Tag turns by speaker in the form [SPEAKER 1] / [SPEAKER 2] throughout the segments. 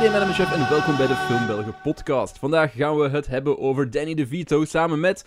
[SPEAKER 1] mijn naam is Jeff en welkom bij de Film Belgen podcast. Vandaag gaan we het hebben over Danny DeVito samen met...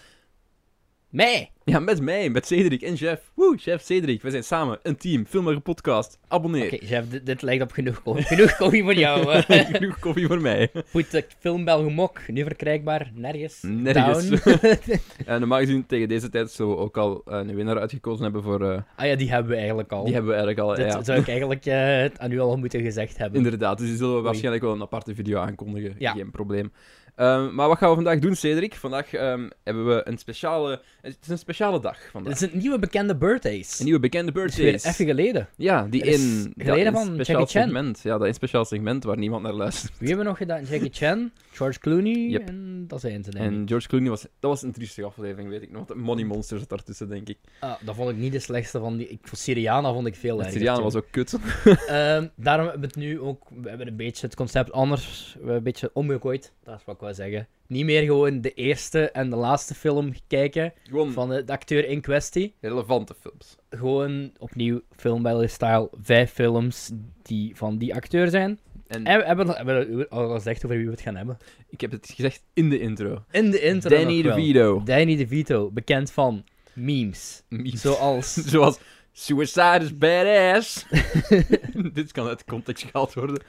[SPEAKER 2] Mij!
[SPEAKER 1] Ja, met mij, met Cedric en Jeff. Woe, Jeff, Cedric, we zijn samen een team. Film Belgen podcast, abonneer.
[SPEAKER 2] Oké, Jeff, dit, dit lijkt op genoeg koffie. Genoeg koffie voor jou. eh.
[SPEAKER 1] Genoeg koffie voor mij.
[SPEAKER 2] Goed, de film Belgemok, nu verkrijgbaar, nergens.
[SPEAKER 1] Nergens.
[SPEAKER 2] Down.
[SPEAKER 1] En normaal gezien tegen deze tijd zullen we ook al eh, een winnaar uitgekozen hebben voor... eh,
[SPEAKER 2] ah ja, die hebben we eigenlijk al.
[SPEAKER 1] die hebben we eigenlijk al,
[SPEAKER 2] Dit
[SPEAKER 1] ja.
[SPEAKER 2] zou ik eigenlijk eh, aan u al moeten gezegd hebben.
[SPEAKER 1] Inderdaad, dus die zullen we waarschijnlijk wel een aparte video aankondigen.
[SPEAKER 2] Ja.
[SPEAKER 1] Geen probleem. Ehm, maar wat gaan we vandaag doen, Cedric? Vandaag ehm, hebben we een speciale... Het is een speciale dag
[SPEAKER 2] Dit
[SPEAKER 1] vandaag.
[SPEAKER 2] is een nieuwe bekende birthdays.
[SPEAKER 1] Een nieuwe bekende
[SPEAKER 2] Dat is weer
[SPEAKER 1] birthdays.
[SPEAKER 2] even geleden.
[SPEAKER 1] Ja, die
[SPEAKER 2] Er is
[SPEAKER 1] in dat
[SPEAKER 2] geleden
[SPEAKER 1] in
[SPEAKER 2] van
[SPEAKER 1] speciaal
[SPEAKER 2] Jackie Chan.
[SPEAKER 1] segment. Ja, dat in speciaal segment waar niemand naar luistert.
[SPEAKER 2] Wie hebben we nog gedaan? Jackie Chan, George Clooney
[SPEAKER 1] Yep.
[SPEAKER 2] en dat zijn ze denk ik.
[SPEAKER 1] En George Clooney was... Dat was een triestige aflevering, weet ik nog. want Money Monster zat daartussen, denk ik.
[SPEAKER 2] Ah, dat vond ik niet de slechtste van die. Ik vond Syriana vond ik veel
[SPEAKER 1] Het
[SPEAKER 2] erger.
[SPEAKER 1] Syriaan
[SPEAKER 2] toen.
[SPEAKER 1] was ook kut.
[SPEAKER 2] Ehm, daarom hebben we het nu ook. We hebben een beetje het concept anders. We hebben een beetje omgegooid. Dat is wat ik wou zeggen. Niet meer gewoon de eerste en de laatste film kijken
[SPEAKER 1] Gewoon
[SPEAKER 2] van de, de acteur in kwestie.
[SPEAKER 1] relevante films.
[SPEAKER 2] Gewoon opnieuw film bij style. Vijf films die van die acteur zijn.
[SPEAKER 1] En
[SPEAKER 2] En we hebben, hebben we al gezegd over wie we het gaan hebben.
[SPEAKER 1] ik heb het gezegd in de intro.
[SPEAKER 2] In de intro.
[SPEAKER 1] Danny
[SPEAKER 2] nog wel.
[SPEAKER 1] DeVito.
[SPEAKER 2] Danny DeVito, bekend van memes.
[SPEAKER 1] Memes.
[SPEAKER 2] Zoals.
[SPEAKER 1] Zoals... Suicide is badass. Dit kan uit context gehaald worden.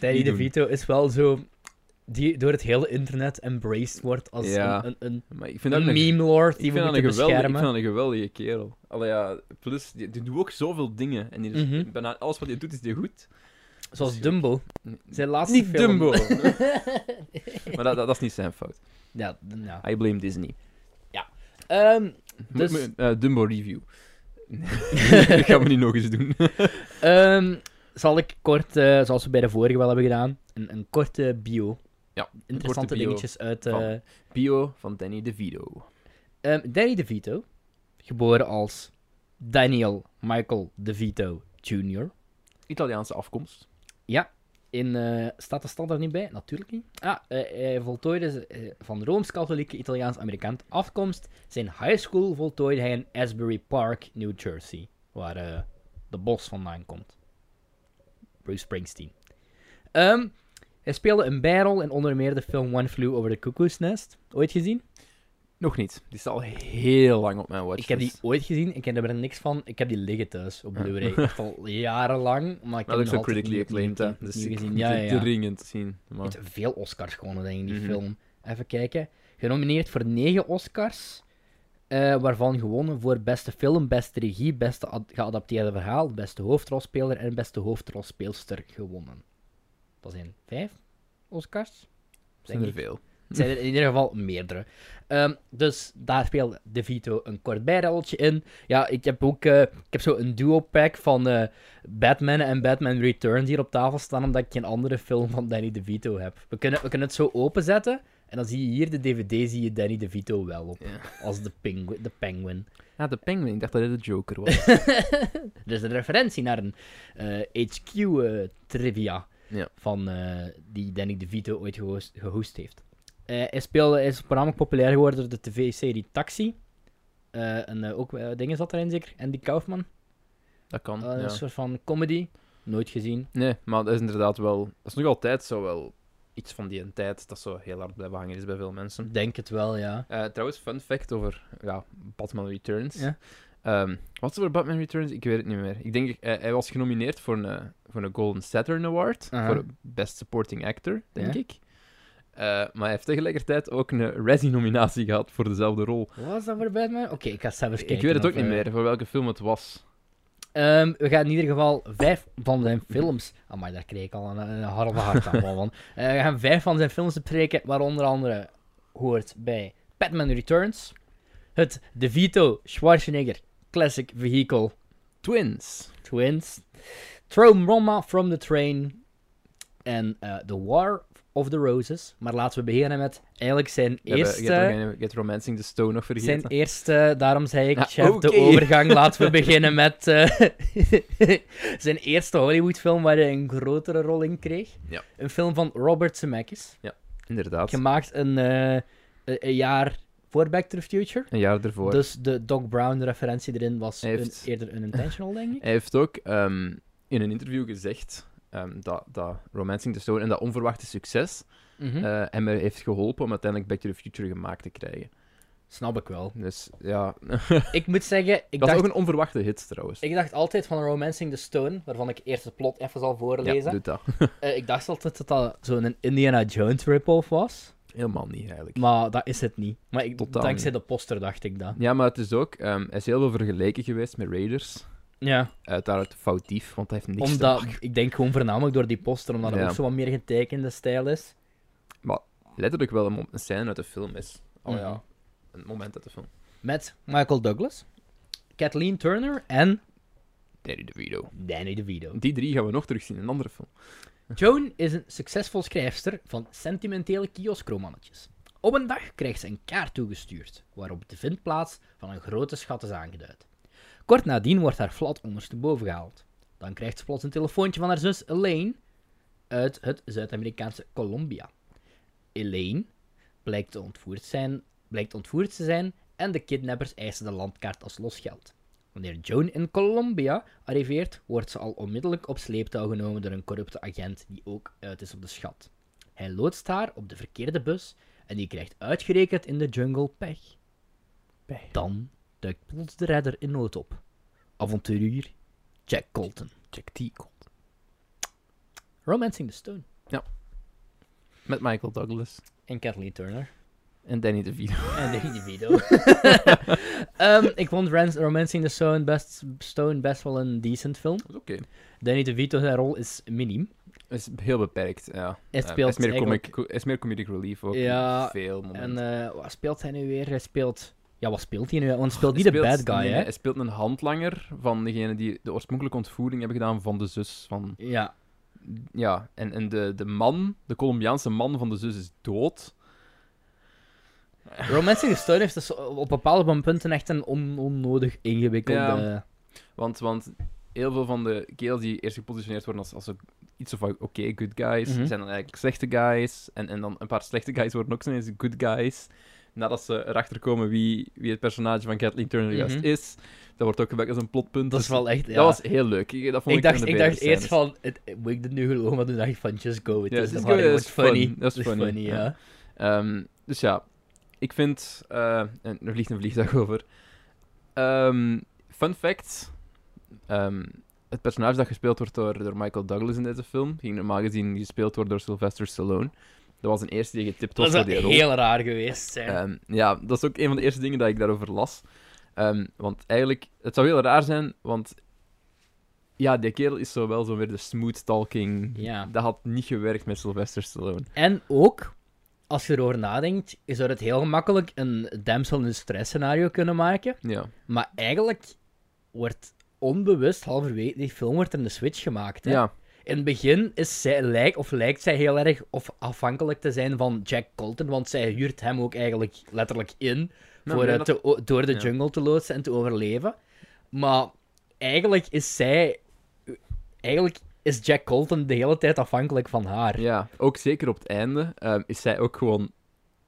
[SPEAKER 2] Danny
[SPEAKER 1] Die doen.
[SPEAKER 2] DeVito is wel zo. die door het hele internet embraced wordt als
[SPEAKER 1] Ja.
[SPEAKER 2] een, een,
[SPEAKER 1] Maar ik
[SPEAKER 2] een,
[SPEAKER 1] vind dat ook een, ik
[SPEAKER 2] meme lord die
[SPEAKER 1] vind
[SPEAKER 2] we
[SPEAKER 1] dat
[SPEAKER 2] moeten
[SPEAKER 1] een, geweldige, ik
[SPEAKER 2] beschermen.
[SPEAKER 1] vind dat een geweldige kerel. Allee, ja, plus, die, die doet ook zoveel dingen. En die is,
[SPEAKER 2] Mhm.
[SPEAKER 1] bijna alles wat hij doet, is die goed.
[SPEAKER 2] Zoals
[SPEAKER 1] Zo.
[SPEAKER 2] Dumbo. Zijn laatste
[SPEAKER 1] Niet
[SPEAKER 2] film.
[SPEAKER 1] Dumbo. maar dat, dat, dat is niet zijn fout.
[SPEAKER 2] Ja, d- ja.
[SPEAKER 1] I blame Disney.
[SPEAKER 2] Ehm,
[SPEAKER 1] Dus...
[SPEAKER 2] Dus-
[SPEAKER 1] Dumbo review. dat gaan we niet nog eens doen.
[SPEAKER 2] ehm, zal ik kort, eh, zoals we bij de vorige wel hebben gedaan, een, een korte bio.
[SPEAKER 1] Ja, korte
[SPEAKER 2] Interessante
[SPEAKER 1] bio
[SPEAKER 2] dingetjes uit... eh,
[SPEAKER 1] van- Bio van Danny DeVito.
[SPEAKER 2] ehm, Danny DeVito, geboren als Daniel Michael DeVito Jr.
[SPEAKER 1] Italiaanse afkomst.
[SPEAKER 2] In, eh, staat de stad er niet bij? Natuurlijk niet. Ah, eh, hij voltooide z- eh, van Rooms-Katholieke Italiaans-Amerikaans afkomst. Zijn high school voltooide hij in Asbury Park, New Jersey, waar eh, de bos vandaan komt. Bruce Springsteen. Ehm, hij speelde een bijrol in onder meer de film One Flew Over the Cuckoo's Nest. Ooit gezien?
[SPEAKER 1] Nog niet. Die staat al heel lang op mijn watch.
[SPEAKER 2] Ik heb die ooit gezien, ik ken er niks van. Ik heb die liggen thuis op Blu-ray. Echt al jarenlang, maar ik
[SPEAKER 1] Maar
[SPEAKER 2] heb
[SPEAKER 1] dat is
[SPEAKER 2] hem
[SPEAKER 1] ook
[SPEAKER 2] nog altijd
[SPEAKER 1] critically
[SPEAKER 2] niet- niet-
[SPEAKER 1] acclaimed, hè.
[SPEAKER 2] niet-
[SPEAKER 1] Dus
[SPEAKER 2] niet
[SPEAKER 1] ik
[SPEAKER 2] gezien.
[SPEAKER 1] moet
[SPEAKER 2] Ja, ja,
[SPEAKER 1] het
[SPEAKER 2] ja.
[SPEAKER 1] dringend zien. Maar...
[SPEAKER 2] heeft veel Oscars gewonnen, denk ik, die
[SPEAKER 1] Mhm.
[SPEAKER 2] film. Even kijken. Genomineerd voor 9 Oscars. eh, waarvan gewonnen voor beste film, beste regie, beste ad- geadapteerde verhaal, beste hoofdrolspeler en beste hoofdrolspeelster gewonnen. Dat zijn vijf Oscars.
[SPEAKER 1] Zijn er veel.
[SPEAKER 2] Het zijn er in ieder geval meerdere. Ehm, dus daar speelt De Vito een kort bijrolletje in. Ja, ik heb ook eh, ik heb zo een duo-pack van eh, Batman en Batman Returns hier op tafel staan, omdat ik geen andere film van Danny DeVito heb. We kunnen, we kunnen het zo openzetten en dan zie je hier de DVD, zie je Danny DeVito wel op.
[SPEAKER 1] Ja.
[SPEAKER 2] Als de, pengu de penguin.
[SPEAKER 1] Ja, de Penguin. Ik dacht dat dit de Joker was.
[SPEAKER 2] Er is Dus een referentie naar een eh, HQ-trivia
[SPEAKER 1] Ja.
[SPEAKER 2] van eh, die Danny DeVito ooit gehost, gehost heeft. Eh, hij, speelde, hij is voornamelijk populair geworden door de tv-serie Taxi. Eh, en eh, ook eh, dingen zat erin zeker. Andy Kaufman.
[SPEAKER 1] dat kan.
[SPEAKER 2] Eh,
[SPEAKER 1] Hm, ja.
[SPEAKER 2] Een soort van comedy. Nooit gezien.
[SPEAKER 1] Nee, maar dat is inderdaad wel... Dat is nog altijd zo wel iets van die tijd dat zo heel hard blijven hangen is bij veel mensen.
[SPEAKER 2] Denk het wel, ja.
[SPEAKER 1] Eh, trouwens, fun fact over ja, Batman Returns.
[SPEAKER 2] Ja.
[SPEAKER 1] Ehm, wat is er voor Batman Returns? Ik weet het niet meer. Ik denk, eh, hij was genomineerd voor een, eh, voor een Golden Saturn Award.
[SPEAKER 2] Aha.
[SPEAKER 1] Voor Best Supporting Actor, denk
[SPEAKER 2] Ja.
[SPEAKER 1] ik. Eh, maar hij heeft tegelijkertijd ook een eh, Razzie-nominatie gehad voor dezelfde rol.
[SPEAKER 2] Wat was dat voor Batman? Oké, ik ga het zelf eens kijken.
[SPEAKER 1] ik weet het ook
[SPEAKER 2] of,
[SPEAKER 1] niet
[SPEAKER 2] eh,
[SPEAKER 1] meer, voor welke film het was.
[SPEAKER 2] Ehm, we gaan in ieder geval vijf van zijn films. Amai, daar kreeg ik al een, een halve hartaanval van. Eh, we gaan vijf van zijn films bespreken, waar onder andere hoort bij Batman Returns, het De Vito Schwarzenegger Classic Vehicle
[SPEAKER 1] Twins.
[SPEAKER 2] Twins, Throw Roma from the Train en eh, The War of the Roses. Maar laten we beginnen met eigenlijk zijn
[SPEAKER 1] We hebben Get,
[SPEAKER 2] eerste.
[SPEAKER 1] Romancing- Get Romancing the Stone nog vergeten.
[SPEAKER 2] Zijn eerste, daarom zei ik,
[SPEAKER 1] Ja,
[SPEAKER 2] chef, de
[SPEAKER 1] oké.
[SPEAKER 2] overgang. Laten we beginnen met eh, zijn eerste Hollywoodfilm waar hij een grotere rol in kreeg.
[SPEAKER 1] Ja.
[SPEAKER 2] Een film van Robert Zemeckis.
[SPEAKER 1] Inderdaad.
[SPEAKER 2] Gemaakt een, eh, een- een jaar voor Back to the Future.
[SPEAKER 1] Een jaar ervoor.
[SPEAKER 2] Dus de Doc Brown-referentie erin was
[SPEAKER 1] Hij heeft-
[SPEAKER 2] een- eerder unintentional, denk ik.
[SPEAKER 1] Hij heeft ook ehm, in een interview gezegd ehm, dat, dat Romancing the Stone en dat onverwachte succes
[SPEAKER 2] Mhm.
[SPEAKER 1] eh, hem er heeft geholpen om uiteindelijk Back to the Future gemaakt te krijgen.
[SPEAKER 2] Snap ik wel.
[SPEAKER 1] Dus ja,
[SPEAKER 2] Ik moet zeggen, ik
[SPEAKER 1] dat is
[SPEAKER 2] dacht,
[SPEAKER 1] ook een onverwachte hit trouwens.
[SPEAKER 2] ik dacht altijd van Romancing the Stone, waarvan ik eerst het plot even zal
[SPEAKER 1] ja,
[SPEAKER 2] voorlezen.
[SPEAKER 1] doet dat.
[SPEAKER 2] Eh, ik dacht altijd dat dat zo'n Indiana Jones rip-off was.
[SPEAKER 1] Helemaal niet eigenlijk.
[SPEAKER 2] Maar dat is het niet. Maar ik,
[SPEAKER 1] Totaal
[SPEAKER 2] dankzij
[SPEAKER 1] niet.
[SPEAKER 2] de poster dacht ik dat.
[SPEAKER 1] Ja, maar het is ook, ehm hij is heel veel vergeleken geweest met Raiders.
[SPEAKER 2] Ja,
[SPEAKER 1] Uiteraard foutief, want hij heeft niks te
[SPEAKER 2] omdat,
[SPEAKER 1] maken.
[SPEAKER 2] ik denk gewoon voornamelijk door die poster, omdat het
[SPEAKER 1] Ja.
[SPEAKER 2] ook zo wat meer getekende stijl is.
[SPEAKER 1] Letterlijk wel een, mom- een scène uit de film is. Oh
[SPEAKER 2] Mhm.
[SPEAKER 1] ja, een moment uit de film.
[SPEAKER 2] Met Michael Douglas, Kathleen Turner en
[SPEAKER 1] Danny DeVito.
[SPEAKER 2] Danny DeVito.
[SPEAKER 1] Die drie gaan we nog terugzien in een andere film.
[SPEAKER 2] Joan is een succesvol schrijfster van sentimentele kioskromannetjes. Op een dag krijgt ze een kaart toegestuurd, waarop de vindplaats van een grote schat is aangeduid. Kort nadien wordt haar flat ondersteboven gehaald. Dan krijgt ze plots een telefoontje van haar zus Elaine uit het Zuid-Amerikaanse Colombia. Elaine blijkt te ontvoerd, zijn, blijkt ontvoerd te zijn en de kidnappers eisen de landkaart als losgeld. Wanneer Joan in Colombia arriveert, wordt ze al onmiddellijk op sleeptouw genomen door een corrupte agent die ook uit is op de schat. Hij loodst haar op de verkeerde bus en die krijgt uitgerekend in de jungle pech.
[SPEAKER 1] Pech.
[SPEAKER 2] Dan duikt plots de redder in nood op. Avonturier Jack Colton.
[SPEAKER 1] Check die komt.
[SPEAKER 2] Romancing the Stone.
[SPEAKER 1] Met Michael Douglas
[SPEAKER 2] En Kathleen Turner.
[SPEAKER 1] en Danny DeVito.
[SPEAKER 2] En Danny DeVito. Ehm, ik vond Ran- Romancing the Stone best, Stone best wel een decent film.
[SPEAKER 1] Dat is oké.
[SPEAKER 2] Danny DeVito, zijn rol is miniem.
[SPEAKER 1] is heel beperkt, ja.
[SPEAKER 2] Het
[SPEAKER 1] Eh,
[SPEAKER 2] speelt
[SPEAKER 1] is meer
[SPEAKER 2] eigenlijk-
[SPEAKER 1] comic, is meer comedic relief ook.
[SPEAKER 2] Ja,
[SPEAKER 1] in veel momenten.
[SPEAKER 2] En eh, wat speelt hij nu weer? Hij speelt... Ja, wat speelt hij nu? Want hij speelt
[SPEAKER 1] Oh, Hij
[SPEAKER 2] niet de bad
[SPEAKER 1] speelt-
[SPEAKER 2] guy,
[SPEAKER 1] nee,
[SPEAKER 2] hè?
[SPEAKER 1] Hij speelt een handlanger van degene die de oorspronkelijke ontvoering hebben gedaan van de zus van...
[SPEAKER 2] Ja.
[SPEAKER 1] Ja, en, en de, de man, de Colombiaanse man van de zus is dood.
[SPEAKER 2] Romancing the Stone heeft dus op bepaalde punten echt een on- onnodig ingewikkelde...
[SPEAKER 1] Ja. Want, want heel veel van de kerels die eerst gepositioneerd worden als, als ook iets of oké, good guys,
[SPEAKER 2] Mhm.
[SPEAKER 1] zijn dan eigenlijk slechte guys. En, en dan een paar slechte guys worden ook ineens good guys. Nadat ze erachter komen wie, wie het personage van Kathleen Turner juist
[SPEAKER 2] Mhm.
[SPEAKER 1] is. Dat wordt ook gebruikt als een plotpunt.
[SPEAKER 2] Dat is
[SPEAKER 1] Dus
[SPEAKER 2] wel echt... Ja.
[SPEAKER 1] dat was heel leuk. Ik, dat vond
[SPEAKER 2] ik
[SPEAKER 1] ik,
[SPEAKER 2] dacht,
[SPEAKER 1] een
[SPEAKER 2] ik
[SPEAKER 1] betere
[SPEAKER 2] dacht eerst
[SPEAKER 1] scènes.
[SPEAKER 2] van... Het, moet ik dit nu geloven? Maar toen dacht ik van, just go with
[SPEAKER 1] Ja,
[SPEAKER 2] this.
[SPEAKER 1] just
[SPEAKER 2] Dat
[SPEAKER 1] go,
[SPEAKER 2] was
[SPEAKER 1] is
[SPEAKER 2] funny.
[SPEAKER 1] fun. Dat is funny,
[SPEAKER 2] ja.
[SPEAKER 1] ja. Ehm, dus ja, ik vind. eh, en er vliegt een vliegtuig over. Ehm, fun fact: Ehm, het personage dat gespeeld wordt door, door Michael Douglas in deze film ging normaal gezien gespeeld worden door Sylvester Stallone. Dat was een eerste die getipt was
[SPEAKER 2] Dat
[SPEAKER 1] voor
[SPEAKER 2] zou
[SPEAKER 1] die rol.
[SPEAKER 2] heel raar geweest zijn.
[SPEAKER 1] Ehm, ja, dat is ook een van de eerste dingen dat ik daarover las. Ehm, want eigenlijk, het zou heel raar zijn, want ja, die kerel is zo wel zo weer de smooth talking.
[SPEAKER 2] Ja.
[SPEAKER 1] Dat had niet gewerkt met Sylvester Stallone.
[SPEAKER 2] En ook, als je erover nadenkt, je zou het heel makkelijk een damsel in stress scenario kunnen maken.
[SPEAKER 1] Ja.
[SPEAKER 2] Maar eigenlijk wordt onbewust, halverwege die film, wordt er een switch gemaakt. Hè?
[SPEAKER 1] ja.
[SPEAKER 2] In het begin is zij, lijkt, of lijkt zij heel erg of afhankelijk te zijn van Jack Colton, want zij huurt hem ook eigenlijk letterlijk in
[SPEAKER 1] Nou,
[SPEAKER 2] voor,
[SPEAKER 1] maar
[SPEAKER 2] eh,
[SPEAKER 1] dat-
[SPEAKER 2] te o- door de
[SPEAKER 1] ja.
[SPEAKER 2] jungle te loodsen en te overleven. Maar eigenlijk is zij... Eigenlijk is Jack Colton de hele tijd afhankelijk van haar.
[SPEAKER 1] Ja, ook zeker op het einde ehm, is zij ook gewoon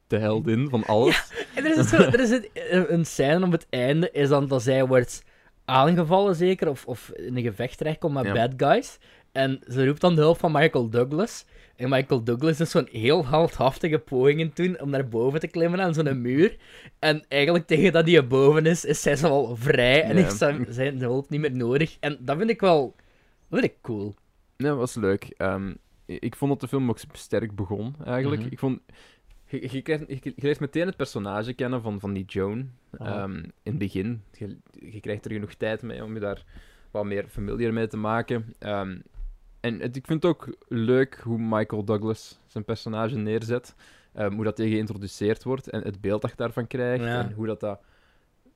[SPEAKER 1] de heldin van alles.
[SPEAKER 2] En er is, zo, er is een, een scène op het einde, is dan dat zij wordt aangevallen zeker, of, of in een gevecht terechtkomt met
[SPEAKER 1] Ja.
[SPEAKER 2] bad guys. En ze roept dan de hulp van Michael Douglas. En Michael Douglas is zo'n heel heldhaftige pogingen doen om naar boven te klimmen aan zo'n muur. En eigenlijk tegen dat hij boven is, is zij zo al vrij en
[SPEAKER 1] Ja.
[SPEAKER 2] heeft zijn, zijn hulp niet meer nodig. En dat vind ik wel... Dat vind ik cool.
[SPEAKER 1] Nee, dat was leuk. Ehm, ik ik vond dat de film ook sterk begon, eigenlijk.
[SPEAKER 2] Mhm.
[SPEAKER 1] Ik vond... Je, je, krijgt, je, je leert meteen het personage kennen van, van die Joan
[SPEAKER 2] Aha.
[SPEAKER 1] ehm, in het begin. Je, je krijgt er genoeg tijd mee om je daar wat meer familiar mee te maken. Ehm, en het- ik vind het ook leuk hoe Michael Douglas zijn personage neerzet. ehm, hoe dat tegen geïntroduceerd wordt en het beeld dat je daarvan krijgt.
[SPEAKER 2] Ja.
[SPEAKER 1] En hoe dat, dat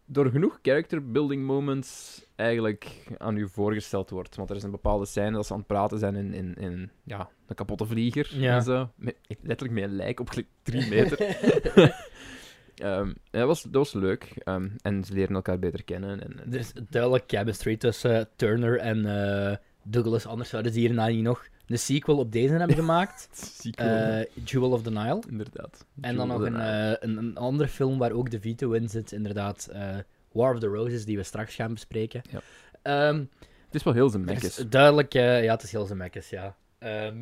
[SPEAKER 1] door genoeg character building moments eigenlijk aan u voorgesteld wordt. Want er is een bepaalde scène dat ze aan het praten zijn in, in, in ja, een kapotte vlieger
[SPEAKER 2] Ja.
[SPEAKER 1] en zo. Met- letterlijk met een lijk op gelijk drie meter. Ehm, ja, dat, was, dat was leuk. Ehm, en ze leren elkaar beter kennen. En, en-
[SPEAKER 2] Er is duidelijk chemistry tussen eh, Turner en eh, Douglas. Anders zouden ze hierna niet nog een sequel op deze hebben gemaakt.
[SPEAKER 1] ziek
[SPEAKER 2] Eh,
[SPEAKER 1] wel,
[SPEAKER 2] Jewel of the Nile.
[SPEAKER 1] inderdaad.
[SPEAKER 2] En dan nog
[SPEAKER 1] Jewel
[SPEAKER 2] een,
[SPEAKER 1] daarna.
[SPEAKER 2] eh, een, een andere film waar ook de Vito in zit. Inderdaad, eh, War of the Roses, die we straks gaan bespreken.
[SPEAKER 1] Ja.
[SPEAKER 2] Ehm,
[SPEAKER 1] Het is wel heel zijn
[SPEAKER 2] Het
[SPEAKER 1] mekkes.
[SPEAKER 2] is duidelijk, eh, ja, het is heel zemekkes, ja. Ehm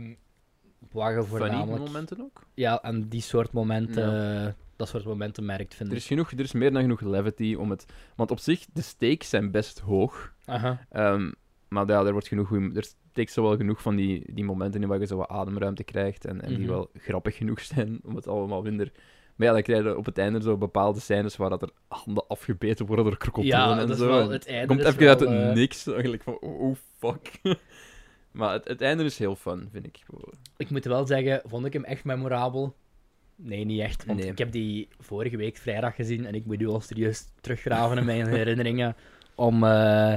[SPEAKER 2] waren
[SPEAKER 1] Funny
[SPEAKER 2] voornamelijk.
[SPEAKER 1] momenten ook.
[SPEAKER 2] Ja, en die soort momenten, eh, dat soort momenten merkt, vind
[SPEAKER 1] Er
[SPEAKER 2] ik.
[SPEAKER 1] is, genoeg, er is meer dan genoeg levity om het... Want op zich, de stakes zijn best hoog.
[SPEAKER 2] Aha.
[SPEAKER 1] Ehm, maar ja, er wordt genoeg... goeie- Er steekt zo wel genoeg van die, die momenten in waar je zo wat ademruimte krijgt. En, en die
[SPEAKER 2] Mhm.
[SPEAKER 1] wel grappig genoeg zijn om het allemaal minder... Maar ja, dan krijg je op het einde zo bepaalde scènes waar dat er handen afgebeten worden door krokodillen
[SPEAKER 2] Ja,
[SPEAKER 1] en
[SPEAKER 2] dat is
[SPEAKER 1] zo.
[SPEAKER 2] wel
[SPEAKER 1] En
[SPEAKER 2] het einde.
[SPEAKER 1] komt
[SPEAKER 2] is
[SPEAKER 1] even uit
[SPEAKER 2] wel,
[SPEAKER 1] het
[SPEAKER 2] eh,
[SPEAKER 1] niks. Eigenlijk van, oh, oh, fuck. maar het, het einde is heel fun, vind ik.
[SPEAKER 2] Ik moet wel zeggen, vond ik hem echt memorabel? Nee, niet echt. Want
[SPEAKER 1] Nee.
[SPEAKER 2] ik heb die vorige week vrijdag gezien en ik moet nu al serieus teruggraven in mijn herinneringen om, eh,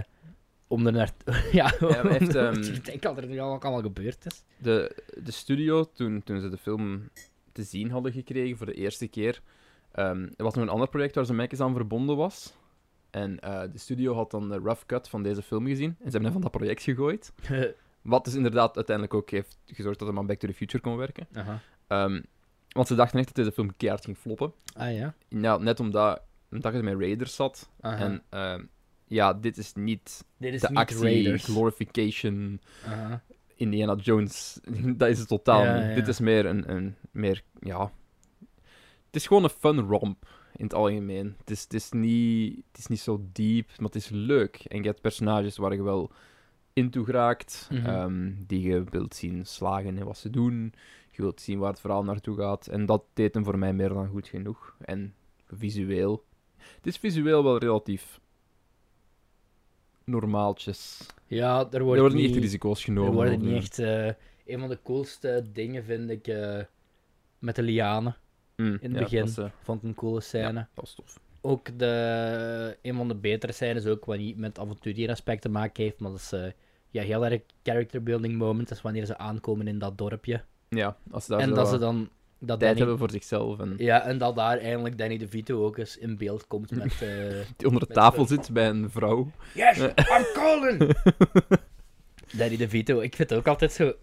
[SPEAKER 2] om er naar. ja,
[SPEAKER 1] maar
[SPEAKER 2] om-
[SPEAKER 1] echt, ehm,
[SPEAKER 2] ik denk dat er nu al ook allemaal gebeurd is.
[SPEAKER 1] De, de studio, toen, toen ze de film te zien hadden gekregen voor de eerste keer, ehm, er was nog een ander project waar ze Mekkes aan verbonden was. En eh, de studio had dan de rough cut van deze film gezien. En ze hebben hem van dat project gegooid. Wat dus inderdaad uiteindelijk ook heeft gezorgd dat hij aan Back to the Future kon werken.
[SPEAKER 2] Aha.
[SPEAKER 1] Ehm, want ze dachten echt dat deze film keihard ging floppen.
[SPEAKER 2] Ah ja.
[SPEAKER 1] Nou, net omdat, omdat het met Raiders zat.
[SPEAKER 2] Aha.
[SPEAKER 1] En ehm, ja, dit is niet
[SPEAKER 2] Dit is
[SPEAKER 1] de
[SPEAKER 2] niet
[SPEAKER 1] actie,
[SPEAKER 2] Raiders.
[SPEAKER 1] glorification,
[SPEAKER 2] Aha.
[SPEAKER 1] Indiana Jones, dat is het totaal
[SPEAKER 2] Ja,
[SPEAKER 1] niet.
[SPEAKER 2] ja.
[SPEAKER 1] Dit is meer een, een meer, ja... Het is gewoon een fun romp, in het algemeen. Het is, het, is niet, het is niet zo diep, maar het is leuk. En je hebt personages waar je wel into geraakt,
[SPEAKER 2] Mhm.
[SPEAKER 1] ehm, die je wilt zien slagen en wat ze doen. Je wilt zien waar het verhaal naartoe gaat. En dat deed hem voor mij meer dan goed genoeg. En visueel... Het is visueel wel relatief... Normaaltjes.
[SPEAKER 2] Ja, er wordt,
[SPEAKER 1] Er worden niet echt risico's genomen.
[SPEAKER 2] Er worden
[SPEAKER 1] of,
[SPEAKER 2] niet
[SPEAKER 1] eh,
[SPEAKER 2] echt. eh, een van de coolste dingen vind ik eh, met de lianen.
[SPEAKER 1] Mm,
[SPEAKER 2] in het
[SPEAKER 1] ja,
[SPEAKER 2] begin.
[SPEAKER 1] Dat is, eh,
[SPEAKER 2] Vond ik een coole scène.
[SPEAKER 1] dat is tof.
[SPEAKER 2] Ook de, een van de betere scènes, ook wat niet met avontuurieraspect te maken heeft, maar dat is eh, ja, heel erg character building moment. Dat is wanneer ze aankomen in dat dorpje.
[SPEAKER 1] Ja, als ze daar
[SPEAKER 2] en
[SPEAKER 1] zo
[SPEAKER 2] dat ze
[SPEAKER 1] wat
[SPEAKER 2] dan.
[SPEAKER 1] tijd
[SPEAKER 2] Dat Danny,
[SPEAKER 1] hebben voor zichzelf en
[SPEAKER 2] Ja, en dat daar eindelijk Danny DeVito ook eens in beeld komt met. eh,
[SPEAKER 1] die onder de
[SPEAKER 2] met
[SPEAKER 1] tafel zit bij een vrouw.
[SPEAKER 2] yes, I'm calling! Danny DeVito, ik vind het ook altijd zo.
[SPEAKER 1] Het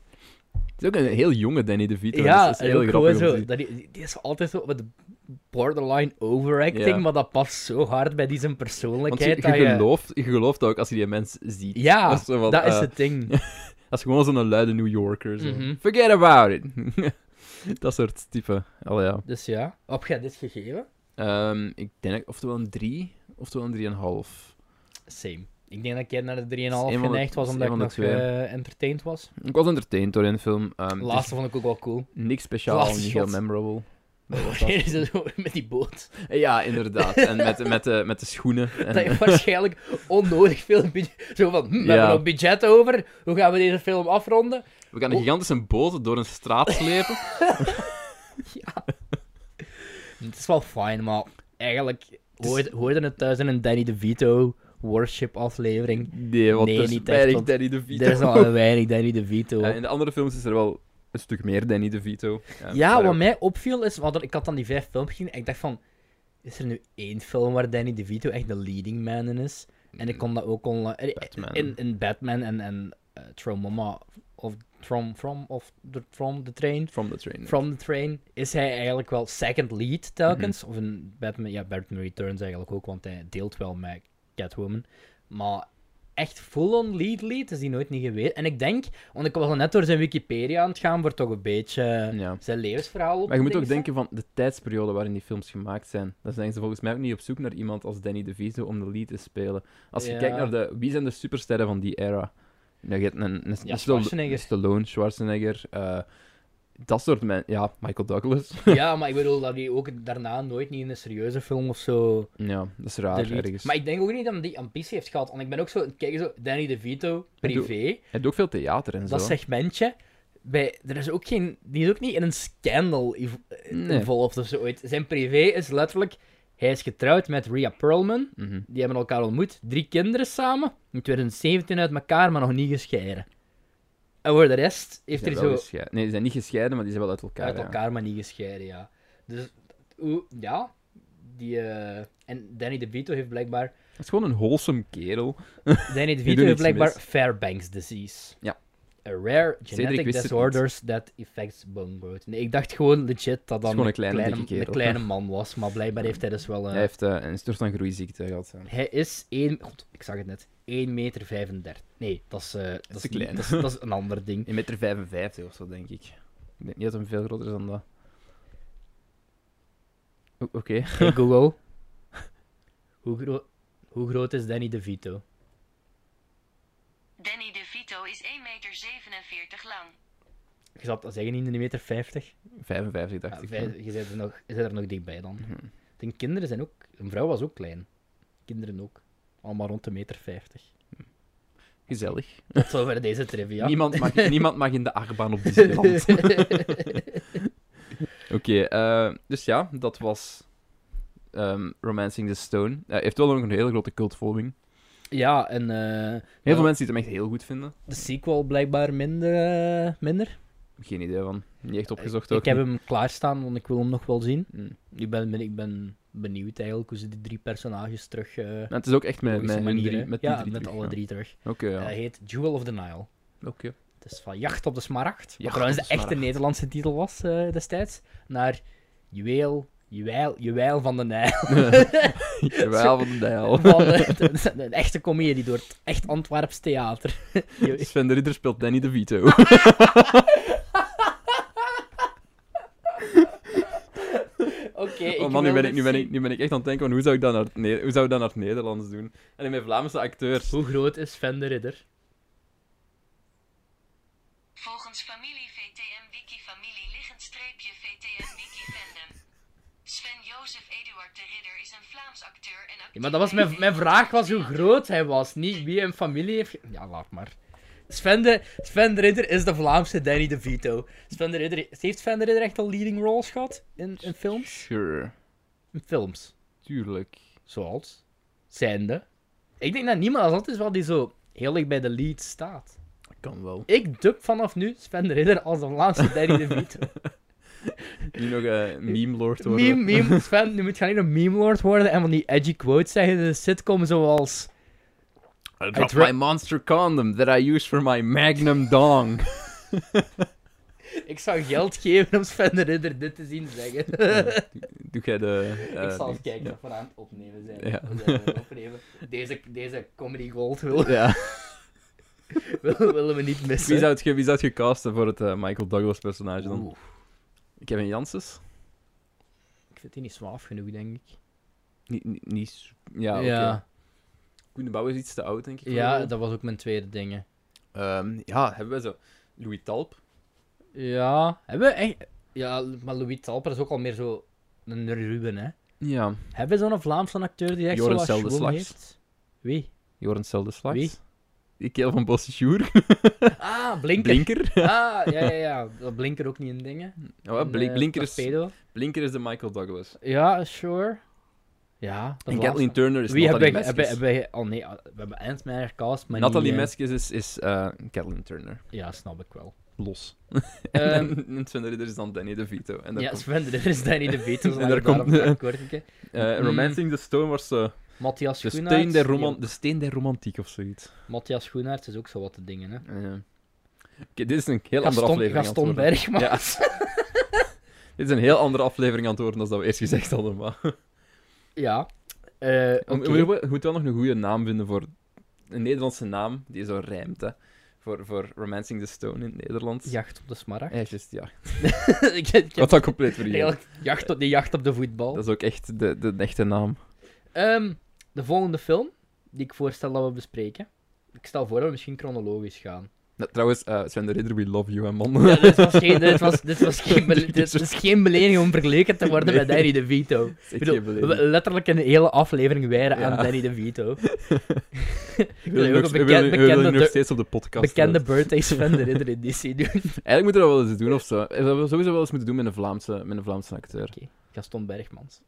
[SPEAKER 1] is ook een heel jonge Danny DeVito.
[SPEAKER 2] ja,
[SPEAKER 1] dus dat is
[SPEAKER 2] en
[SPEAKER 1] heel
[SPEAKER 2] ook
[SPEAKER 1] grappig. om te
[SPEAKER 2] gewoon zo.
[SPEAKER 1] zien.
[SPEAKER 2] Dat die, die is altijd zo met borderline overacting,
[SPEAKER 1] Ja.
[SPEAKER 2] maar dat past zo hard bij die zijn
[SPEAKER 1] Want je, je
[SPEAKER 2] persoonlijkheid. dat je-
[SPEAKER 1] gelooft, je gelooft ook als je die mens ziet.
[SPEAKER 2] Ja,
[SPEAKER 1] dat is, zo van,
[SPEAKER 2] dat is
[SPEAKER 1] eh,
[SPEAKER 2] het ding.
[SPEAKER 1] dat is gewoon zo'n luide New Yorker. Zo.
[SPEAKER 2] Mhm.
[SPEAKER 1] Forget about it. dat soort type. Allee, ja.
[SPEAKER 2] Dus ja, heb jij dit gegeven?
[SPEAKER 1] Ehm, ik denk oftewel een 3, oftewel een 3,5.
[SPEAKER 2] Same. Ik denk dat ik naar de 3,5
[SPEAKER 1] Is een van de-
[SPEAKER 2] geneigd was,
[SPEAKER 1] is
[SPEAKER 2] omdat ik
[SPEAKER 1] een
[SPEAKER 2] nog
[SPEAKER 1] van de twee.
[SPEAKER 2] eh, entertained was.
[SPEAKER 1] Ik was entertained door een film. Ehm,
[SPEAKER 2] De
[SPEAKER 1] het is
[SPEAKER 2] laatste vond ik ook wel cool.
[SPEAKER 1] niks speciaal,
[SPEAKER 2] laatste
[SPEAKER 1] niet
[SPEAKER 2] shot.
[SPEAKER 1] heel memorable. Dat was dat.
[SPEAKER 2] Wanneer ze zo met die boot.
[SPEAKER 1] Ja, inderdaad. En met, met, de, met de schoenen. En,
[SPEAKER 2] Dat je waarschijnlijk onnodig veel budget... Zo van, hm, we
[SPEAKER 1] Ja.
[SPEAKER 2] hebben nog budget over, hoe gaan we deze film afronden?
[SPEAKER 1] We gaan een gigantische boot door een straat slepen.
[SPEAKER 2] Het is wel fijn, maar eigenlijk hoorde, hoorde het thuis in een Danny DeVito worship aflevering.
[SPEAKER 1] Nee, want
[SPEAKER 2] Nee,
[SPEAKER 1] er is
[SPEAKER 2] niet echt,
[SPEAKER 1] dus weinig
[SPEAKER 2] want
[SPEAKER 1] Danny DeVito.
[SPEAKER 2] Er is nog een weinig Danny DeVito.
[SPEAKER 1] Ja, in de andere films is er wel een stuk meer Danny DeVito.
[SPEAKER 2] Ja,
[SPEAKER 1] maar
[SPEAKER 2] wat mij opviel is, want ik had dan die vijf films gezien en ik dacht van, is er nu één film waar Danny DeVito echt de leading man in is? En ik kon dat ook online... eh,
[SPEAKER 1] Batman.
[SPEAKER 2] In, in Batman en, en eh, Tromoma, of Trom, From, of the, From the Train.
[SPEAKER 1] From the Train.
[SPEAKER 2] From the Train is hij eigenlijk wel second lead telkens. Of in Batman, ja, Batman Returns eigenlijk ook, want hij deelt wel met Catwoman. Maar echt full-on lead lead is hij nooit niet geweest. En ik denk, want ik was al net door zijn Wikipedia aan het gaan, wordt toch een beetje...
[SPEAKER 1] Ja.
[SPEAKER 2] Zijn levensverhaal op
[SPEAKER 1] Maar je moet
[SPEAKER 2] te
[SPEAKER 1] ook
[SPEAKER 2] dingen
[SPEAKER 1] denken van de tijdsperiode waarin die films gemaakt zijn. Dan zijn ze volgens mij ook niet op zoek naar iemand als Danny DeVito om de lead te spelen. Als je
[SPEAKER 2] Ja.
[SPEAKER 1] kijkt naar de... Wie zijn de supersterren van die era? Nou, je hebt een, een, een, Stal-
[SPEAKER 2] Schwarzenegger.
[SPEAKER 1] een Stallone, Schwarzenegger... eh, dat soort mensen. Ja, Michael Douglas.
[SPEAKER 2] staan. Ja, maar ik bedoel dat hij ook daarna nooit niet in een serieuze film of zo.
[SPEAKER 1] ja, dat is
[SPEAKER 2] de
[SPEAKER 1] raar
[SPEAKER 2] lead-
[SPEAKER 1] ergens.
[SPEAKER 2] Maar ik denk ook niet dat hij die ambitie heeft gehad. Want ik ben ook zo, kijk zo, Danny DeVito,
[SPEAKER 1] Hij doet-
[SPEAKER 2] privé,
[SPEAKER 1] Hij doet ook veel theater en zo.
[SPEAKER 2] dat segmentje. Bij, er is ook geen, die is ook niet in een scandal ev-
[SPEAKER 1] Nee.
[SPEAKER 2] involved of zo ooit. Zijn privé is letterlijk, hij is getrouwd met Rhea Perlman.
[SPEAKER 1] Mhm.
[SPEAKER 2] Die hebben elkaar ontmoet, drie kinderen samen. In 2017 uit elkaar, maar nog niet gescheiden. En voor de rest heeft
[SPEAKER 1] Die
[SPEAKER 2] hij
[SPEAKER 1] zijn wel
[SPEAKER 2] zo
[SPEAKER 1] gescheiden. Nee, die zijn niet gescheiden, maar die zijn wel uit elkaar.
[SPEAKER 2] uit
[SPEAKER 1] ja.
[SPEAKER 2] elkaar, maar niet gescheiden, ja. Dus, oeh, ja. Die, eh, en Danny DeVito heeft blijkbaar...
[SPEAKER 1] Het is gewoon een wholesome kerel.
[SPEAKER 2] Danny
[SPEAKER 1] doet
[SPEAKER 2] DeVito heeft
[SPEAKER 1] niks
[SPEAKER 2] blijkbaar
[SPEAKER 1] mis.
[SPEAKER 2] Fairbanks disease.
[SPEAKER 1] Ja.
[SPEAKER 2] Eh, a rare
[SPEAKER 1] Cedric
[SPEAKER 2] genetic
[SPEAKER 1] wist het
[SPEAKER 2] disorders that affects bone growth. Nee, ik dacht gewoon legit dat dat
[SPEAKER 1] gewoon een kleine,
[SPEAKER 2] kleine,
[SPEAKER 1] dikke kerel.
[SPEAKER 2] een kleine man was, maar blijkbaar heeft hij dus wel... eh,
[SPEAKER 1] Hij heeft eh, een soort van groeiziekte gehad. ja.
[SPEAKER 2] Hij is 1... God, ik zag het net. 1 meter 35. Nee, dat is... eh, dat
[SPEAKER 1] te klein.
[SPEAKER 2] Dat is, dat is een ander ding.
[SPEAKER 1] 1,55 meter 55 of zo, denk ik. Ik denk niet dat hem veel groter is dan dat. O- Oké.
[SPEAKER 2] Hey Google. Hoe, gro- hoe groot is Danny DeVito?
[SPEAKER 3] Danny DeVito is 1,47 meter lang.
[SPEAKER 2] Je zat te zeggen in de meter 50.
[SPEAKER 1] 55,
[SPEAKER 2] Ja,
[SPEAKER 1] dacht ik.
[SPEAKER 2] vijf- je zit er, nog- je zit er nog dichtbij dan. Ik denk, kinderen zijn ook... Een vrouw was ook klein. Kinderen ook. Allemaal rond de meter 50.
[SPEAKER 1] Gezellig.
[SPEAKER 2] Tot zover deze trivia.
[SPEAKER 1] Niemand, mag, niemand mag in de achtbaan op Disneyland. Oké, eh, dus ja, dat was ehm, Romancing the Stone. Eh, heeft wel nog een hele grote cultvolging.
[SPEAKER 2] ja, en eh,
[SPEAKER 1] Heel
[SPEAKER 2] Ja.
[SPEAKER 1] veel mensen die het hem echt heel goed vinden.
[SPEAKER 2] de sequel blijkbaar minder. eh, minder.
[SPEAKER 1] Geen idee van. Niet echt opgezocht ook.
[SPEAKER 2] Ik heb hem klaarstaan, want ik wil hem nog wel zien.
[SPEAKER 1] Mm.
[SPEAKER 2] Ik ben, ben- ik ben benieuwd eigenlijk hoe ze die drie personages terug... eh,
[SPEAKER 1] Maar het is ook echt met,
[SPEAKER 2] logische
[SPEAKER 1] met, hun
[SPEAKER 2] manier,
[SPEAKER 1] drie,
[SPEAKER 2] hè?
[SPEAKER 1] met die
[SPEAKER 2] ja,
[SPEAKER 1] drie.
[SPEAKER 2] met
[SPEAKER 1] terug,
[SPEAKER 2] alle
[SPEAKER 1] ja.
[SPEAKER 2] drie terug.
[SPEAKER 1] Oké, ja.
[SPEAKER 2] Hij heet Jewel of the Nile.
[SPEAKER 1] Oké.
[SPEAKER 2] Het is van Jacht op de Smaragd.
[SPEAKER 1] Jacht
[SPEAKER 2] Wat trouwens
[SPEAKER 1] op
[SPEAKER 2] de
[SPEAKER 1] de
[SPEAKER 2] echte
[SPEAKER 1] Smaragd.
[SPEAKER 2] Nederlandse titel was eh, destijds. Naar Juweel, Juweel, Juweel van de Nijl.
[SPEAKER 1] Jawel, van de Dijl.
[SPEAKER 2] Van de, de- de- een echte comedie door het echt Antwerps theater. Ju-
[SPEAKER 1] Sven de Ridder speelt Danny DeVito.
[SPEAKER 2] Oké, ik
[SPEAKER 1] oh man, nu
[SPEAKER 2] wil
[SPEAKER 1] ben, ik,
[SPEAKER 2] dit
[SPEAKER 1] nu, ben ik,
[SPEAKER 2] zien.
[SPEAKER 1] nu ben ik echt aan het denken van hoe zou ik dat naar het, Ne- hoe zou ik dat naar het Nederlands doen? En met Vlaamse acteurs.
[SPEAKER 2] Hoe groot is Sven de Ridder?
[SPEAKER 3] Volgens familie VTM Wiki familie liggend streepje VTM Wiki fandom. Sven Jozef Eduard de Ridder is een Vlaams acteur en actief
[SPEAKER 2] Ja, maar dat was mijn, mijn vraag was hoe groot hij was, niet wie hem familie heeft. ge- Ja, laat maar. Sven de, Sven de Ridder is de Vlaamse Danny DeVito. Sven de Ridder, heeft Sven de Ridder echt al leading roles gehad in, in films?
[SPEAKER 1] Sure,
[SPEAKER 2] In films.
[SPEAKER 1] tuurlijk.
[SPEAKER 2] Zoals? Zijnde. Ik denk dat niemand als dat is wel die zo heel erg bij de lead staat.
[SPEAKER 1] Kan wel.
[SPEAKER 2] Ik dub vanaf nu Sven de Ridder als de Vlaamse Danny DeVito.
[SPEAKER 1] Nu nog eh meme lord worden.
[SPEAKER 2] meme, meme, Sven, nu moet je alleen een meme lord worden en van die edgy quotes zeggen in de sitcom zoals...
[SPEAKER 1] I dropped
[SPEAKER 2] dro-
[SPEAKER 1] my monster condom that I use for my magnum dong.
[SPEAKER 2] Ik zou geld geven om Sven de Ridder dit te zien zeggen.
[SPEAKER 1] Doe jij de... eh,
[SPEAKER 2] ik zal eens
[SPEAKER 1] links.
[SPEAKER 2] kijken of we aan het opnemen zijn.
[SPEAKER 1] Ja.
[SPEAKER 2] We zijn aan het opnemen. Deze, deze comedy gold wil-
[SPEAKER 1] Ja.
[SPEAKER 2] wil- willen we niet missen.
[SPEAKER 1] Wie zou het ge- wie zou het gecasten voor het eh, Michael Douglas personage dan?
[SPEAKER 2] Oeh,
[SPEAKER 1] Kevin Janssens?
[SPEAKER 2] ik vind die niet zwaaf genoeg, denk ik.
[SPEAKER 1] Niet, niet, niet s- ja, oké.
[SPEAKER 2] ja,
[SPEAKER 1] Koen de Bouw is iets te oud, denk ik. voor
[SPEAKER 2] Ja,
[SPEAKER 1] de rol.
[SPEAKER 2] dat was ook mijn tweede ding.
[SPEAKER 1] Ehm, ja, hebben we zo. Louis Talp.
[SPEAKER 2] Ja, hebben we echt... Ja, maar Louis Talper is ook al meer zo een Ruben, hè.
[SPEAKER 1] Ja.
[SPEAKER 2] Hebben we zo'n Vlaamse acteur die echt
[SPEAKER 1] Joris
[SPEAKER 2] zo'n
[SPEAKER 1] Zeldeslags.
[SPEAKER 2] schwung heeft? Wie?
[SPEAKER 1] Joran Seldeslags.
[SPEAKER 2] Wie?
[SPEAKER 1] Die kerel van Bosse Sjoer.
[SPEAKER 2] Ah, Blinker.
[SPEAKER 1] Blinker.
[SPEAKER 2] Ah, ja, ja, ja. Dat Blinker ook niet in dingen.
[SPEAKER 1] Oh, hè,
[SPEAKER 2] In,
[SPEAKER 1] Blink-
[SPEAKER 2] eh,
[SPEAKER 1] Blinker, is,
[SPEAKER 2] Torpedo.
[SPEAKER 1] Blinker is de Michael Douglas.
[SPEAKER 2] Ja, sure. Ja, dat
[SPEAKER 1] En
[SPEAKER 2] was-
[SPEAKER 1] Kathleen Turner is
[SPEAKER 2] Wie
[SPEAKER 1] Natalie
[SPEAKER 2] hebben wij,
[SPEAKER 1] Meskis.
[SPEAKER 2] hebben, hebben wij... Oh nee, we hebben Ant-Man gecast, maar
[SPEAKER 1] Natalie
[SPEAKER 2] niet, eh,
[SPEAKER 1] Meskis is, is eh, Kathleen Turner.
[SPEAKER 2] Ja, snap ik wel.
[SPEAKER 1] Los.
[SPEAKER 2] Ehm,
[SPEAKER 1] en, en Sven de Ridder is dan Danny DeVito. En dan
[SPEAKER 2] ja,
[SPEAKER 1] komt,
[SPEAKER 2] Sven, er is Danny DeVito.
[SPEAKER 1] En
[SPEAKER 2] en
[SPEAKER 1] daar
[SPEAKER 2] daar
[SPEAKER 1] komt-
[SPEAKER 2] komt... Kort,
[SPEAKER 1] eh,
[SPEAKER 2] mm.
[SPEAKER 1] Romancing the Stone was eh,
[SPEAKER 2] Matthias
[SPEAKER 1] de,
[SPEAKER 2] Schoenaerts.
[SPEAKER 1] steen der
[SPEAKER 2] die-
[SPEAKER 1] roman- de steen der romantiek of zoiets.
[SPEAKER 2] Matthias Schoenaerts is ook zo wat te dingen, hè.
[SPEAKER 1] Ja. Oké, dit is een heel andere
[SPEAKER 2] Gaston,
[SPEAKER 1] aflevering. aan het
[SPEAKER 2] Gaston
[SPEAKER 1] worden.
[SPEAKER 2] Bergman.
[SPEAKER 1] Ja. Dit is een heel andere aflevering aan het worden dan dat we eerst gezegd hadden. Maar...
[SPEAKER 2] Ja. Eh, oké.
[SPEAKER 1] We, we- we moeten wel nog een goede naam vinden voor... Een Nederlandse naam die zo rijmt, hè. Voor, voor Romancing the Stone in het Nederlands.
[SPEAKER 2] Jacht op de smaragd.
[SPEAKER 1] Ja, juist, ja.
[SPEAKER 2] ik, ik
[SPEAKER 1] Wat
[SPEAKER 2] heb
[SPEAKER 1] dan compleet vergeten.
[SPEAKER 2] eigenlijk jacht op, die jacht op de voetbal.
[SPEAKER 1] Dat is ook echt de, de echte naam.
[SPEAKER 2] Ehm, de volgende film die ik voorstel dat we bespreken. Ik stel voor dat we misschien chronologisch gaan.
[SPEAKER 1] Nou, trouwens, eh Sven de Ridder, we love you, hè, man.
[SPEAKER 2] Ja, dit was geen, dit was, dit was geen, bele- dit is geen belediging om vergeleken te worden met Danny DeVito. Ik
[SPEAKER 1] Echt geen
[SPEAKER 2] bedoel, we
[SPEAKER 1] belediging.
[SPEAKER 2] hebben letterlijk een hele aflevering wijden
[SPEAKER 1] Ja.
[SPEAKER 2] aan Danny DeVito. ik
[SPEAKER 1] We
[SPEAKER 2] wil
[SPEAKER 1] willen
[SPEAKER 2] hier
[SPEAKER 1] nog-
[SPEAKER 2] ook een
[SPEAKER 1] we willen- we
[SPEAKER 2] bekend,
[SPEAKER 1] willen
[SPEAKER 2] bekende,
[SPEAKER 1] nog
[SPEAKER 2] de,
[SPEAKER 1] steeds op de podcast.
[SPEAKER 2] bekende
[SPEAKER 1] terecht.
[SPEAKER 2] Birthday Sven de Ridder editie doen.
[SPEAKER 1] Eigenlijk moeten we dat wel eens doen of zo. Dat hebben we sowieso wel eens moeten doen met een Vlaamse, met een Vlaamse acteur.
[SPEAKER 2] Oké, Gaston Bergmans.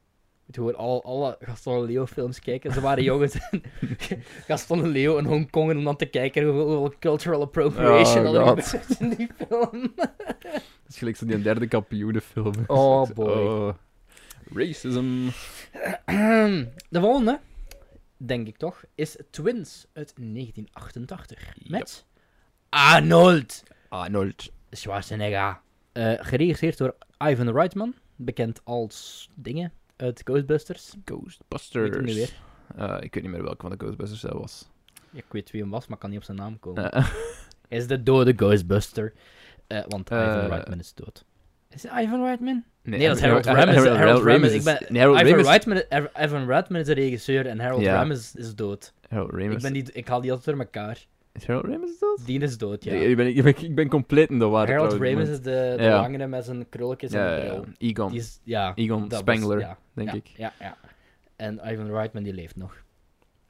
[SPEAKER 2] Je moet gewoon al, alle Gaston en Leo films kijken. Ze waren jongens. en Gaston en Leo in Hongkong om dan te kijken hoeveel cultural appropriation
[SPEAKER 1] Oh,
[SPEAKER 2] er
[SPEAKER 1] God.
[SPEAKER 2] gebeurt in die film.
[SPEAKER 1] Dat is gelijk zo die derde kampioenenfilm.
[SPEAKER 2] Oh, boy.
[SPEAKER 1] Oh. Racism.
[SPEAKER 2] De volgende, denk ik toch, is Twins uit 1988. Met Arnold
[SPEAKER 1] Arnold.
[SPEAKER 2] Schwarzenegger. Eh, geregisseerd door Ivan Reitman, bekend als dingen uit Ghostbusters. Weet hem nu
[SPEAKER 1] Ghostbusters.
[SPEAKER 2] weer.
[SPEAKER 1] Eh, ik weet niet meer welke van de Ghostbusters dat was.
[SPEAKER 2] Ja, ik weet wie hem was, maar ik kan niet op zijn naam komen.
[SPEAKER 1] Eh,
[SPEAKER 2] Is de dode Ghostbuster. Eh, want Ivan
[SPEAKER 1] Eh.
[SPEAKER 2] Reitman is dood. Is het Ivan Reitman?
[SPEAKER 1] nee,
[SPEAKER 2] dat is Harold
[SPEAKER 1] Har-
[SPEAKER 2] Ramis.
[SPEAKER 1] Har- Har-
[SPEAKER 2] Harold
[SPEAKER 1] Harold
[SPEAKER 2] Ramis,
[SPEAKER 1] Ramis
[SPEAKER 2] ik
[SPEAKER 1] is-
[SPEAKER 2] ben-
[SPEAKER 1] nee, Harold
[SPEAKER 2] Ivan
[SPEAKER 1] Ramis-
[SPEAKER 2] Reitman, Iv- Ivan Reitman is de regisseur en Harold
[SPEAKER 1] Ja.
[SPEAKER 2] Ramis is dood.
[SPEAKER 1] Harold
[SPEAKER 2] Ik,
[SPEAKER 1] Ramis.
[SPEAKER 2] ben die, ik haal die altijd door elkaar.
[SPEAKER 1] Is Harold Ramis dat?
[SPEAKER 2] Die is dood, ja.
[SPEAKER 1] Nee, ik, ben, ik, ben, ik ben compleet in de war.
[SPEAKER 2] Harold
[SPEAKER 1] trouwens,
[SPEAKER 2] Ramis
[SPEAKER 1] maar-
[SPEAKER 2] is de, de
[SPEAKER 1] Ja.
[SPEAKER 2] langere met zijn krulletjes
[SPEAKER 1] Ja,
[SPEAKER 2] en
[SPEAKER 1] ja,
[SPEAKER 2] bril.
[SPEAKER 1] ja. Egon.
[SPEAKER 2] Die is, ja,
[SPEAKER 1] Egon
[SPEAKER 2] dat was-
[SPEAKER 1] Spengler,
[SPEAKER 2] ja,
[SPEAKER 1] denk
[SPEAKER 2] ja,
[SPEAKER 1] ik.
[SPEAKER 2] Ja, ja. En Ivan Reitman die leeft nog.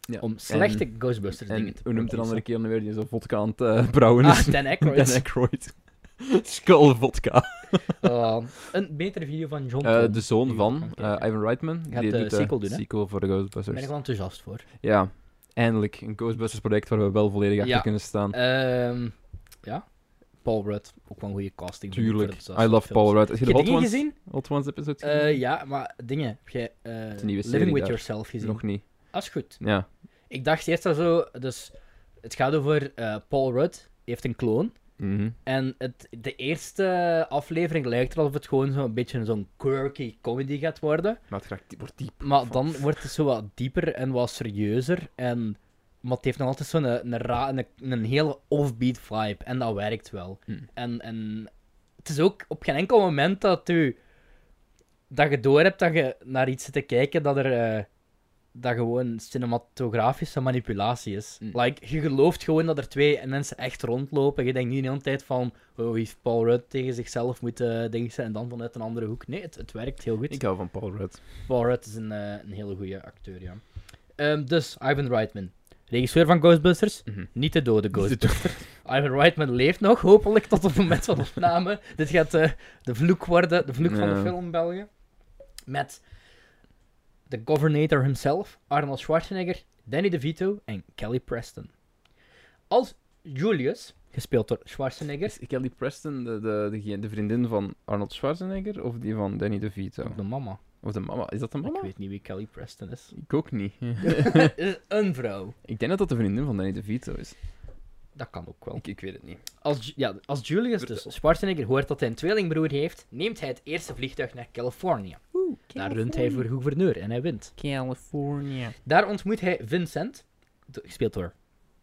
[SPEAKER 1] Ja.
[SPEAKER 2] Om slechte Ghostbusters
[SPEAKER 1] En,
[SPEAKER 2] dingen
[SPEAKER 1] en
[SPEAKER 2] te
[SPEAKER 1] hoe noemt de andere
[SPEAKER 2] produceren.
[SPEAKER 1] kerel nu weer die zo vodka aan het eh, brouwen
[SPEAKER 2] Ah,
[SPEAKER 1] is?
[SPEAKER 2] Dan Aykroyd.
[SPEAKER 1] Dan Aykroyd. Skull vodka.
[SPEAKER 2] Oh, een betere video van John
[SPEAKER 1] Eh,
[SPEAKER 2] Tom.
[SPEAKER 1] de zoon
[SPEAKER 2] Die
[SPEAKER 1] van
[SPEAKER 2] gaan
[SPEAKER 1] eh,
[SPEAKER 2] kijken.
[SPEAKER 1] Ivan Reitman.
[SPEAKER 2] Gaat
[SPEAKER 1] die
[SPEAKER 2] de
[SPEAKER 1] doet de
[SPEAKER 2] sequel doen, hè?
[SPEAKER 1] sequel voor de
[SPEAKER 2] Daar ben ik
[SPEAKER 1] Ghostbusters.
[SPEAKER 2] wel enthousiast voor.
[SPEAKER 1] Ja, eindelijk. Een Ghostbusters project waar we wel volledig achter
[SPEAKER 2] Ja.
[SPEAKER 1] kunnen staan.
[SPEAKER 2] Ehm, ja. Paul Rudd, ook wel een goede casting. vind ik, voor
[SPEAKER 1] Tuurlijk.
[SPEAKER 2] dat soort
[SPEAKER 1] I love
[SPEAKER 2] films.
[SPEAKER 1] Paul Rudd. Heb je
[SPEAKER 2] Heb
[SPEAKER 1] de
[SPEAKER 2] je
[SPEAKER 1] Hot
[SPEAKER 2] dingen
[SPEAKER 1] Ones,
[SPEAKER 2] gezien?
[SPEAKER 1] Hot Ones episode
[SPEAKER 2] Eh,
[SPEAKER 1] gezien?
[SPEAKER 2] ja, maar dingen. Heb jij eh,
[SPEAKER 1] een nieuwe
[SPEAKER 2] Living
[SPEAKER 1] serie
[SPEAKER 2] With
[SPEAKER 1] daar.
[SPEAKER 2] Yourself gezien?
[SPEAKER 1] Nog niet.
[SPEAKER 2] Dat is goed.
[SPEAKER 1] Ja.
[SPEAKER 2] Ik dacht eerst al zo... Dus, het gaat over eh, Paul Rudd. heeft een kloon.
[SPEAKER 1] Mhm.
[SPEAKER 2] En het, de eerste aflevering lijkt erop of het gewoon zo'n beetje zo'n quirky comedy gaat worden.
[SPEAKER 1] Maar het raakt- wordt diep.
[SPEAKER 2] Maar dan wordt het zo wat dieper en wat serieuzer. En, maar het heeft nog altijd zo'n een, ra- een, een hele offbeat vibe. En dat werkt wel.
[SPEAKER 1] Hmm.
[SPEAKER 2] En, en het is ook op geen enkel moment dat, u, dat je door hebt dat je naar iets zit te kijken dat er. eh, dat gewoon cinematografische manipulatie is.
[SPEAKER 1] Hmm.
[SPEAKER 2] Like, je gelooft gewoon dat er twee mensen echt rondlopen. Je denkt niet de hele tijd van... Oh, heeft Paul Rudd tegen zichzelf moeten denken en dan vanuit een andere hoek. Nee, het, het werkt heel goed.
[SPEAKER 1] Ik hou van Paul Rudd.
[SPEAKER 2] Paul Rudd is een, eh, een hele goede acteur, ja. Ehm, dus, Ivan Reitman. Regisseur van Ghostbusters.
[SPEAKER 1] Mhm.
[SPEAKER 2] Niet de dode Ghostbusters. Ivan Reitman leeft nog, hopelijk, tot op het moment van opname. Dit gaat eh, de vloek worden, de vloek van de
[SPEAKER 1] Ja.
[SPEAKER 2] film België. Met de governator himself, Arnold Schwarzenegger, Danny DeVito en Kelly Preston. Als Julius, gespeeld door Schwarzenegger.
[SPEAKER 1] Is Kelly Preston de, de, degene- de vriendin van Arnold Schwarzenegger of die van Danny DeVito?
[SPEAKER 2] De mama.
[SPEAKER 1] Of de mama? Is dat de mama? Ik,
[SPEAKER 2] Ik weet niet wie Kelly Preston is.
[SPEAKER 1] ook niet.
[SPEAKER 2] is een vrouw.
[SPEAKER 1] ik denk dat dat de vriendin van Danny DeVito is.
[SPEAKER 2] Dat kan ook wel.
[SPEAKER 1] Ik, ik weet het niet.
[SPEAKER 2] Als, Ju- ja, als Julius dus Schwarzenegger hoort dat hij een tweelingbroer heeft, neemt hij het eerste vliegtuig naar Californië. Daar runt hij voor gouverneur en hij wint.
[SPEAKER 1] California.
[SPEAKER 2] Daar ontmoet hij Vincent, do- gespeeld door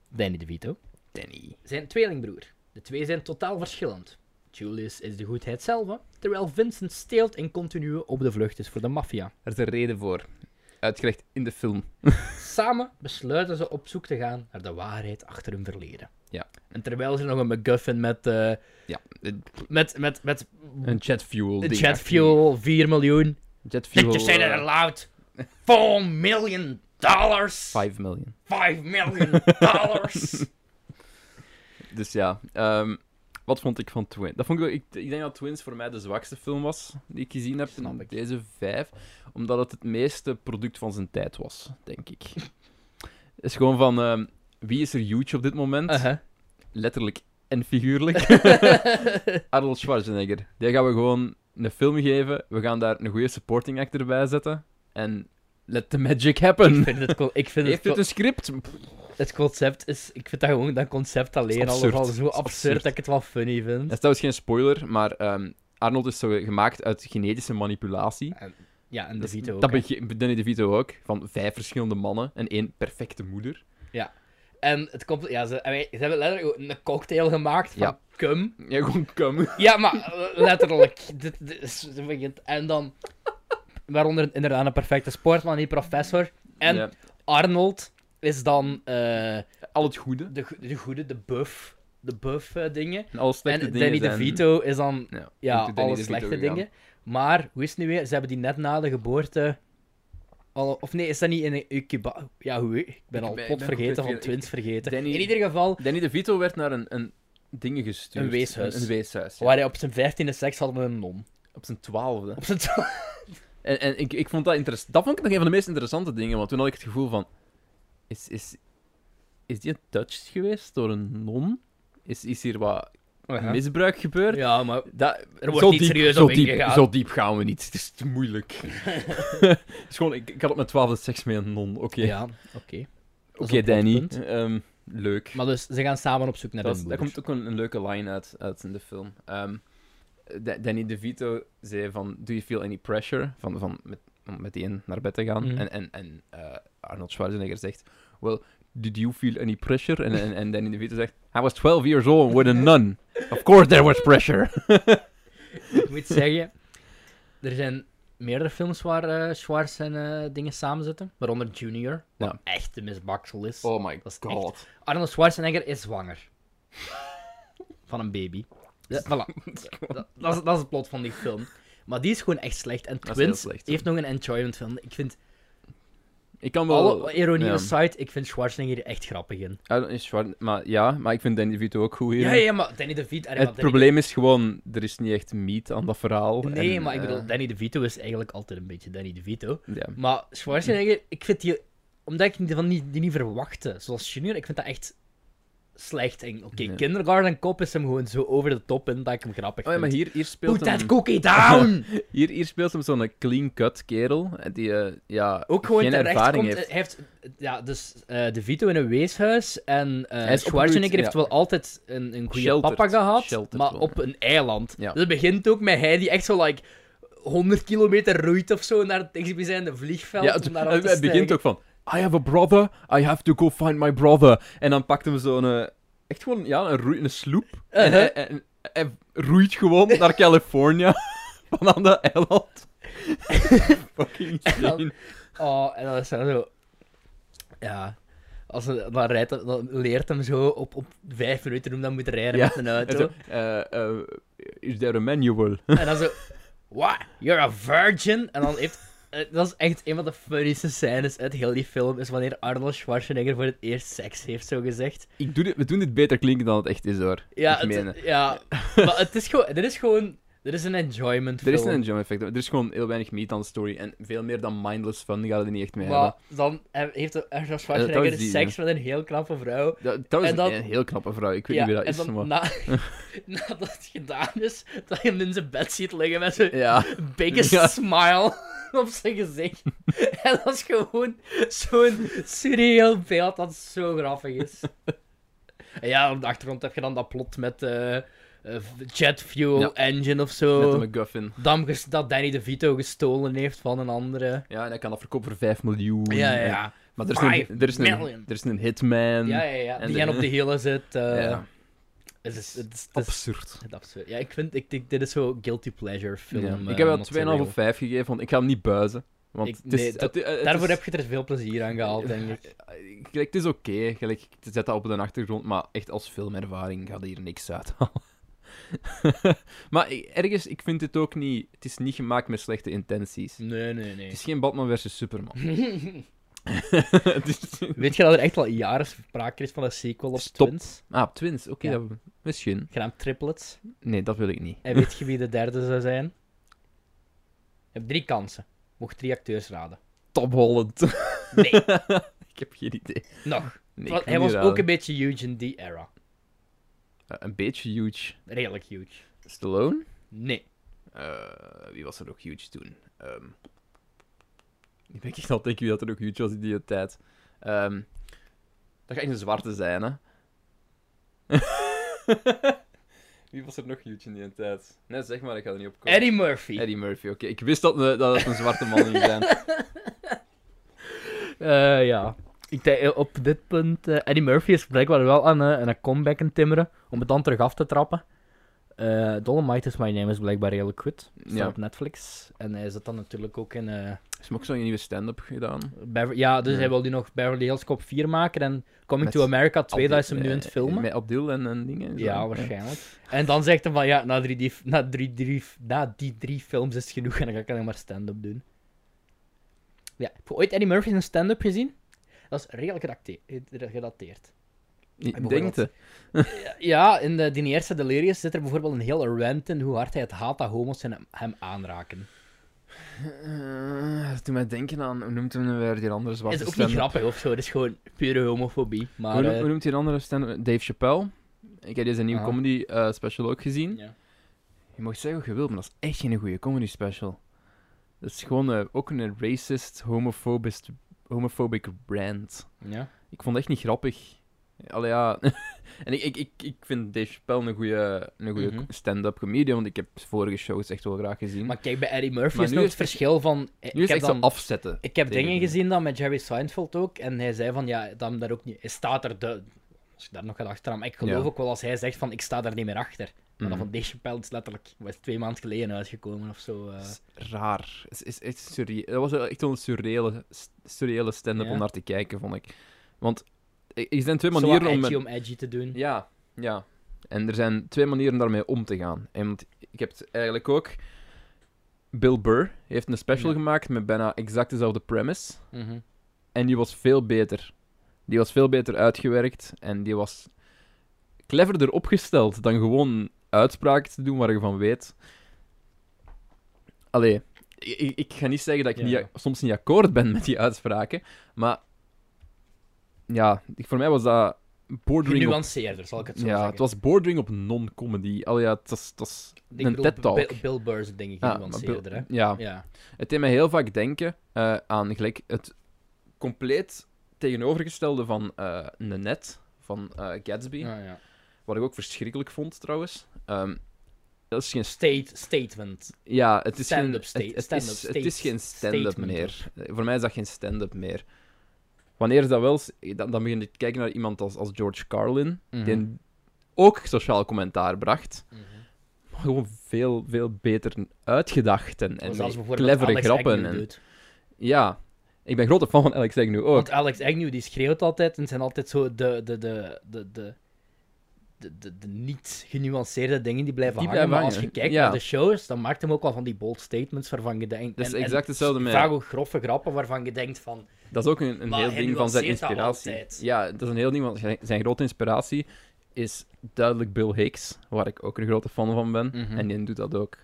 [SPEAKER 2] Danny DeVito,
[SPEAKER 1] Danny.
[SPEAKER 2] zijn tweelingbroer. De twee zijn totaal verschillend. Julius is de goedheid zelf, terwijl Vincent steelt en continu op de vlucht is voor de maffia.
[SPEAKER 1] Er is een reden voor. Uitgelegd in de film.
[SPEAKER 2] Samen besluiten ze op zoek te gaan naar de waarheid achter hun verleden.
[SPEAKER 1] Ja.
[SPEAKER 2] En terwijl ze nog een MacGuffin met, eh,
[SPEAKER 1] Ja. Een
[SPEAKER 2] met, met, met
[SPEAKER 1] een jet fuel. ding.
[SPEAKER 2] jet fuel, 4 miljoen,
[SPEAKER 1] Jet fuel.
[SPEAKER 2] Pictures say that
[SPEAKER 1] eh,
[SPEAKER 2] aloud. Four million dollars.
[SPEAKER 1] 5 million.
[SPEAKER 2] Five million dollars.
[SPEAKER 1] Dus ja. ehm, wat vond ik van Twins? Dat vond ik, wel- ik, ik denk dat Twins voor mij de zwakste film was die ik gezien heb.
[SPEAKER 2] Snap ik.
[SPEAKER 1] Deze vijf. Omdat het het meeste product van zijn tijd was, denk ik. Het is gewoon van... ehm, wie is er huge op dit moment?
[SPEAKER 2] Uh-huh.
[SPEAKER 1] letterlijk en figuurlijk. Arnold Schwarzenegger. Die gaan we gewoon een film geven. We gaan daar een goede supporting actor bij zetten. En let the magic happen.
[SPEAKER 2] Ik vind het, co- ik vind het,
[SPEAKER 1] Heeft het
[SPEAKER 2] co-
[SPEAKER 1] een script?
[SPEAKER 2] het concept is, ik vind dat gewoon dat concept alleen al
[SPEAKER 1] absurd.
[SPEAKER 2] wel zo
[SPEAKER 1] Het is
[SPEAKER 2] absurd,
[SPEAKER 1] absurd.
[SPEAKER 2] dat ik het wel funny vind.
[SPEAKER 1] Dat is trouwens geen spoiler, maar ehm, Arnold is zo gemaakt uit genetische manipulatie.
[SPEAKER 2] Ja, en de
[SPEAKER 1] Dat-
[SPEAKER 2] Vito ook.
[SPEAKER 1] Dat
[SPEAKER 2] hè.
[SPEAKER 1] begint Danny DeVito ook. Van vijf verschillende mannen en één perfecte moeder.
[SPEAKER 2] En het komt, ja, ze, en wij- ze hebben letterlijk gewoon een cocktail gemaakt van
[SPEAKER 1] Ja.
[SPEAKER 2] cum.
[SPEAKER 1] Ja, gewoon come.
[SPEAKER 2] Ja, maar eh, letterlijk. dit, dit is, dit begint- en dan, waaronder inderdaad een perfecte sportman, die professor. En
[SPEAKER 1] Ja.
[SPEAKER 2] Arnold is dan eh,
[SPEAKER 1] Al het goede.
[SPEAKER 2] de, go- de goede, de buff, de buff eh, dingen.
[SPEAKER 1] En alle slechte
[SPEAKER 2] en
[SPEAKER 1] dingen
[SPEAKER 2] Danny
[SPEAKER 1] zijn-
[SPEAKER 2] DeVito is dan
[SPEAKER 1] Ja,
[SPEAKER 2] ja,
[SPEAKER 1] goed, Danny
[SPEAKER 2] alle
[SPEAKER 1] DeVito
[SPEAKER 2] slechte
[SPEAKER 1] gegaan.
[SPEAKER 2] dingen. Maar hoe is het nu weer? Ze hebben die net na de geboorte. Al, of nee, is dat niet in een incuba- Ja, hoe? Ik ben
[SPEAKER 1] Ik
[SPEAKER 2] al
[SPEAKER 1] ben-
[SPEAKER 2] pot
[SPEAKER 1] ben
[SPEAKER 2] vergeten, van
[SPEAKER 1] compleet vergeten.
[SPEAKER 2] twins vergeten.
[SPEAKER 1] Danny-
[SPEAKER 2] In ieder geval,
[SPEAKER 1] Danny DeVito werd naar een, een ding gestuurd.
[SPEAKER 2] Een weeshuis.
[SPEAKER 1] Een, een weeshuis, ja.
[SPEAKER 2] waar hij op zijn vijftiende seks had met een non.
[SPEAKER 1] Op zijn twaalfde.
[SPEAKER 2] Op zijn twa-
[SPEAKER 1] En, en ik, ik vond dat interessant. Dat vond ik nog een van de meest interessante dingen, want toen had ik het gevoel van... Is, is, is die touched geweest door een non? Is, is hier wat misbruik gebeurd?
[SPEAKER 2] Ja, maar
[SPEAKER 1] Oh, Dat,
[SPEAKER 2] wordt
[SPEAKER 1] zo
[SPEAKER 2] niet
[SPEAKER 1] diep,
[SPEAKER 2] serieus
[SPEAKER 1] zo
[SPEAKER 2] op
[SPEAKER 1] diep,
[SPEAKER 2] ingegaan.
[SPEAKER 1] Zo diep gaan we niet. Het is te moeilijk. Het is gewoon, ik, ik had op mijn twaalfde seks met een non. Oké,
[SPEAKER 2] ja, oké.
[SPEAKER 1] oké
[SPEAKER 2] is een
[SPEAKER 1] Danny.
[SPEAKER 2] plotpunt.
[SPEAKER 1] Ehm, leuk.
[SPEAKER 2] Maar dus, ze gaan samen op zoek naar
[SPEAKER 1] Dat
[SPEAKER 2] hun
[SPEAKER 1] is-
[SPEAKER 2] moeder.
[SPEAKER 1] daar komt ook een, een leuke line uit, uit in de film. Ehm, Da- Danny DeVito zei van, do you feel any pressure? Van, van met, om met die in naar bed te gaan.
[SPEAKER 2] Mhm.
[SPEAKER 1] En, en, en eh, Arnold Schwarzenegger zegt, well, did you feel any pressure? En, en, en Danny DeVito zegt, I was 12 years old with a nun. Of course there was pressure.
[SPEAKER 2] Ik moet zeggen, er zijn meerdere films waar eh Schwarz en eh, dingen samen zitten. Waaronder Junior, wat
[SPEAKER 1] Ja.
[SPEAKER 2] echt de misbaksel is.
[SPEAKER 1] Oh my
[SPEAKER 2] Dat is echt- Arnold Schwarzenegger is zwanger. van een baby. Ja, voilà. dat, dat, is, dat is het plot van die film. Maar die is gewoon echt slecht. En
[SPEAKER 1] Dat is heel
[SPEAKER 2] Twins
[SPEAKER 1] slecht, ja.
[SPEAKER 2] heeft nog een enjoyment film. Ik vind,
[SPEAKER 1] Ik kan wel...
[SPEAKER 2] alle ironie
[SPEAKER 1] ja.
[SPEAKER 2] aside, ik vind Schwarzenegger er echt grappig in.
[SPEAKER 1] Ja, dat is Schwar- maar, ja, maar ik vind Danny DeVito ook goed hier.
[SPEAKER 2] Ja, ja, maar Danny DeVito... Arre,
[SPEAKER 1] Het
[SPEAKER 2] maar Danny-
[SPEAKER 1] probleem is gewoon, er is niet echt meat aan dat verhaal.
[SPEAKER 2] Nee,
[SPEAKER 1] En,
[SPEAKER 2] maar ik
[SPEAKER 1] eh,
[SPEAKER 2] bedoel, Danny DeVito is eigenlijk altijd een beetje Danny DeVito.
[SPEAKER 1] ja.
[SPEAKER 2] Maar Schwarzenegger, ik vind die... Omdat ik die, van niet, die niet verwachtte, zoals Junior, ik vind dat echt slecht. En Oké,
[SPEAKER 1] Nee.
[SPEAKER 2] Kindergarten Cop is hem gewoon zo over de top in dat ik hem grappig
[SPEAKER 1] Oh ja, maar
[SPEAKER 2] vind.
[SPEAKER 1] hier, hier
[SPEAKER 2] Put
[SPEAKER 1] speelt
[SPEAKER 2] that
[SPEAKER 1] hem...
[SPEAKER 2] cookie down!
[SPEAKER 1] Hier, hier speelt hem zo'n clean-cut kerel, eh, die eh, ja,
[SPEAKER 2] Ook gewoon
[SPEAKER 1] geen
[SPEAKER 2] terecht
[SPEAKER 1] ervaring
[SPEAKER 2] komt, eh,
[SPEAKER 1] heeft.
[SPEAKER 2] Hij heeft ja, dus eh, de Vito in een weeshuis en eh,
[SPEAKER 1] Hij is opgegroeid,
[SPEAKER 2] Schwarzenegger heeft
[SPEAKER 1] ja.
[SPEAKER 2] wel altijd een, een goede
[SPEAKER 1] Sheltered.
[SPEAKER 2] papa gehad,
[SPEAKER 1] Sheltered
[SPEAKER 2] maar
[SPEAKER 1] wel,
[SPEAKER 2] op een eiland.
[SPEAKER 1] Ja.
[SPEAKER 2] Dus het begint ook met hij die echt zo like 100 kilometer roeit of zo naar het dichtstbijzijnde vliegveld
[SPEAKER 1] Ja,
[SPEAKER 2] om
[SPEAKER 1] het,
[SPEAKER 2] daar aan
[SPEAKER 1] het-
[SPEAKER 2] te
[SPEAKER 1] het begint
[SPEAKER 2] stijgen.
[SPEAKER 1] ook van, I have a brother, I have to go find my brother. En dan pakt hem zo'n, eh, echt gewoon, ja, een, roei- een sloep. En,
[SPEAKER 2] Uh-huh.
[SPEAKER 1] hij, en hij roeit gewoon naar California, van aan de eiland. Fucking
[SPEAKER 2] dan-
[SPEAKER 1] insane.
[SPEAKER 2] Oh, en dan is hij zo... Ja... Als hij, dan, rijdt, hij- dan leert hem zo op, op vijf minuten hoe hij moet rijden
[SPEAKER 1] Ja,
[SPEAKER 2] met een
[SPEAKER 1] En
[SPEAKER 2] auto.
[SPEAKER 1] zo, eh, eh, is there a manual?
[SPEAKER 2] En dan zo... What? You're a virgin? En dan heeft... eh, Dat is echt een van de funnieste scènes uit heel die film, is wanneer Arnold Schwarzenegger voor het eerst seks heeft, zo gezegd.
[SPEAKER 1] Ik doe dit, we doen dit beter klinken dan het echt is, hoor.
[SPEAKER 2] Ja,
[SPEAKER 1] Ik meen
[SPEAKER 2] het, ja. maar het is gewoon... Dit is gewoon... Dit is een enjoyment
[SPEAKER 1] Er
[SPEAKER 2] film.
[SPEAKER 1] is een enjoyment effect. Er is gewoon heel weinig meat aan de story. En veel meer dan mindless fun gaat er niet echt mee
[SPEAKER 2] Maar dan he- heeft Arnold Schwarzenegger
[SPEAKER 1] die,
[SPEAKER 2] seks met een heel knappe vrouw.
[SPEAKER 1] hebben. Dat, dat is
[SPEAKER 2] en dan-
[SPEAKER 1] een heel knappe vrouw. Ik weet niet wie dat
[SPEAKER 2] en
[SPEAKER 1] is.
[SPEAKER 2] dan
[SPEAKER 1] Maar...
[SPEAKER 2] na, nadat het gedaan is, dat je hem in zijn bed ziet liggen met zijn
[SPEAKER 1] Ja.
[SPEAKER 2] biggest
[SPEAKER 1] Ja.
[SPEAKER 2] smile op zijn gezicht. en dat is gewoon zo'n surreal beeld dat zo grappig is. En ja, op de achtergrond heb je dan dat plot met eh, eh, jet fuel
[SPEAKER 1] Ja.
[SPEAKER 2] engine of
[SPEAKER 1] Met
[SPEAKER 2] zo.
[SPEAKER 1] een McGuffin.
[SPEAKER 2] Dat hem ges- dat Danny DeVito gestolen heeft van een andere.
[SPEAKER 1] Ja, en hij kan dat verkopen voor 5 miljoen.
[SPEAKER 2] Ja, ja,
[SPEAKER 1] En-
[SPEAKER 2] ja.
[SPEAKER 1] Maar er is,
[SPEAKER 2] Five
[SPEAKER 1] een, er, is een,
[SPEAKER 2] million.
[SPEAKER 1] er is een hitman.
[SPEAKER 2] Ja, ja, ja.
[SPEAKER 1] en
[SPEAKER 2] Die
[SPEAKER 1] de-
[SPEAKER 2] gaan op de hielen zit. eh,
[SPEAKER 1] Ja.
[SPEAKER 2] Het is, het is, het is
[SPEAKER 1] Absurd.
[SPEAKER 2] Het absurd. Ja, ik vind, ik, denk dit is zo guilty pleasure film.
[SPEAKER 1] Ja.
[SPEAKER 2] eh,
[SPEAKER 1] Ik heb wel
[SPEAKER 2] material.
[SPEAKER 1] 2,5 of 5 gegeven, want ik ga hem niet buizen. Want
[SPEAKER 2] Ik-
[SPEAKER 1] het is,
[SPEAKER 2] nee, dat-
[SPEAKER 1] het- het
[SPEAKER 2] Daarvoor
[SPEAKER 1] is-
[SPEAKER 2] heb je er veel plezier aan gehaald, denk ik.
[SPEAKER 1] Eh, Gelijk, Het is oké, gelijk, je zet dat op de achtergrond, maar echt als filmervaring gaat hier niks uithalen. maar ik- ergens, ik vind het ook niet... Het is niet gemaakt met slechte intenties.
[SPEAKER 2] Nee, nee, nee.
[SPEAKER 1] Het is geen Batman versus Superman. Het is-
[SPEAKER 2] Weet je dat er echt al jaren sprake is van een sequel op
[SPEAKER 1] Stop.
[SPEAKER 2] Twins?
[SPEAKER 1] Ah, Twins, oké.
[SPEAKER 2] Ja.
[SPEAKER 1] dat- Misschien.
[SPEAKER 2] Genaamd Triplets.
[SPEAKER 1] Nee, dat wil ik niet.
[SPEAKER 2] En weet je wie de derde zou zijn? Je hebt drie kansen. Mocht drie acteurs raden.
[SPEAKER 1] Top Holland.
[SPEAKER 2] Nee,
[SPEAKER 1] ik heb geen idee.
[SPEAKER 2] nog.
[SPEAKER 1] Nee, ik
[SPEAKER 2] Want
[SPEAKER 1] wil
[SPEAKER 2] hij
[SPEAKER 1] niet
[SPEAKER 2] was
[SPEAKER 1] raden.
[SPEAKER 2] ook een beetje huge in die era.
[SPEAKER 1] Eh, een beetje huge.
[SPEAKER 2] Redelijk huge.
[SPEAKER 1] Stallone?
[SPEAKER 2] Nee.
[SPEAKER 1] Eh, wie was er ook huge toen? Ehm ik ben echt al denken wie dat er ook huge was in die tijd. Ehm, dat gaat echt een zwarte zijn, hè? wie was er nog huge in die tijd? Nee, zeg maar, ik ga er niet op komen.
[SPEAKER 2] Eddie Murphy.
[SPEAKER 1] Eddie Murphy, oké. Ik wist dat, eh, dat het een zwarte man ging zijn.
[SPEAKER 2] Eh, ja. Ik denk, eh, op dit punt, eh, Eddie Murphy is blijkbaar wel aan eh, aan een comeback in timmeren, om het dan terug af te trappen. Eh Dolomite is My Name is blijkbaar redelijk goed. Staat
[SPEAKER 1] Ja.
[SPEAKER 2] op Netflix. En hij zit dan natuurlijk ook in... eh,
[SPEAKER 1] Is hem ook zo'n nieuwe stand-up gedaan?
[SPEAKER 2] Bever- ja, dus
[SPEAKER 1] Ja.
[SPEAKER 2] hij wil nu nog Beverly Hills Cop 4 maken en Coming
[SPEAKER 1] Met
[SPEAKER 2] to America 2, dat is hem
[SPEAKER 1] Abdul,
[SPEAKER 2] nu aan het
[SPEAKER 1] eh,
[SPEAKER 2] filmen.
[SPEAKER 1] Met Abdul en, en dingen. zo.
[SPEAKER 2] ja, waarschijnlijk. En dan zegt hij van, ja, na, drie, die, na, drie, drie, na die drie films is het genoeg en dan ga ik alleen maar stand-up doen. Ja, heb je ooit Eddie Murphy in een stand-up gezien? Dat is redelijk gedacte- eh, gedateerd.
[SPEAKER 1] Ik
[SPEAKER 2] Bijvoorbeeld.
[SPEAKER 1] denk het.
[SPEAKER 2] Ja, in de, die eerste Delirious zit er bijvoorbeeld een hele rant in hoe hard hij het haat dat homo's hem, hem aanraken.
[SPEAKER 1] Eh, doe mij denken aan, hoe noemt hem nu weer die andere zwarte
[SPEAKER 2] Het is ook niet
[SPEAKER 1] stand-up?
[SPEAKER 2] grappig of zo, het is gewoon pure homofobie. Maar,
[SPEAKER 1] Hoe, noemt-
[SPEAKER 2] eh,
[SPEAKER 1] hoe noemt die andere stand Dave Chappelle. Ik heb deze nieuwe
[SPEAKER 2] Aha.
[SPEAKER 1] comedy eh, special ook gezien.
[SPEAKER 2] ja.
[SPEAKER 1] Je mag zeggen wat je wilt, maar dat is echt geen goede comedy special. Dat is gewoon eh, ook een racist, homofobist, homophobic rant.
[SPEAKER 2] Ja.
[SPEAKER 1] Ik vond het echt niet grappig. Allee, ja. en ik, ik, ik, ik vind Dave Chappelle een goede een goeie
[SPEAKER 2] Mhm.
[SPEAKER 1] stand-up comedian, want ik heb vorige shows echt wel graag gezien.
[SPEAKER 2] Maar kijk, bij Eddie Murphy
[SPEAKER 1] Maar
[SPEAKER 2] is
[SPEAKER 1] nu
[SPEAKER 2] nog het
[SPEAKER 1] is het-
[SPEAKER 2] verschil van...
[SPEAKER 1] nu is
[SPEAKER 2] eh, ik
[SPEAKER 1] het
[SPEAKER 2] heb
[SPEAKER 1] echt
[SPEAKER 2] dan,
[SPEAKER 1] zo afzetten.
[SPEAKER 2] Ik heb
[SPEAKER 1] tegen
[SPEAKER 2] dingen
[SPEAKER 1] hem.
[SPEAKER 2] gezien dan met Jerry Seinfeld ook, en hij zei van, ja, dan daar ook niet... Hij staat er... De, als je daar nog gaat achteraan, maar ik geloof
[SPEAKER 1] Ja.
[SPEAKER 2] ook wel als hij zegt van, ik sta daar niet meer achter. Maar
[SPEAKER 1] Mhm.
[SPEAKER 2] dan van Dave Chappelle is letterlijk was twee maanden geleden uitgekomen of zo. eh.
[SPEAKER 1] Het is raar. Het is echt surreal. Dat was wel echt wel een surreële, surreële stand-up
[SPEAKER 2] Ja.
[SPEAKER 1] om naar te kijken, vond ik. Want er er zijn twee
[SPEAKER 2] Zo wat
[SPEAKER 1] manieren om...
[SPEAKER 2] edgy
[SPEAKER 1] met-
[SPEAKER 2] om edgy te doen.
[SPEAKER 1] Ja, ja. En er zijn twee manieren om daarmee om te gaan. En want ik heb het eigenlijk ook... Bill Burr heeft een special
[SPEAKER 2] Ja.
[SPEAKER 1] gemaakt met bijna exact dezelfde premise.
[SPEAKER 2] Mhm.
[SPEAKER 1] En die was veel beter. Die was veel beter uitgewerkt. En die was cleverder opgesteld dan gewoon uitspraken te doen waar je van weet. Allee, ik, ik ga niet zeggen dat ik
[SPEAKER 2] Ja.
[SPEAKER 1] niet, soms niet akkoord ben met die uitspraken. Maar ja, ik- voor mij was dat bordering op...
[SPEAKER 2] Genuanceerder, zal ik het zo
[SPEAKER 1] Ja,
[SPEAKER 2] zeggen.
[SPEAKER 1] het was bordering op non-comedy. Allee, ja, het was, het was
[SPEAKER 2] Ik
[SPEAKER 1] een
[SPEAKER 2] bedoel,
[SPEAKER 1] TED-talk.
[SPEAKER 2] Bill, Bill Burr is denk ik
[SPEAKER 1] Ja, maar
[SPEAKER 2] genuanceerder, hè.
[SPEAKER 1] Bill- ja,
[SPEAKER 2] Ja.
[SPEAKER 1] het deed mij heel vaak denken eh, aan gelijk het compleet tegenovergestelde van eh Nanette van eh, Gatsby.
[SPEAKER 2] Ja, ja.
[SPEAKER 1] Wat ik ook verschrikkelijk vond trouwens. Ehm, dat is geen st-
[SPEAKER 2] State, statement.
[SPEAKER 1] ja, het is geen,
[SPEAKER 2] Stand-up
[SPEAKER 1] het,
[SPEAKER 2] sta-
[SPEAKER 1] het
[SPEAKER 2] stand-up
[SPEAKER 1] is,
[SPEAKER 2] state-
[SPEAKER 1] het is geen stand-up
[SPEAKER 2] statement
[SPEAKER 1] meer. Eh, Voor mij is dat geen stand-up meer. Wanneer is dat wel, s- eh, dan, dan begin je te kijken naar iemand als, als George Carlin, die
[SPEAKER 2] Mhm.
[SPEAKER 1] een- ook sociaal commentaar bracht, maar gewoon veel, veel beter uitgedacht en, en
[SPEAKER 2] Zoals
[SPEAKER 1] met
[SPEAKER 2] bijvoorbeeld
[SPEAKER 1] clevere
[SPEAKER 2] Alex
[SPEAKER 1] grappen.
[SPEAKER 2] Agnew
[SPEAKER 1] En,
[SPEAKER 2] doet.
[SPEAKER 1] ja, ik ben grote fan van Alex Agnew ook.
[SPEAKER 2] Want Alex Agnew die schreeuwt altijd en zijn altijd zo de, de, de, de, de, de, de, de niet genuanceerde dingen die blijven
[SPEAKER 1] Die
[SPEAKER 2] hangen.
[SPEAKER 1] blijven
[SPEAKER 2] maar als
[SPEAKER 1] hangen,
[SPEAKER 2] je kijkt
[SPEAKER 1] ja.
[SPEAKER 2] naar de shows, dan maakt hem ook wel van die bold statements waarvan je denkt...
[SPEAKER 1] Dat is
[SPEAKER 2] en- en
[SPEAKER 1] exact hetzelfde met-
[SPEAKER 2] Vaak ook grove grappen waarvan je denkt van...
[SPEAKER 1] Dat is ook een, een
[SPEAKER 2] Maar
[SPEAKER 1] heel
[SPEAKER 2] hij
[SPEAKER 1] ding van zijn
[SPEAKER 2] nuanceert dat
[SPEAKER 1] inspiratie.
[SPEAKER 2] altijd.
[SPEAKER 1] Ja, dat is een heel ding, want zijn, zijn grote inspiratie is duidelijk Bill Hicks, waar ik ook een grote fan van ben.
[SPEAKER 2] Mhm.
[SPEAKER 1] En die doet dat ook.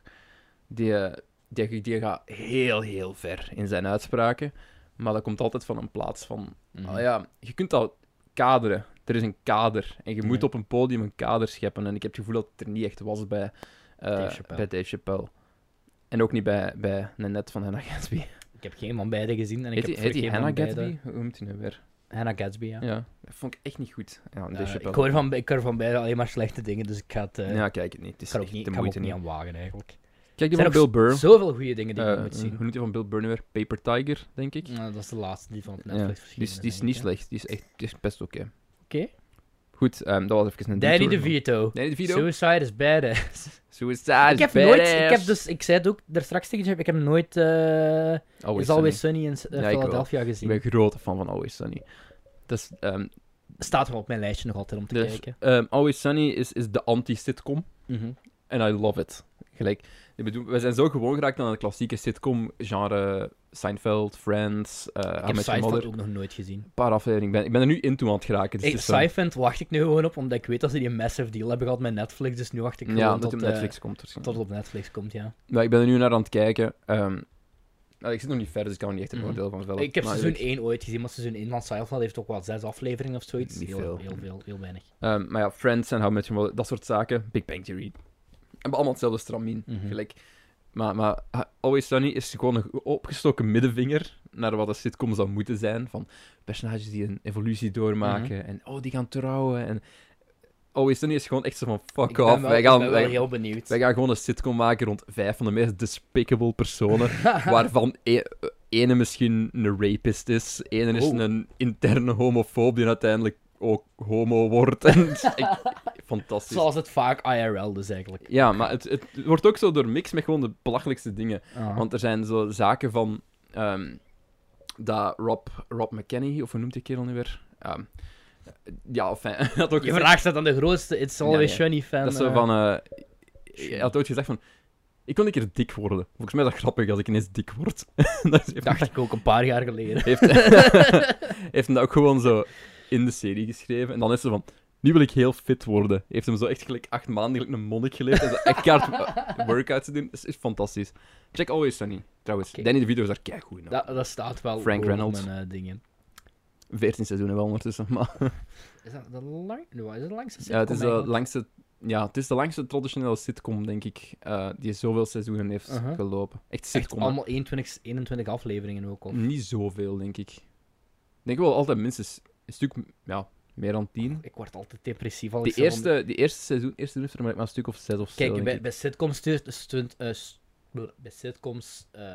[SPEAKER 1] Die, eh, die, die gaat heel, heel ver in zijn uitspraken. Maar dat komt altijd van een plaats van...
[SPEAKER 2] Mhm.
[SPEAKER 1] ah ja, je kunt dat kaderen. Er is een kader. En je moet
[SPEAKER 2] Ja.
[SPEAKER 1] op een podium een kader scheppen. En ik heb het gevoel dat het er niet echt was bij, eh,
[SPEAKER 2] Dave Chappelle.
[SPEAKER 1] bij Dave Chappelle. En ook niet bij, bij Nanette van Hannah Gatsby.
[SPEAKER 2] Ik heb geen van beide gezien en ik
[SPEAKER 1] Heet die,
[SPEAKER 2] heb
[SPEAKER 1] heet
[SPEAKER 2] voor
[SPEAKER 1] die
[SPEAKER 2] geen
[SPEAKER 1] Hannah
[SPEAKER 2] van beide-
[SPEAKER 1] Gatsby? Hoe noemt hij nou weer?
[SPEAKER 2] Hannah Gatsby, ja.
[SPEAKER 1] Ja. Dat vond ik echt niet goed. Ja,
[SPEAKER 2] Eh,
[SPEAKER 1] Dave Chappelle.
[SPEAKER 2] ik, hoor van, ik hoor van beide alleen maar slechte dingen, dus ik ga het... eh,
[SPEAKER 1] Ja, kijk het niet. Het is
[SPEAKER 2] kan ook
[SPEAKER 1] echt
[SPEAKER 2] niet,
[SPEAKER 1] de
[SPEAKER 2] ik kan me
[SPEAKER 1] moeite
[SPEAKER 2] ook niet
[SPEAKER 1] niet.
[SPEAKER 2] aan wagen, eigenlijk.
[SPEAKER 1] Kijk die
[SPEAKER 2] Er
[SPEAKER 1] van
[SPEAKER 2] zijn
[SPEAKER 1] Bill
[SPEAKER 2] ook
[SPEAKER 1] Burr.
[SPEAKER 2] Zoveel goede dingen die
[SPEAKER 1] Eh,
[SPEAKER 2] je moet
[SPEAKER 1] Hoe
[SPEAKER 2] zien.
[SPEAKER 1] noemt die van Bill Burr nu weer? Paper Tiger, denk ik.
[SPEAKER 2] Nou, dat is de laatste die van op
[SPEAKER 1] Ja,
[SPEAKER 2] Netflix
[SPEAKER 1] die
[SPEAKER 2] verschenen
[SPEAKER 1] is, die is
[SPEAKER 2] denk
[SPEAKER 1] niet
[SPEAKER 2] ik, hè.
[SPEAKER 1] slecht. Die is, echt, die is best oké.
[SPEAKER 2] Oké.
[SPEAKER 1] Goed, ehm, dat was even een
[SPEAKER 2] Danny
[SPEAKER 1] detour, maar-
[SPEAKER 2] DeVito.
[SPEAKER 1] Danny DeVito.
[SPEAKER 2] Suicide is badass.
[SPEAKER 1] Suicide
[SPEAKER 2] ik heb nooit, ik heb dus, ik zei het ook daar straks tegen je, ik heb nooit eh Is Always Sunny in eh,
[SPEAKER 1] Ja, ik wel.
[SPEAKER 2] Philadelphia
[SPEAKER 1] Ik
[SPEAKER 2] gezien.
[SPEAKER 1] ben grote fan van Always Sunny. Dat is, ehm,
[SPEAKER 2] Staat wel op mijn lijstje nog altijd om te
[SPEAKER 1] dus,
[SPEAKER 2] kijken.
[SPEAKER 1] ehm, Always Sunny is, is de anti-sitcom.
[SPEAKER 2] Mhm.
[SPEAKER 1] En I love it. Gelijk. Ik bedoel, we zijn zo gewoon geraakt aan het klassieke sitcom genre Seinfeld, Friends, eh How I
[SPEAKER 2] Ik heb
[SPEAKER 1] Met Your
[SPEAKER 2] Seinfeld
[SPEAKER 1] Mother.
[SPEAKER 2] ook nog nooit gezien.
[SPEAKER 1] Een paar afleveringen. Ben, ik ben er nu in toe aan het geraken. Dus
[SPEAKER 2] Ik,
[SPEAKER 1] het is zo-
[SPEAKER 2] Seinfeld wacht ik nu gewoon op, omdat ik weet dat ze die massive deal hebben gehad met Netflix, dus nu wacht ik
[SPEAKER 1] ja,
[SPEAKER 2] gewoon
[SPEAKER 1] dat
[SPEAKER 2] tot,
[SPEAKER 1] het op
[SPEAKER 2] eh,
[SPEAKER 1] Netflix komt
[SPEAKER 2] tot
[SPEAKER 1] waarschijnlijk.
[SPEAKER 2] het op Netflix komt, ja.
[SPEAKER 1] Maar ik ben er nu naar aan het kijken. Ehm, nou, ik zit nog niet ver, dus ik kan er niet echt een
[SPEAKER 2] Mhm.
[SPEAKER 1] oordeel van vellen.
[SPEAKER 2] Ik heb
[SPEAKER 1] Maar
[SPEAKER 2] seizoen
[SPEAKER 1] ik-
[SPEAKER 2] 1 ooit gezien, maar seizoen 1 van Seinfeld heeft ook wel zes afleveringen of zoiets.
[SPEAKER 1] Niet
[SPEAKER 2] heel,
[SPEAKER 1] veel.
[SPEAKER 2] heel veel, heel weinig.
[SPEAKER 1] Ehm, maar ja, Friends en How I Met Your Mother, dat soort zaken. Big Bang Theory. Hebben allemaal hetzelfde stramien.
[SPEAKER 2] Mhm.
[SPEAKER 1] Gelijk. Maar, maar Ha- Always Sunny is gewoon een opgestoken middenvinger naar wat een sitcom zou moeten zijn. Van personages die een evolutie doormaken
[SPEAKER 2] Mhm.
[SPEAKER 1] en oh, die gaan trouwen. En Always Sunny is gewoon echt zo van fuck
[SPEAKER 2] ik
[SPEAKER 1] off.
[SPEAKER 2] ben wel,
[SPEAKER 1] wij,
[SPEAKER 2] ik
[SPEAKER 1] gaan,
[SPEAKER 2] ben wel
[SPEAKER 1] wij,
[SPEAKER 2] heel benieuwd.
[SPEAKER 1] wij gaan gewoon een sitcom maken rond vijf van de meest despicable personen. waarvan e- eh, ene misschien een rapist is, ene is
[SPEAKER 2] Oh.
[SPEAKER 1] een interne homofoob die uiteindelijk ook homo wordt. En, ik- fantastisch.
[SPEAKER 2] Zoals het vaak IRL dus eigenlijk.
[SPEAKER 1] Ja, maar het, het wordt ook zo door mix met gewoon de belachelijkste dingen.
[SPEAKER 2] Ah.
[SPEAKER 1] Want er zijn zo zaken van ehm, dat Rob, Rob McKenney, of hoe noemt die kerel nu weer? Ehm, ja, of hij had ook
[SPEAKER 2] je
[SPEAKER 1] gezegd-
[SPEAKER 2] vraagt dat aan de grootste It's Always
[SPEAKER 1] ja.
[SPEAKER 2] Sunny fan.
[SPEAKER 1] dat is zo
[SPEAKER 2] eh,
[SPEAKER 1] van, eh, hij had ooit gezegd van, ik kon een keer dik worden. Volgens mij is dat grappig als ik ineens dik word. dat is
[SPEAKER 2] dacht ik ook een paar jaar geleden.
[SPEAKER 1] heeft, heeft hem dat ook gewoon zo in de serie geschreven. En dan is ze van, nu wil ik heel fit worden. Heeft hem zo echt gelijk acht maanden gelijk een monnik geleerd. En zo echt hard workouts te doen. Dat is, is fantastisch. Check Always Sunny, trouwens.
[SPEAKER 2] Oké.
[SPEAKER 1] Danny DeVito is daar keigoed in.
[SPEAKER 2] Dat, dat staat wel
[SPEAKER 1] Frank
[SPEAKER 2] gewoon op
[SPEAKER 1] Reynolds.
[SPEAKER 2] mijn eh, dingen.
[SPEAKER 1] 14 seizoenen wel ondertussen. Maar,
[SPEAKER 2] Is dat de, lang... no, is het de langste
[SPEAKER 1] ja, het, is eh,
[SPEAKER 2] sitcom
[SPEAKER 1] de
[SPEAKER 2] eigenlijk?
[SPEAKER 1] langste, ja, het is de langste traditionele sitcom, denk ik, eh, die zoveel seizoenen heeft
[SPEAKER 2] Uh-huh.
[SPEAKER 1] gelopen. Echt
[SPEAKER 2] Echt
[SPEAKER 1] sitcom. hè. Mm.
[SPEAKER 2] allemaal 21, 21 afleveringen ook al.
[SPEAKER 1] Niet zoveel, denk ik. Ik denk wel altijd minstens een stuk, ja, Meer dan tien.
[SPEAKER 2] Ik word altijd depressief als
[SPEAKER 1] Die
[SPEAKER 2] ik zo'n-
[SPEAKER 1] eerste, die eerste seizoen, eerste seizoen is er maar maar een stuk of zes of zo.
[SPEAKER 2] Kijk,
[SPEAKER 1] denk
[SPEAKER 2] bij,
[SPEAKER 1] ik.
[SPEAKER 2] bij sitcoms, stuurt, stunt, eh, s- blur, bij sitcoms eh,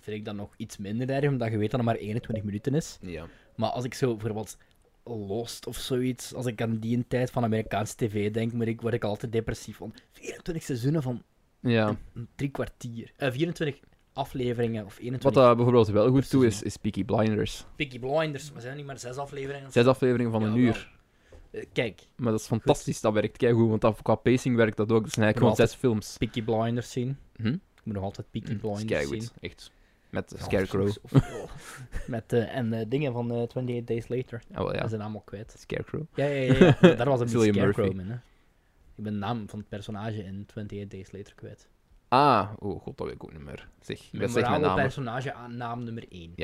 [SPEAKER 2] vind ik dat nog iets minder erg, omdat je weet dat het maar 21 minuten is.
[SPEAKER 1] Ja.
[SPEAKER 2] Maar als ik zo bijvoorbeeld Lost of zoiets, als ik aan die tijd van Amerikaanse tv denk, moet ik, word ik altijd depressief van 24 seizoenen van
[SPEAKER 1] ja.
[SPEAKER 2] een drie kwartier. Eh, 24 afleveringen of 21.
[SPEAKER 1] Wat daar bijvoorbeeld wel goed toe is,
[SPEAKER 2] seizoen.
[SPEAKER 1] is Peaky Blinders.
[SPEAKER 2] Peaky Blinders, maar zijn er niet maar zes afleveringen?
[SPEAKER 1] Zes afleveringen van een
[SPEAKER 2] Jawel.
[SPEAKER 1] uur.
[SPEAKER 2] Eh, kijk,
[SPEAKER 1] Maar dat is fantastisch, dat werkt keigoed, want dat, qua pacing werkt dat ook. Dat zijn eigenlijk
[SPEAKER 2] Maar
[SPEAKER 1] gewoon zes films.
[SPEAKER 2] Peaky Blinders zien.
[SPEAKER 1] Hm?
[SPEAKER 2] Ik moet nog altijd Peaky
[SPEAKER 1] Mm, dat is
[SPEAKER 2] Blinders
[SPEAKER 1] keigoed,
[SPEAKER 2] zien.
[SPEAKER 1] echt. Met de
[SPEAKER 2] Ja,
[SPEAKER 1] Scarecrow.
[SPEAKER 2] of- of- oh. Met, eh, en eh, dingen van eh, 28 Days Later.
[SPEAKER 1] Ah, wel,
[SPEAKER 2] Dat
[SPEAKER 1] ja.
[SPEAKER 2] is zijn allemaal kwijt.
[SPEAKER 1] Scarecrow.
[SPEAKER 2] Ja, ja, ja. ja. Daar was een
[SPEAKER 1] Cillian
[SPEAKER 2] Scarecrow
[SPEAKER 1] Murphy.
[SPEAKER 2] in, hè. Ik ben de naam van het personage in 28 Days Later kwijt.
[SPEAKER 1] Ah, oh god, dat weet ik ook niet meer. Zeg, dat zegt mijn
[SPEAKER 2] Memorabele
[SPEAKER 1] naam.
[SPEAKER 2] personage aan naam nummer 1.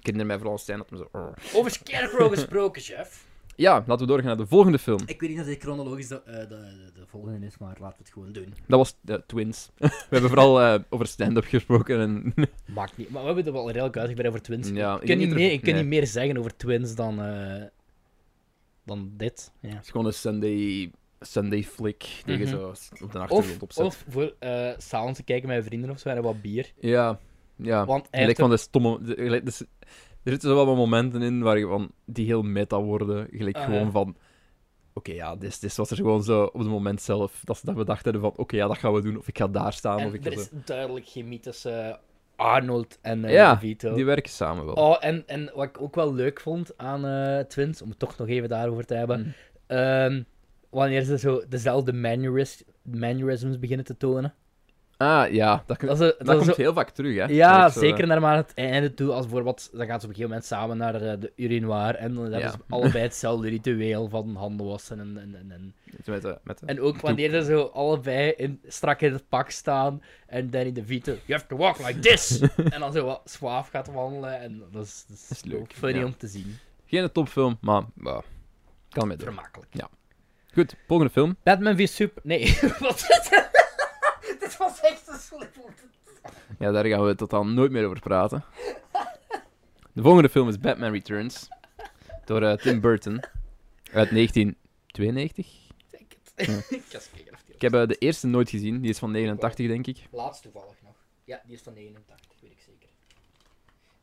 [SPEAKER 1] Kinderen mij vooral zijn dat me zo... "Arr."
[SPEAKER 2] Over Scarecrow gesproken, chef.
[SPEAKER 1] Ja, laten we doorgaan naar de volgende film.
[SPEAKER 2] Ik weet niet of dit chronologisch de, eh, de, de, de volgende is, maar laten we het gewoon doen.
[SPEAKER 1] Dat was eh, Twins. we hebben vooral eh, over stand-up gesproken en...
[SPEAKER 2] Maakt niet. Maar we hebben het wel redelijk uitgebreid over Twins.
[SPEAKER 1] ja,
[SPEAKER 2] ik kan, niet
[SPEAKER 1] er-
[SPEAKER 2] meer, ik kan
[SPEAKER 1] nee.
[SPEAKER 2] niet meer zeggen over Twins dan, eh, dan dit. Ja.
[SPEAKER 1] Het is gewoon een Sunday, Sunday flick die je
[SPEAKER 2] Mhm.
[SPEAKER 1] zo s- op de achtergrond
[SPEAKER 2] Of,
[SPEAKER 1] opzet.
[SPEAKER 2] of voor eh s'avonds te kijken met vrienden of zo en wat bier.
[SPEAKER 1] Ja, ja.
[SPEAKER 2] Want
[SPEAKER 1] Je lijkt
[SPEAKER 2] eigenlijk
[SPEAKER 1] van de stomme... de- je lijkt- dus- er zitten zo wel wat momenten in waar je van, die heel meta worden. Gelijk
[SPEAKER 2] Ah,
[SPEAKER 1] gewoon
[SPEAKER 2] ja.
[SPEAKER 1] van... Oké, ja, dit, dit was er gewoon zo op het moment zelf. Dat ze dat bedacht hebben van, oké, ja, dat gaan we doen. Of ik ga daar staan. of
[SPEAKER 2] En
[SPEAKER 1] ik ga
[SPEAKER 2] er is
[SPEAKER 1] zo.
[SPEAKER 2] duidelijk chemie tussen eh, Arnold en eh
[SPEAKER 1] Ja,
[SPEAKER 2] Vito.
[SPEAKER 1] Die werken samen wel.
[SPEAKER 2] Oh, en, en wat ik ook wel leuk vond aan eh, Twins, om het toch nog even daarover te hebben.
[SPEAKER 1] Mm.
[SPEAKER 2] ehm, wanneer ze zo dezelfde manneris- mannerisms beginnen te tonen.
[SPEAKER 1] Ah, ja. Dat, kun-
[SPEAKER 2] Dat, ze,
[SPEAKER 1] dat,
[SPEAKER 2] dat
[SPEAKER 1] komt
[SPEAKER 2] ze-
[SPEAKER 1] heel vaak terug, hè.
[SPEAKER 2] Ja,
[SPEAKER 1] Dat is zo, eh,
[SPEAKER 2] zeker naar maar het einde toe. Als bijvoorbeeld, dan gaan ze op een gegeven moment samen naar eh, de urinoir. En dan hebben
[SPEAKER 1] Ja.
[SPEAKER 2] ze allebei hetzelfde ritueel van handen wassen. En, en, en, en.
[SPEAKER 1] eh, Met, de- met, de-
[SPEAKER 2] en ook wanneer ze zo allebei in, strak in het pak staan. En Danny DeVito, you have to walk like this! en dan zo wat zwaaf gaat wandelen. En dat is, dat is,
[SPEAKER 1] Dat is leuk,
[SPEAKER 2] funny
[SPEAKER 1] ja.
[SPEAKER 2] om te zien.
[SPEAKER 1] Geen topfilm, maar... bah, kan met door.
[SPEAKER 2] Vermakelijk.
[SPEAKER 1] Goed, volgende film.
[SPEAKER 2] Batman v Super... Nee, wat is dit? dit was echt een slippel.
[SPEAKER 1] Ja, daar gaan we totaal nooit meer over praten. De volgende film is Batman Returns. Door eh, Tim Burton. Uit 1992.
[SPEAKER 2] Denk het. Ik ga eens kijken of die
[SPEAKER 1] Ik heb eh, de eerste nooit gezien. Die is van 89, denk ik.
[SPEAKER 2] Laatst toevallig nog. Ja, die is van 89, weet ik zeker.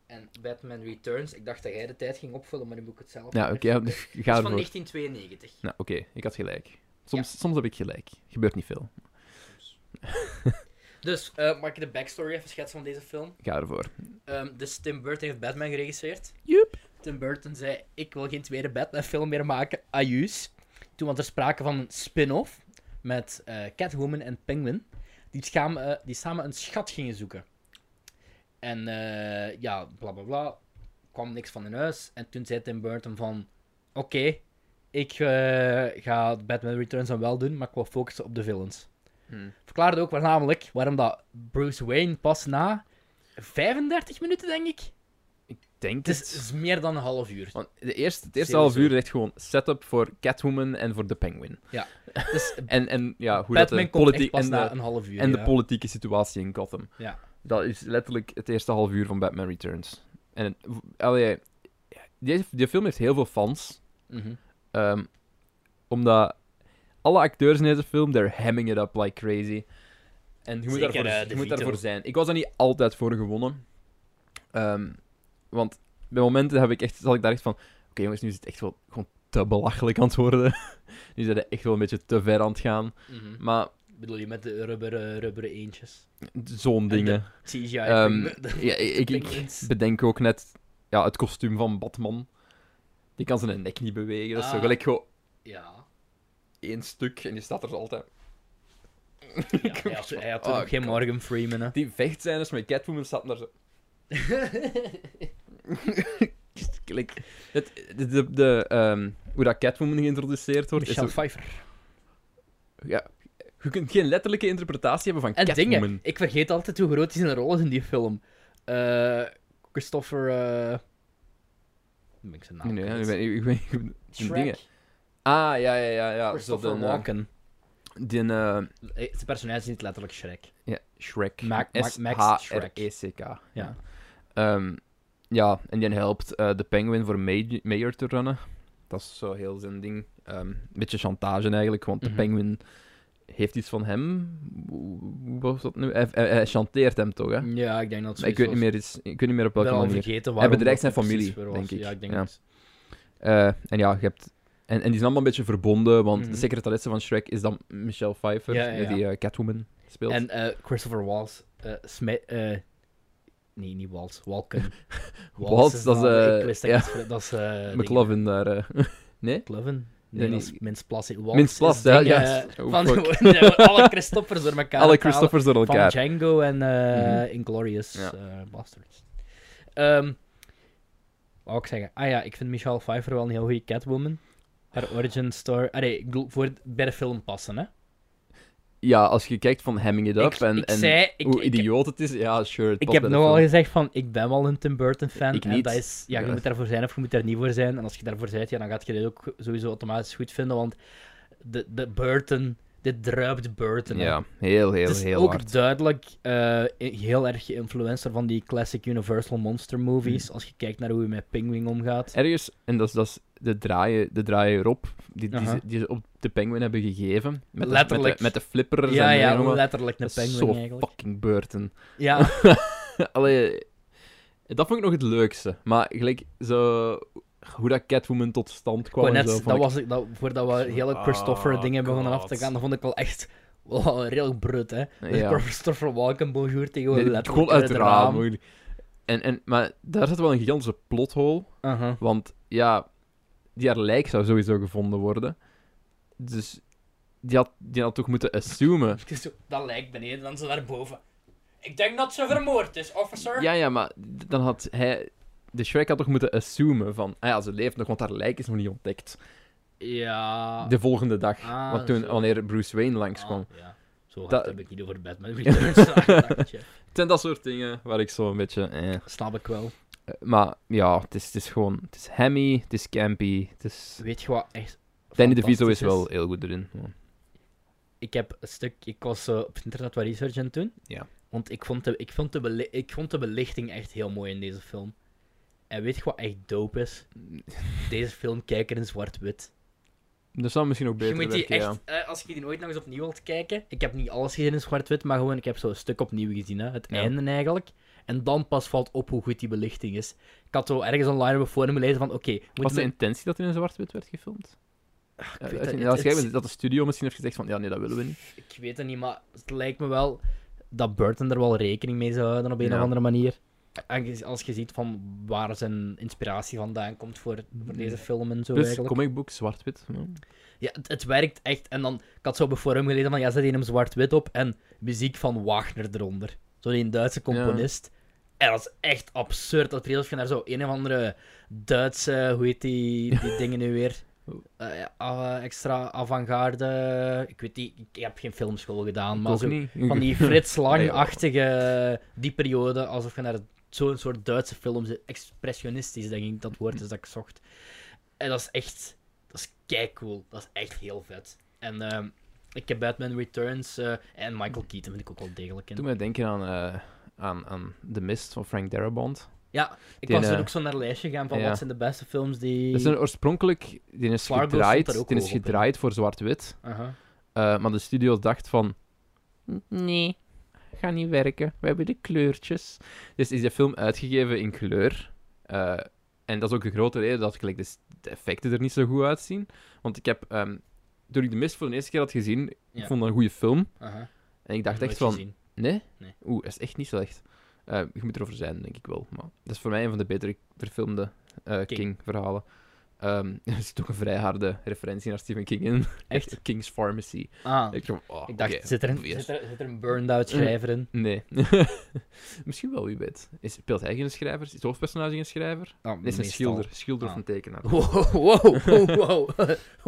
[SPEAKER 2] En Batman Returns, ik dacht dat jij de tijd ging opvullen, maar nu moet ik het zelf
[SPEAKER 1] Ja,
[SPEAKER 2] doen.
[SPEAKER 1] oké. ja,
[SPEAKER 2] Dat
[SPEAKER 1] ga
[SPEAKER 2] is van
[SPEAKER 1] ervoor.
[SPEAKER 2] 1992.
[SPEAKER 1] Nou, oké. ik had gelijk. Soms, soms heb ik gelijk. Gebeurt niet veel.
[SPEAKER 2] Dus, eh, mag ik de backstory even schetsen van deze film?
[SPEAKER 1] Ga ervoor.
[SPEAKER 2] Ehm, dus Tim Burton heeft Batman geregisseerd.
[SPEAKER 1] Joep.
[SPEAKER 2] Tim Burton zei, ik wil geen tweede Batman film meer maken, ajuus. Toen was er sprake van een spin-off met eh, Catwoman en Penguin, die samen, eh, die samen een schat gingen zoeken. En eh, ja, bla bla bla, kwam niks van in huis. En toen zei Tim Burton van, oké, ik eh, ga Batman Returns dan wel doen, maar ik wil focussen op de villains.
[SPEAKER 1] Hmm.
[SPEAKER 2] Verklaarde ook wel namelijk waarom dat Bruce Wayne pas na 35 minuten, denk ik,
[SPEAKER 1] Denk
[SPEAKER 2] het is, het
[SPEAKER 1] het.
[SPEAKER 2] is meer dan een half uur.
[SPEAKER 1] Want de eerste, het eerste
[SPEAKER 2] Sowieso.
[SPEAKER 1] half uur is echt gewoon setup voor Catwoman en voor de Penguin.
[SPEAKER 2] Dus
[SPEAKER 1] En, en ja, hoe
[SPEAKER 2] Batman
[SPEAKER 1] dat de
[SPEAKER 2] komt echt
[SPEAKER 1] politiek
[SPEAKER 2] pas
[SPEAKER 1] en, de,
[SPEAKER 2] na een half uur.
[SPEAKER 1] en
[SPEAKER 2] ja.
[SPEAKER 1] de politieke situatie in Gotham.
[SPEAKER 2] Ja.
[SPEAKER 1] Dat is letterlijk het eerste half uur van Batman Returns. En het- allee, die, die film heeft heel veel fans.
[SPEAKER 2] Mhm.
[SPEAKER 1] ehm, omdat alle acteurs in deze film, they're hamming it up like crazy. En je moet,
[SPEAKER 2] Zeker,
[SPEAKER 1] daarvoor,
[SPEAKER 2] eh,
[SPEAKER 1] je
[SPEAKER 2] De
[SPEAKER 1] moet
[SPEAKER 2] Vito.
[SPEAKER 1] daarvoor zijn. Ik was er niet altijd voor gewonnen. Ehm, want bij momenten heb ik echt, zat ik daar echt van... Oké jongens, nu is het echt wel gewoon te belachelijk aan het worden. nu zijn ze echt wel een beetje te ver aan het gaan.
[SPEAKER 2] Mhm.
[SPEAKER 1] Maar
[SPEAKER 2] Bedoel je met de rubber, eh, rubberen eentjes?
[SPEAKER 1] zo'n
[SPEAKER 2] de-
[SPEAKER 1] dingen...
[SPEAKER 2] CGI.
[SPEAKER 1] Ehm,
[SPEAKER 2] de- de-
[SPEAKER 1] Ja, ik, ik
[SPEAKER 2] penguins.
[SPEAKER 1] bedenk ook net ja, het kostuum van Batman. Die kan zijn nek niet bewegen. Dat is zo
[SPEAKER 2] Ah.
[SPEAKER 1] gelijk gewoon
[SPEAKER 2] Ja.
[SPEAKER 1] één stuk en die staat er altijd.
[SPEAKER 2] ja hij had, hij had toen
[SPEAKER 1] Oh,
[SPEAKER 2] ook geen
[SPEAKER 1] God.
[SPEAKER 2] Morgan Freeman. Hè.
[SPEAKER 1] Die vechtscènes met Catwoman staat daar zo. Gelijk. Het, de, de, de, ehm, hoe dat Catwoman geïntroduceerd wordt. Is
[SPEAKER 2] Michelle
[SPEAKER 1] zo-
[SPEAKER 2] Pfeiffer.
[SPEAKER 1] ja, je kunt geen letterlijke interpretatie hebben van
[SPEAKER 2] En
[SPEAKER 1] Catwoman.
[SPEAKER 2] dingen. Ik vergeet altijd hoe groot hij zijn rol is in die film. Eh, Christopher... eh, nu ben ik zijn naam
[SPEAKER 1] Nee,
[SPEAKER 2] kwijt.
[SPEAKER 1] ik ben, ik ben, ik ben-
[SPEAKER 2] Ah, Shrek.
[SPEAKER 1] dingen. Ah, ja, ja, ja. ja. Zo
[SPEAKER 2] Christopher
[SPEAKER 1] de, eh,
[SPEAKER 2] Walken.
[SPEAKER 1] die, eh,
[SPEAKER 2] Eh, Zijn personage is niet letterlijk Shrek.
[SPEAKER 1] Ja, Shrek.
[SPEAKER 2] Mac- Mac- Max Shrek.
[SPEAKER 1] E S-H-R-E-C-K.
[SPEAKER 2] Ja.
[SPEAKER 1] Ehm, ja, en die helpt eh, de penguin voor ma- mayor te runnen. Dat is zo heel zijn ding. Ehm, een beetje chantage eigenlijk, want
[SPEAKER 2] Mhm.
[SPEAKER 1] de penguin heeft iets van hem. Hoe hoe was dat nu? Hij, hij, hij chanteert hem toch, hè?
[SPEAKER 2] Ja, ik denk dat
[SPEAKER 1] Maar ik, weet niet meer iets, ik weet niet meer op
[SPEAKER 2] wel
[SPEAKER 1] welke manier.
[SPEAKER 2] vergeten
[SPEAKER 1] Hij
[SPEAKER 2] waarom
[SPEAKER 1] bedreigt
[SPEAKER 2] dat
[SPEAKER 1] zijn
[SPEAKER 2] precies
[SPEAKER 1] familie,
[SPEAKER 2] weer was.
[SPEAKER 1] denk ik.
[SPEAKER 2] Ja, ik denk
[SPEAKER 1] Ja.
[SPEAKER 2] dat.
[SPEAKER 1] Eh, en ja, je hebt... En, en die is allemaal een beetje verbonden, want
[SPEAKER 2] Mhm.
[SPEAKER 1] de secretaresse van Shrek is dan Michelle Pfeiffer,
[SPEAKER 2] Ja, ja,
[SPEAKER 1] eh, die eh, Catwoman speelt.
[SPEAKER 2] En eh, Christopher Waltz eh smijt... eh, nee, niet Waltz. Walken.
[SPEAKER 1] Waltz, dat is, eh,
[SPEAKER 2] ik wist dat
[SPEAKER 1] ja.
[SPEAKER 2] ik het- Dat is... eh,
[SPEAKER 1] McLovin daar. eh. nee?
[SPEAKER 2] ding. McLovin? Nee,
[SPEAKER 1] Nee,
[SPEAKER 2] dat
[SPEAKER 1] nee.
[SPEAKER 2] is Mince Plas. Waltz
[SPEAKER 1] Mince Plas,
[SPEAKER 2] is
[SPEAKER 1] ja,
[SPEAKER 2] ding,
[SPEAKER 1] ja.
[SPEAKER 2] eh,
[SPEAKER 1] Oh,
[SPEAKER 2] van
[SPEAKER 1] fuck.
[SPEAKER 2] de- alle Christophers door elkaar
[SPEAKER 1] Alle
[SPEAKER 2] te halen.
[SPEAKER 1] Christophers door
[SPEAKER 2] Van
[SPEAKER 1] elkaar.
[SPEAKER 2] Django en eh
[SPEAKER 1] Mhm.
[SPEAKER 2] Inglorious eh,
[SPEAKER 1] Ja.
[SPEAKER 2] Bastards. Ehm, wat wou ik zeggen? Ah ja, ik vind Michelle Pfeiffer wel een heel goede Catwoman. Haar origin story... Allee, ik bedoel, voor bij de film passen, hè.
[SPEAKER 1] Ja, als je kijkt van Hemming It Up
[SPEAKER 2] ik,
[SPEAKER 1] en,
[SPEAKER 2] ik
[SPEAKER 1] en
[SPEAKER 2] zei... Ik,
[SPEAKER 1] hoe
[SPEAKER 2] ik,
[SPEAKER 1] idioot het is, ja, sure. het
[SPEAKER 2] ik
[SPEAKER 1] past
[SPEAKER 2] heb
[SPEAKER 1] bij de
[SPEAKER 2] nogal
[SPEAKER 1] film.
[SPEAKER 2] gezegd van, ik ben wel een Tim Burton fan.
[SPEAKER 1] Ik
[SPEAKER 2] En
[SPEAKER 1] niet.
[SPEAKER 2] dat is, ja, je
[SPEAKER 1] Ja.
[SPEAKER 2] moet daarvoor zijn of je moet daar niet voor zijn. En als je daarvoor bent, ja, dan gaat je dit ook sowieso automatisch goed vinden. Want de, de Burton, dit druipt Burton. hè.
[SPEAKER 1] Ja, heel, heel,
[SPEAKER 2] het is
[SPEAKER 1] heel
[SPEAKER 2] ook
[SPEAKER 1] hard.
[SPEAKER 2] duidelijk eh, i- heel erg geïnfluenced van die classic Universal monster movies.
[SPEAKER 1] Mm.
[SPEAKER 2] Als je kijkt naar hoe hij met Penguin omgaat.
[SPEAKER 1] Ergens, en dat is, dat is de, draaien, de draaien erop, die, die,
[SPEAKER 2] Aha.
[SPEAKER 1] ze, die ze op de penguin hebben gegeven. Met de- Met
[SPEAKER 2] Letterlijk.
[SPEAKER 1] De, met de, flippers
[SPEAKER 2] Ja,
[SPEAKER 1] en
[SPEAKER 2] ja,
[SPEAKER 1] en allemaal.
[SPEAKER 2] letterlijk een
[SPEAKER 1] Dat is
[SPEAKER 2] penguin
[SPEAKER 1] zo
[SPEAKER 2] eigenlijk.
[SPEAKER 1] fucking Burton.
[SPEAKER 2] Ja,
[SPEAKER 1] Allee, dat vond ik nog het leukste. Maar gelijk, zo, hoe dat Catwoman tot stand kwam
[SPEAKER 2] gewoon
[SPEAKER 1] en zo,
[SPEAKER 2] net,
[SPEAKER 1] vond
[SPEAKER 2] dat
[SPEAKER 1] ik-
[SPEAKER 2] was, ik- dat, voordat we hele Christopher
[SPEAKER 1] Ah,
[SPEAKER 2] dingen begonnen af
[SPEAKER 1] God.
[SPEAKER 2] te gaan, dat vond ik wel echt wel redelijk brut, hè. Dus
[SPEAKER 1] Ja.
[SPEAKER 2] Christopher Walken, bonjour, tegen
[SPEAKER 1] Nee,
[SPEAKER 2] letterlijk
[SPEAKER 1] gewoon uit het
[SPEAKER 2] het
[SPEAKER 1] raam.
[SPEAKER 2] raam.
[SPEAKER 1] moeilijk. En, en, maar daar zat wel een gigantische plothole.
[SPEAKER 2] Aha.
[SPEAKER 1] Want ja, die haar lijk zou sowieso gevonden worden. Dus die had, die had toch moeten assumen.
[SPEAKER 2] Het is zo- Dat lijkt beneden, dan ze daarboven. Ik denk dat ze vermoord is, officer.
[SPEAKER 1] Ja, ja, maar dan had hij. De Shrek had toch moeten assumen van. Ah ja, ze leeft nog, want haar lijk is nog niet ontdekt.
[SPEAKER 2] Ja.
[SPEAKER 1] De volgende dag.
[SPEAKER 2] Ah,
[SPEAKER 1] want toen,
[SPEAKER 2] zo.
[SPEAKER 1] wanneer Bruce Wayne langskwam.
[SPEAKER 2] Ah, ja. Zo hard
[SPEAKER 1] Dat-
[SPEAKER 2] heb ik niet over Batman Returns nagedacht, ja.
[SPEAKER 1] Het zijn dat soort dingen waar ik zo een beetje. Eh.
[SPEAKER 2] Snap ik wel.
[SPEAKER 1] Maar ja, het is, het is gewoon. Het is hammy, het is campy. Het is...
[SPEAKER 2] Weet je wat echt
[SPEAKER 1] Danny DeVito is
[SPEAKER 2] fantastisch
[SPEAKER 1] wel heel goed erin. Ja.
[SPEAKER 2] Ik heb een stuk... Ik was eh, op het internet wat research aan het doen.
[SPEAKER 1] Ja.
[SPEAKER 2] Want ik vond, de, ik, vond de beli- ik vond de belichting echt heel mooi in deze film. En weet je wat echt dope is? Deze film kijken in zwart-wit.
[SPEAKER 1] Dat zou misschien ook
[SPEAKER 2] Je
[SPEAKER 1] beter
[SPEAKER 2] moet die
[SPEAKER 1] werken,
[SPEAKER 2] echt... eh, als je die ooit nog eens opnieuw wilt kijken... Ik heb niet alles gezien in zwart-wit, maar gewoon... Ik heb zo'n stuk opnieuw gezien, hè. Het
[SPEAKER 1] Ja.
[SPEAKER 2] einde eigenlijk. En dan pas valt op hoe goed die belichting is. Ik had zo ergens online op een forum gelezen van... Oké,
[SPEAKER 1] ja.
[SPEAKER 2] moeten
[SPEAKER 1] Was de
[SPEAKER 2] we
[SPEAKER 1] intentie dat er in zwart-wit werd gefilmd? Ja,
[SPEAKER 2] Ah, weet
[SPEAKER 1] als
[SPEAKER 2] dat-
[SPEAKER 1] je-
[SPEAKER 2] het-
[SPEAKER 1] als jij
[SPEAKER 2] het-
[SPEAKER 1] bent- dat de studio misschien heeft gezegd van, ja, nee, dat willen we niet.
[SPEAKER 2] Ik weet het niet, maar het lijkt me wel dat Burton er wel rekening mee zou houden op een
[SPEAKER 1] Ja.
[SPEAKER 2] of andere manier. Aangez- Als je ziet van waar zijn inspiratie vandaan komt voor, voor deze film en zo
[SPEAKER 1] Dus
[SPEAKER 2] eigenlijk.
[SPEAKER 1] comic book zwart-wit. ja.
[SPEAKER 2] Ja, het, het werkt echt. En dan, ik had zo op een forum gelezen van, ja, zet hier hem zwart-wit op en muziek van Wagner eronder. Zo'n Duitse componist. En dat is echt absurd. Dat precies of je naar zo een of andere Duitse, hoe heet die, die dingen nu weer? Eh, ja, eh, extra avant-garde. Ik weet niet, ik heb geen filmschool gedaan, maar
[SPEAKER 1] Toch
[SPEAKER 2] zo,
[SPEAKER 1] niet?
[SPEAKER 2] van die Frits
[SPEAKER 1] Nee,
[SPEAKER 2] Lang-achtige die periode, alsof je naar zo'n soort Duitse film zit. Expressionistisch, denk ik, dat woord is dat ik zocht. En dat is echt, dat is kei cool. Dat is echt heel vet. En ehm, ik heb Batman Returns eh, en Michael Keaton vind ik ook wel degelijk
[SPEAKER 1] Doe
[SPEAKER 2] in.
[SPEAKER 1] mij denken aan, eh, aan, aan The Mist van Frank Darabont.
[SPEAKER 2] Ja, ik
[SPEAKER 1] Die,
[SPEAKER 2] was er
[SPEAKER 1] eh,
[SPEAKER 2] ook zo naar een lijstje gaan van
[SPEAKER 1] ja.
[SPEAKER 2] wat zijn de beste films die.
[SPEAKER 1] Dat is een oorspronkelijk... Die is
[SPEAKER 2] Fargo stond daar
[SPEAKER 1] gedraaid,
[SPEAKER 2] ook
[SPEAKER 1] die is
[SPEAKER 2] hoog op, hè?
[SPEAKER 1] gedraaid voor zwart-wit.
[SPEAKER 2] Aha.
[SPEAKER 1] eh, maar de studio dacht van... Nee, gaat niet werken. We hebben de kleurtjes. Dus is de film uitgegeven in kleur. Eh, en dat is ook de grote reden dat gelijk, de, s- de effecten er niet zo goed uitzien. Want ik heb... ehm, toen ik De Mist voor de eerste keer had gezien,
[SPEAKER 2] Ja.
[SPEAKER 1] ik vond dat een goede film.
[SPEAKER 2] aha.
[SPEAKER 1] En ik dacht
[SPEAKER 2] Nooit
[SPEAKER 1] echt van...
[SPEAKER 2] gezien.
[SPEAKER 1] Nee?
[SPEAKER 2] Nee.
[SPEAKER 1] Oeh, dat is echt niet slecht. Eh, je moet erover zijn, denk ik wel. Maar dat is voor mij een van de betere verfilmde eh,
[SPEAKER 2] King.
[SPEAKER 1] King-verhalen. Ehm, er zit ook een vrij harde referentie naar Stephen King in.
[SPEAKER 2] Echt?
[SPEAKER 1] King's Pharmacy.
[SPEAKER 2] Ah,
[SPEAKER 1] Ik, dacht, oh,
[SPEAKER 2] ik dacht,
[SPEAKER 1] oké,
[SPEAKER 2] zit, er een,
[SPEAKER 1] obvious. Mm.
[SPEAKER 2] zit, er, zit er een burned-out schrijver in?
[SPEAKER 1] Nee. Misschien wel, wie weet. Is, speelt hij geen schrijver? Is het hoofdpersonage geen schrijver?
[SPEAKER 2] Ah,
[SPEAKER 1] Nee, is een
[SPEAKER 2] meestal.
[SPEAKER 1] schilder. Schilder
[SPEAKER 2] Ah.
[SPEAKER 1] of een tekenaar.
[SPEAKER 2] Wow, wow, wow, wow.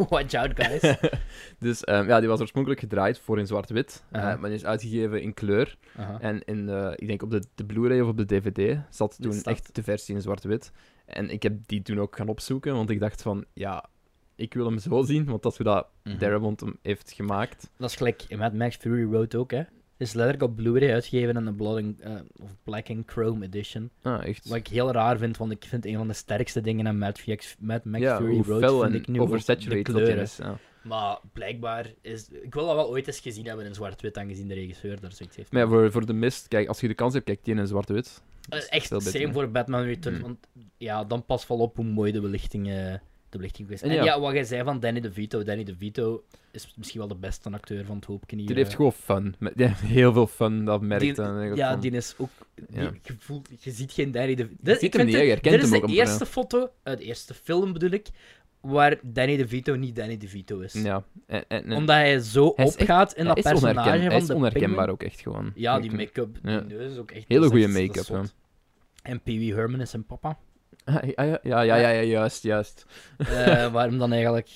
[SPEAKER 2] Watch out, guys.
[SPEAKER 1] Dus ehm, ja, die was oorspronkelijk gedraaid voor in zwart-wit. eh,
[SPEAKER 2] Aha. Ah.
[SPEAKER 1] maar die is uitgegeven in kleur.
[SPEAKER 2] Aha.
[SPEAKER 1] En in, eh, ik denk op de, de Blu-ray of op de DVD zat toen
[SPEAKER 2] staat-
[SPEAKER 1] echt de versie in zwart-wit. En ik heb die toen ook gaan opzoeken, want ik dacht van, ja, ik wil hem zo zien, want dat is hoe dat
[SPEAKER 2] Mhm.
[SPEAKER 1] Darabont hem heeft gemaakt.
[SPEAKER 2] Dat is gelijk in Mad Max Fury Road ook, hè. Het is letterlijk op Blu-ray uitgegeven in de Blood and- eh, of Black and Chrome Edition.
[SPEAKER 1] Ah, echt.
[SPEAKER 2] Wat ik heel raar vind, want ik vind een van de sterkste dingen aan Mad, Max- Mad Max
[SPEAKER 1] ja,
[SPEAKER 2] Fury
[SPEAKER 1] hoe
[SPEAKER 2] Road
[SPEAKER 1] fel
[SPEAKER 2] vind
[SPEAKER 1] en
[SPEAKER 2] ik nu ook de
[SPEAKER 1] oversaturated dat die
[SPEAKER 2] kleuren.
[SPEAKER 1] is. Ja.
[SPEAKER 2] Maar blijkbaar is... Ik wil dat wel ooit eens gezien hebben in zwart-wit, aangezien de regisseur daar zoiets heeft.
[SPEAKER 1] Maar ja, voor, voor de mist, kijk, als je de kans hebt, kijk die in zwart-wit.
[SPEAKER 2] Eh,
[SPEAKER 1] is
[SPEAKER 2] Echt
[SPEAKER 1] veel beter,
[SPEAKER 2] same
[SPEAKER 1] hè.
[SPEAKER 2] voor Batman Returns,
[SPEAKER 1] Mm.
[SPEAKER 2] want ja, dan pas wel op hoe mooi de belichting, eh, de belichting is. En,
[SPEAKER 1] En
[SPEAKER 2] ja.
[SPEAKER 1] ja.
[SPEAKER 2] wat jij zei van Danny DeVito. Danny DeVito is misschien wel de beste acteur van het hoopje hier.
[SPEAKER 1] Die heeft
[SPEAKER 2] eh.
[SPEAKER 1] gewoon fun. Met- Die heeft heel veel fun, dat merkt
[SPEAKER 2] Die-
[SPEAKER 1] dan eigenlijk
[SPEAKER 2] Ja,
[SPEAKER 1] van-
[SPEAKER 2] die is ook... die-
[SPEAKER 1] Ja.
[SPEAKER 2] je, voelt, je ziet geen Danny DeVito.
[SPEAKER 1] ziet hem niet, hè, je herkent
[SPEAKER 2] dit
[SPEAKER 1] hem
[SPEAKER 2] is de
[SPEAKER 1] ook amper,
[SPEAKER 2] eerste foto, eh, de eerste film bedoel ik, waar Danny DeVito niet Danny DeVito is.
[SPEAKER 1] Ja. En, en, en-
[SPEAKER 2] Omdat hij zo
[SPEAKER 1] Hij is echt-
[SPEAKER 2] opgaat in dat
[SPEAKER 1] hij is, onherken-
[SPEAKER 2] personage van
[SPEAKER 1] hij is
[SPEAKER 2] de
[SPEAKER 1] onherkenbaar
[SPEAKER 2] Penguin.
[SPEAKER 1] ook echt gewoon.
[SPEAKER 2] Ja, die
[SPEAKER 1] Ik-
[SPEAKER 2] make-up, die
[SPEAKER 1] Ja.
[SPEAKER 2] neus is ook echt...
[SPEAKER 1] Hele
[SPEAKER 2] dat is
[SPEAKER 1] goede
[SPEAKER 2] echt- dat
[SPEAKER 1] make-up,
[SPEAKER 2] is
[SPEAKER 1] ja.
[SPEAKER 2] zot. En Pee Wee Herman is zijn papa.
[SPEAKER 1] Ah, Ja, ja, ja, ja, ja, ja, juist, juist.
[SPEAKER 2] Eh, waarom dan eigenlijk...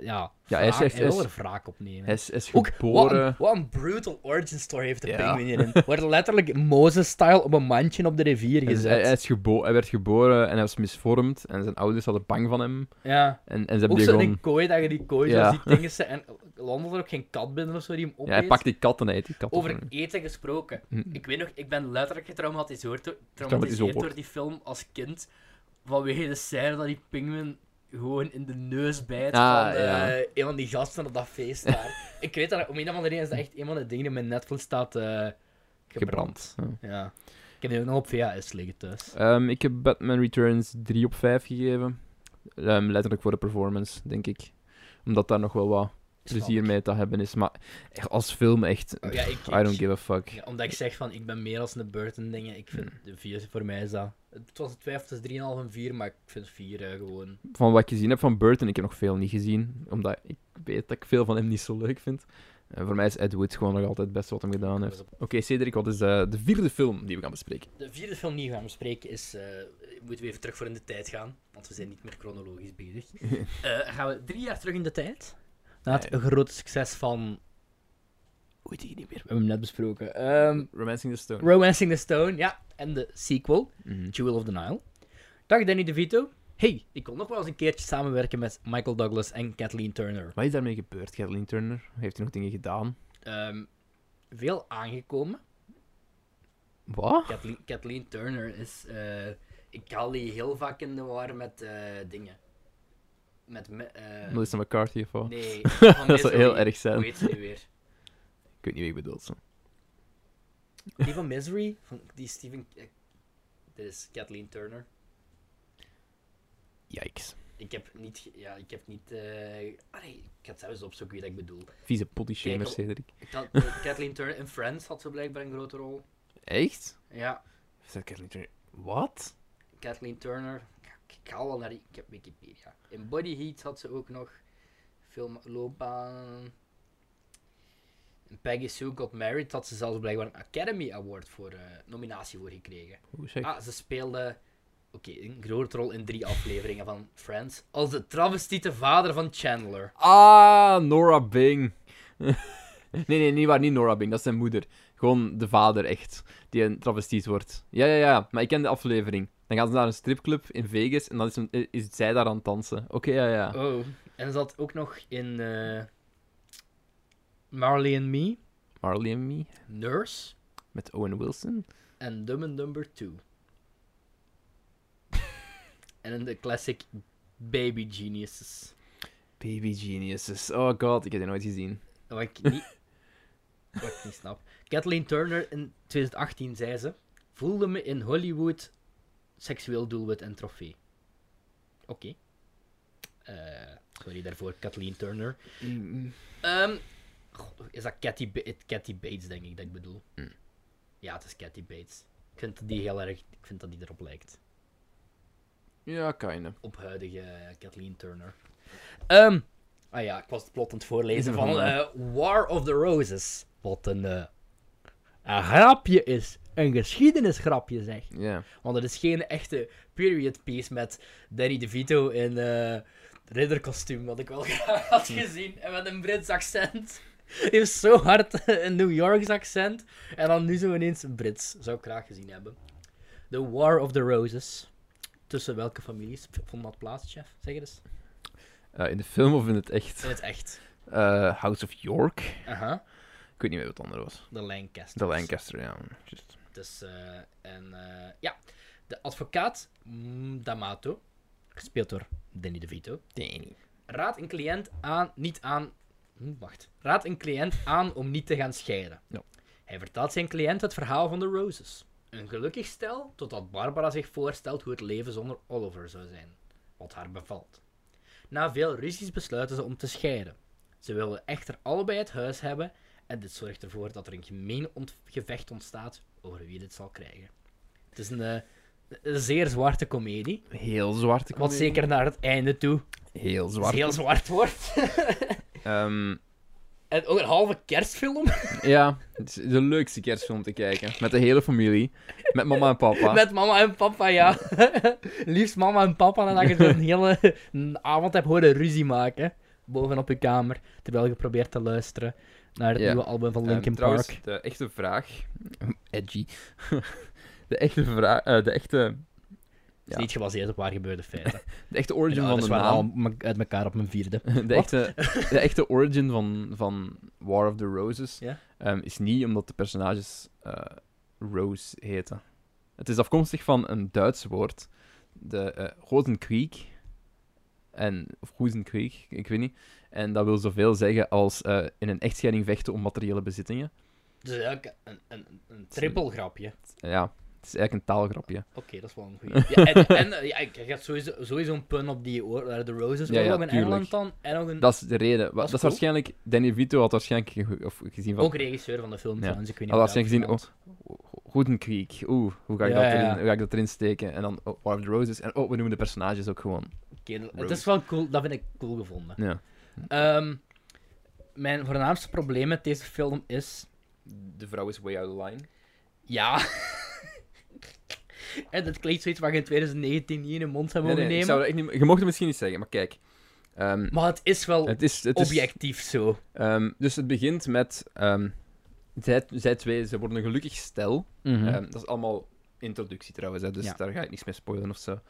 [SPEAKER 2] Ja,
[SPEAKER 1] Ja, hij is
[SPEAKER 2] wraak-
[SPEAKER 1] echt-
[SPEAKER 2] hij wil
[SPEAKER 1] is-
[SPEAKER 2] er wraak op nemen.
[SPEAKER 1] Hij is, is
[SPEAKER 2] Ook, wat
[SPEAKER 1] geboren...
[SPEAKER 2] een, wat een brutal origin story heeft de
[SPEAKER 1] Ja.
[SPEAKER 2] penguin hierin. Wordt letterlijk Moses-style op een mandje op de rivier
[SPEAKER 1] Hij, is- hij,
[SPEAKER 2] gezet.
[SPEAKER 1] hij is gebo hij werd geboren en hij was misvormd. En zijn ouders hadden bang van hem.
[SPEAKER 2] ja.
[SPEAKER 1] En, en ze hebben
[SPEAKER 2] Ook
[SPEAKER 1] die
[SPEAKER 2] zo in
[SPEAKER 1] gewoon...
[SPEAKER 2] een kooi, dat je die kooi
[SPEAKER 1] Ja.
[SPEAKER 2] zo ziet dingen ze- En landde er ook geen kat binnen of zo die hem
[SPEAKER 1] Ja,
[SPEAKER 2] opeet?
[SPEAKER 1] hij pakt die katten uit. Die katten
[SPEAKER 2] Over
[SPEAKER 1] van hem.
[SPEAKER 2] eten gesproken.
[SPEAKER 1] Hm.
[SPEAKER 2] Ik weet nog, ik ben letterlijk getraumatiseerd door, getraumatiseerd
[SPEAKER 1] Getraumatiseerd.
[SPEAKER 2] door die film als kind. Vanwege de scène dat die penguin gewoon in de neus bijt
[SPEAKER 1] Ah,
[SPEAKER 2] van eh,
[SPEAKER 1] ja.
[SPEAKER 2] een van die gasten op dat feest daar. ik weet dat, om een of andere reden is dat echt een van de dingen die mijn Netflix staat eh, gebrand.
[SPEAKER 1] Gebrand. ja.
[SPEAKER 2] Ja. Ik heb die ook nog op VHS liggen thuis.
[SPEAKER 1] Ehm, ik heb Batman Returns 3 op 5 gegeven. Ehm, letterlijk voor de performance, denk ik. Omdat daar nog wel wat plezier mee te hebben is. Maar echt als film echt...
[SPEAKER 2] Oh, ja, ik-
[SPEAKER 1] pff, I don't
[SPEAKER 2] ik-
[SPEAKER 1] give a fuck.
[SPEAKER 2] Ja, omdat ik zeg van, ik ben meer als een Burton dingen. Ik vind, de vier, voor mij is dat... Het was een twijfel tussen 3,5 en 4, maar ik vind 4 eh, gewoon...
[SPEAKER 1] Van wat ik gezien heb van Burton, ik heb nog veel niet gezien. Omdat ik weet dat ik veel van hem niet zo leuk vind. En voor mij is Ed Wood gewoon nog altijd het beste wat hem gedaan heeft. Oké, Cedric, wat is eh, de vierde film die we gaan bespreken?
[SPEAKER 2] De vierde film die we gaan bespreken is. eh, moeten we even terug voor in de tijd gaan, want we zijn niet meer chronologisch bezig. Eh, gaan we drie jaar terug in de tijd? Na het grote succes van. Hoe heet die niet meer? We hebben hem net besproken. Ehm,
[SPEAKER 1] Romancing the Stone.
[SPEAKER 2] Romancing the Stone, ja. En de sequel,
[SPEAKER 1] Mhm.
[SPEAKER 2] Jewel of the Nile. Dag Danny DeVito. Hey, ik kon nog wel eens een keertje samenwerken met Michael Douglas en Kathleen Turner.
[SPEAKER 1] Wat is daarmee gebeurd, Kathleen Turner? Heeft hij nog dingen gedaan?
[SPEAKER 2] Ehm, veel aangekomen.
[SPEAKER 1] Wat?
[SPEAKER 2] Kathleen, Kathleen Turner is. eh, ik haal die heel vaak in de war met eh, dingen. Met. me- eh,
[SPEAKER 1] Melissa McCarthy of wat?
[SPEAKER 2] nee,
[SPEAKER 1] Dat zou heel erg zijn.
[SPEAKER 2] Hoe heet ze nu weer?
[SPEAKER 1] Ik weet niet wie je bedoelt. zo.
[SPEAKER 2] Die van Misery? Van die Steven. eh, dit is Kathleen Turner.
[SPEAKER 1] Yikes.
[SPEAKER 2] Ik heb niet. ge- Ja, ik heb niet. eh, ah nee, ik ga het zelfs opzoeken wie dat ik bedoel.
[SPEAKER 1] Vieze potty shamer,
[SPEAKER 2] Kijk,
[SPEAKER 1] Cedric.
[SPEAKER 2] Ik had, eh, Kathleen Turner in Friends had ze blijkbaar een grote rol.
[SPEAKER 1] Echt?
[SPEAKER 2] Ja,
[SPEAKER 1] Is dat Kathleen Turner? Wat?
[SPEAKER 2] Kathleen Turner. Ik- Ik ga wel naar. die- Ik heb Wikipedia. In Body Heat had ze ook nog. Filmloopbaan. En Peggy Sue Got Married had ze zelfs blijkbaar een Academy Award voor eh, nominatie voor gekregen.
[SPEAKER 1] Hoe zeg
[SPEAKER 2] Ah, ze speelde. Oké, een grote rol in drie afleveringen van Friends. Als de travestiete vader van Chandler.
[SPEAKER 1] Ah, Nora Bing. nee, nee, niet waar, niet Nora Bing, dat is zijn moeder. Gewoon de vader, echt. Die een travestiet wordt. Ja, ja, ja, maar ik ken de aflevering. Dan gaan ze naar een stripclub in Vegas en dan is, hem- is zij daar aan het dansen. Oké, ja, ja.
[SPEAKER 2] Oh. En ze zat ook nog in. eh, Marley and Me,
[SPEAKER 1] Marley and Me
[SPEAKER 2] Nurse
[SPEAKER 1] met Owen Wilson.
[SPEAKER 2] en Dumb and Number 2. en in de classic Baby Geniuses.
[SPEAKER 1] Baby Geniuses. Oh god, ik heb die nooit gezien.
[SPEAKER 2] Wat ik niet, wat ik niet snap. Kathleen Turner in 2018 zei ze: Voelde me in Hollywood seksueel doelwit en trofee. Oké. Eh, sorry daarvoor, Kathleen Turner. Ehm, goh, is dat Cathy, Ba- Cathy Bates, denk ik, dat ik bedoel?
[SPEAKER 1] Hmm.
[SPEAKER 2] Ja, het is Cathy Bates. Ik vind dat die heel erg. Ik vind dat die erop lijkt
[SPEAKER 1] Ja, kinda.
[SPEAKER 2] op huidige Kathleen Turner. Ehm, ah ja, ik was het plot aan het voorlezen
[SPEAKER 1] Is
[SPEAKER 2] van
[SPEAKER 1] er van,
[SPEAKER 2] eh, War of the Roses. Wat een, eh, een grapje is. Een geschiedenisgrapje, zeg.
[SPEAKER 1] Ja.
[SPEAKER 2] Want het is geen echte period piece met Danny DeVito in eh ridderkostuum, wat ik wel graag had gezien. En met een Brits accent. Die heeft zo hard een New Yorks accent. En dan nu zo ineens een Brits. Zou ik graag gezien hebben. The War of the Roses. Tussen welke families vond dat plaats, chef? Zeg het eens.
[SPEAKER 1] Eh, in de film of in het echt?
[SPEAKER 2] In het echt.
[SPEAKER 1] Eh, House of York.
[SPEAKER 2] Aha.
[SPEAKER 1] Ik weet niet meer wat het andere was.
[SPEAKER 2] De Lancaster.
[SPEAKER 1] De Lancaster, ja. Just.
[SPEAKER 2] Dus, eh, en eh, ja, de advocaat mm, D'Amato, gespeeld door Danny DeVito, raadt een cliënt aan, niet aan, hm, wacht, raadt een cliënt aan om niet te gaan scheiden.
[SPEAKER 1] Ja.
[SPEAKER 2] Hij vertelt zijn cliënt het verhaal van de Roses. Een gelukkig stel, totdat Barbara zich voorstelt hoe het leven zonder Oliver zou zijn, wat haar bevalt. Na veel ruzies besluiten ze om te scheiden. Ze willen echter allebei het huis hebben en dit zorgt ervoor dat er een gemeen ont- gevecht ontstaat over wie dit zal krijgen. Het is een, eh, een zeer zwarte komedie,
[SPEAKER 1] Heel zwart.
[SPEAKER 2] wat zeker naar het einde toe
[SPEAKER 1] Heel zwart.
[SPEAKER 2] heel zwart wordt.
[SPEAKER 1] Ehm,
[SPEAKER 2] en ook een halve kerstfilm
[SPEAKER 1] ja, het is de leukste kerstfilm om te kijken. Met de hele familie. Met mama en papa.
[SPEAKER 2] met mama en papa, ja. Liefst mama en papa, en dat je zo'n hele avond hebt horen ruzie maken bovenop je kamer, terwijl je probeert te luisteren naar het
[SPEAKER 1] Ja.
[SPEAKER 2] nieuwe album van
[SPEAKER 1] Ehm,
[SPEAKER 2] Linkin
[SPEAKER 1] trouwens,
[SPEAKER 2] Park.
[SPEAKER 1] de echte vraag... Edgy. de echte vraag... eh, de, echte,
[SPEAKER 2] Het
[SPEAKER 1] ja.
[SPEAKER 2] is niet gebaseerd op waar gebeurde feiten.
[SPEAKER 1] de echte origin
[SPEAKER 2] Mijn
[SPEAKER 1] van
[SPEAKER 2] ouders
[SPEAKER 1] de
[SPEAKER 2] waren
[SPEAKER 1] naam.
[SPEAKER 2] al me- uit elkaar op mijn vierde.
[SPEAKER 1] De echte, de echte origin van, van War of the Roses
[SPEAKER 2] Ja.
[SPEAKER 1] ehm, is niet omdat de personages eh, Rose heten. Het is afkomstig van een Duits woord, de eh Rosenkrieg. En, of Rosenkrieg, ik weet niet. En dat wil zoveel zeggen als eh, in een echtscheiding vechten om materiële bezittingen.
[SPEAKER 2] Dus eigenlijk een, een, een trippelgrapje.
[SPEAKER 1] Ja, het is eigenlijk een taalgrapje.
[SPEAKER 2] Oké, dat is wel een goeie. Ja, en en eh, ja, ik ik had sowieso, sowieso een pun op die oor, eh, de Roses
[SPEAKER 1] Ja, ja,
[SPEAKER 2] oorlog in
[SPEAKER 1] tuurlijk.
[SPEAKER 2] Engeland dan. En ook een,
[SPEAKER 1] Dat is de reden. Wa- Dat is,
[SPEAKER 2] cool.
[SPEAKER 1] waarschijnlijk... Danny Vito had waarschijnlijk ge- of gezien van...
[SPEAKER 2] ook regisseur van de film
[SPEAKER 1] Ja.
[SPEAKER 2] trouwens, ik weet niet
[SPEAKER 1] Had oh,
[SPEAKER 2] of dat
[SPEAKER 1] waarschijnlijk
[SPEAKER 2] vermeld.
[SPEAKER 1] Rosenkrieg. Oeh, hoe ga, ik
[SPEAKER 2] Ja,
[SPEAKER 1] dat
[SPEAKER 2] ja.
[SPEAKER 1] erin, hoe ga ik dat erin steken? En dan oh, War of the Roses. En oh, we noemen de personages ook gewoon.
[SPEAKER 2] Oké, dat- het
[SPEAKER 1] Rose.
[SPEAKER 2] is wel cool, dat vind ik cool gevonden.
[SPEAKER 1] Ja.
[SPEAKER 2] Ehm, mijn voornaamste probleem met deze film is...
[SPEAKER 1] De vrouw is way out of line.
[SPEAKER 2] Ja... en dat klinkt zoiets waar je in 2019 niet in je mond zou
[SPEAKER 1] Nee,
[SPEAKER 2] mogen
[SPEAKER 1] nee, ik
[SPEAKER 2] nemen.
[SPEAKER 1] zou dat echt niet, je mocht het misschien niet zeggen, maar kijk. Ehm,
[SPEAKER 2] Maar het is wel
[SPEAKER 1] het is, het is,
[SPEAKER 2] objectief zo.
[SPEAKER 1] ehm, dus het begint met... ehm, zij, zij twee, ze worden een gelukkig stel. Ehm, dat is allemaal introductie trouwens, hè, dus
[SPEAKER 2] Ja.
[SPEAKER 1] daar ga ik niks mee spoilen of zo.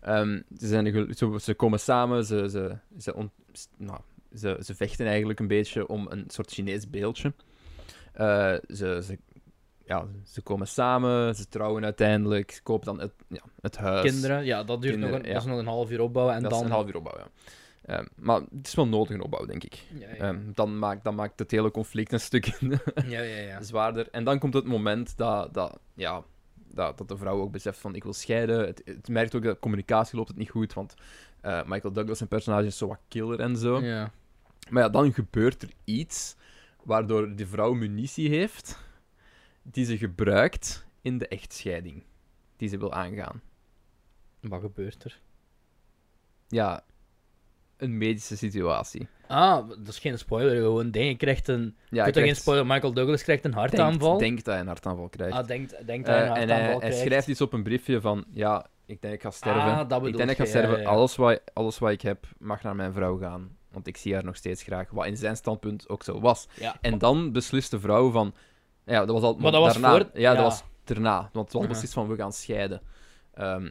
[SPEAKER 1] Ehm, ze, zijn gelu- ze, ze komen samen, ze, ze, ze, ont- s- nou, ze, ze vechten eigenlijk een beetje om een soort Chinees beeldje. Eh, ze, ze, ja, ze komen samen, ze trouwen uiteindelijk, ze kopen dan het, ja, het huis.
[SPEAKER 2] Kinderen, ja, dat duurt nog,
[SPEAKER 1] kinderen,
[SPEAKER 2] een,
[SPEAKER 1] ja.
[SPEAKER 2] dat is nog een half uur opbouwen en
[SPEAKER 1] dat
[SPEAKER 2] dan...
[SPEAKER 1] is een half uur opbouw, ja. Ehm, maar het is wel nodig een opbouw, denk ik.
[SPEAKER 2] Ja, ja,
[SPEAKER 1] Ehm, dan, maakt, dan maakt het hele conflict een stuk
[SPEAKER 2] ja, ja, ja.
[SPEAKER 1] zwaarder. En dan komt het moment dat, dat, ja, dat, dat de vrouw ook beseft van ik wil scheiden. Het, het merkt ook dat communicatie loopt het niet goed, want eh, Michael Douglas zijn personage is zo wat killer en zo.
[SPEAKER 2] ja.
[SPEAKER 1] Maar ja, dan gebeurt er iets waardoor de vrouw munitie heeft die ze gebruikt in de echtscheiding die ze wil aangaan.
[SPEAKER 2] Wat gebeurt er?
[SPEAKER 1] Ja, een medische situatie.
[SPEAKER 2] Ah, dat is geen spoiler, gewoon ding. Je krijgt een...
[SPEAKER 1] Ja,
[SPEAKER 2] ik weet toch geen
[SPEAKER 1] krijgt-
[SPEAKER 2] spoiler, Michael Douglas krijgt een hartaanval.
[SPEAKER 1] denkt, denkt dat hij een hartaanval krijgt.
[SPEAKER 2] Ah, denkt, denkt
[SPEAKER 1] Eh,
[SPEAKER 2] hij een
[SPEAKER 1] en
[SPEAKER 2] hartaanval
[SPEAKER 1] hij, hij
[SPEAKER 2] krijgt.
[SPEAKER 1] schrijft iets op een briefje van, ja, ik denk ik ga sterven.
[SPEAKER 2] Ah, dat
[SPEAKER 1] ik
[SPEAKER 2] bedoelt
[SPEAKER 1] denk ik ga
[SPEAKER 2] je, ja,
[SPEAKER 1] sterven.
[SPEAKER 2] ja.
[SPEAKER 1] Alles, wat, alles wat ik heb mag naar mijn vrouw gaan. Want ik zie haar nog steeds graag. Wat in zijn standpunt ook zo was.
[SPEAKER 2] Ja.
[SPEAKER 1] En dan beslist de vrouw van... Ja, dat was al,
[SPEAKER 2] Maar dat was
[SPEAKER 1] daarna,
[SPEAKER 2] voor-
[SPEAKER 1] Ja, dat
[SPEAKER 2] ja.
[SPEAKER 1] was daarna. Want het was
[SPEAKER 2] Mhm.
[SPEAKER 1] beslist van, we gaan scheiden. Ehm,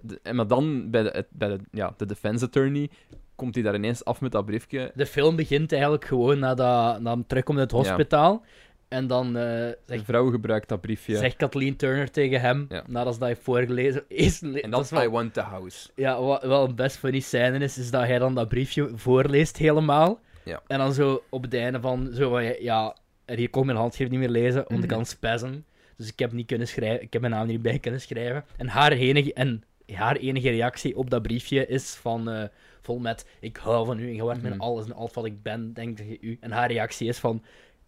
[SPEAKER 1] de- en maar dan, bij, de, het- bij de, ja, de defense attorney, komt hij daar ineens af met dat briefje.
[SPEAKER 2] De film begint eigenlijk gewoon nadat na hem terugkomt uit het
[SPEAKER 1] Ja.
[SPEAKER 2] hospitaal. En dan eh,
[SPEAKER 1] De
[SPEAKER 2] zegt,
[SPEAKER 1] vrouw gebruikt dat briefje.
[SPEAKER 2] zegt Kathleen Turner tegen hem,
[SPEAKER 1] Ja.
[SPEAKER 2] nadat dat hij voorgelezen is. le-
[SPEAKER 1] en
[SPEAKER 2] dat
[SPEAKER 1] dan,
[SPEAKER 2] is wel,
[SPEAKER 1] I want the house.
[SPEAKER 2] ja, wat wel een best funny scène is, is dat hij dan dat briefje voorleest helemaal.
[SPEAKER 1] Ja.
[SPEAKER 2] En dan zo op het einde van, zo van, ja, en hier kon ik mijn handschrift niet meer lezen, want ik
[SPEAKER 1] Mhm.
[SPEAKER 2] kan spazzen. Dus ik heb, niet kunnen schrijven, ik heb mijn naam niet bij kunnen schrijven. En haar enige, en haar enige reactie op dat briefje is van... eh, vol met ik hou van u en je wordt mijn
[SPEAKER 1] Mhm.
[SPEAKER 2] alles en alles wat ik ben, denk ik u. En haar reactie is van,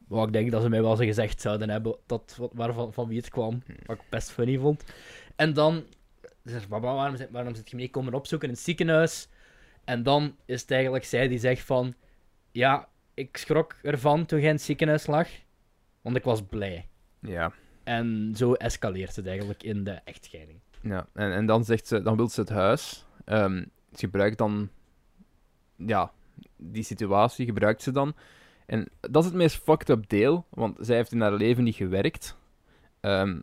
[SPEAKER 2] wat ik denk dat ze mij wel eens gezegd zouden hebben, dat, wat- waarvan, van wie het kwam,
[SPEAKER 1] Mhm.
[SPEAKER 2] wat ik best funny vond. En dan, ze zegt, "Baba, waarom, zit- waarom zit je me niet komen opzoeken in het ziekenhuis? En dan is het eigenlijk zij die zegt van, ja, ik schrok ervan toen jij in het ziekenhuis lag, want ik was blij.
[SPEAKER 1] Ja.
[SPEAKER 2] En zo escaleert het eigenlijk in de echtscheiding.
[SPEAKER 1] Ja, en, en dan, zegt ze, dan wil ze het huis. Ehm, ze gebruikt dan... Ja, die situatie gebruikt ze dan. En dat is het meest fucked up deel, want zij heeft in haar leven niet gewerkt. Ehm,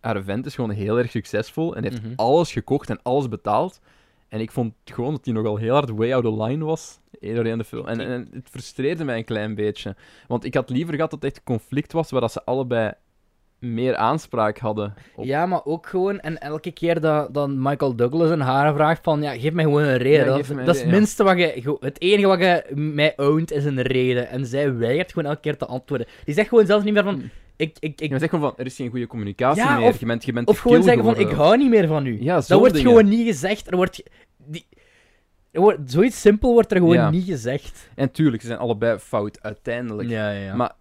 [SPEAKER 1] haar vent is gewoon heel erg succesvol en heeft
[SPEAKER 2] Mhm.
[SPEAKER 1] alles gekocht en alles betaald. En ik vond gewoon dat hij nogal heel hard way out of line was. Eerder in de film. En,
[SPEAKER 2] Die-
[SPEAKER 1] en het frustreerde mij een klein beetje. Want ik had liever gehad dat het echt een conflict was waar dat ze allebei meer aanspraak hadden. Op.
[SPEAKER 2] Ja, maar ook gewoon, en elke keer dat, dat Michael Douglas een haar vraagt van, ja, geef mij gewoon een reden.
[SPEAKER 1] Ja,
[SPEAKER 2] dat
[SPEAKER 1] geef mij
[SPEAKER 2] dat
[SPEAKER 1] een
[SPEAKER 2] is het
[SPEAKER 1] reden, ja.
[SPEAKER 2] minste wat je, ge- het enige wat je mij owned is een reden. En zij weigert gewoon elke keer te antwoorden. Die zegt gewoon zelfs niet meer van,
[SPEAKER 1] Hmm.
[SPEAKER 2] ik, ik, ik
[SPEAKER 1] Je zegt gewoon van, er is geen goede communicatie
[SPEAKER 2] Ja,
[SPEAKER 1] meer.
[SPEAKER 2] of-
[SPEAKER 1] je bent, je bent
[SPEAKER 2] Of
[SPEAKER 1] te
[SPEAKER 2] gewoon
[SPEAKER 1] kil
[SPEAKER 2] zeggen van, ik
[SPEAKER 1] geworden.
[SPEAKER 2] hou niet meer van u.
[SPEAKER 1] Ja,
[SPEAKER 2] dat
[SPEAKER 1] zo'n
[SPEAKER 2] wordt
[SPEAKER 1] dingen.
[SPEAKER 2] gewoon niet gezegd. Er wordt, ge- die, er wordt, zoiets simpel wordt er gewoon
[SPEAKER 1] Ja.
[SPEAKER 2] niet gezegd.
[SPEAKER 1] En tuurlijk, ze zijn allebei fout uiteindelijk.
[SPEAKER 2] Ja, ja.
[SPEAKER 1] Maar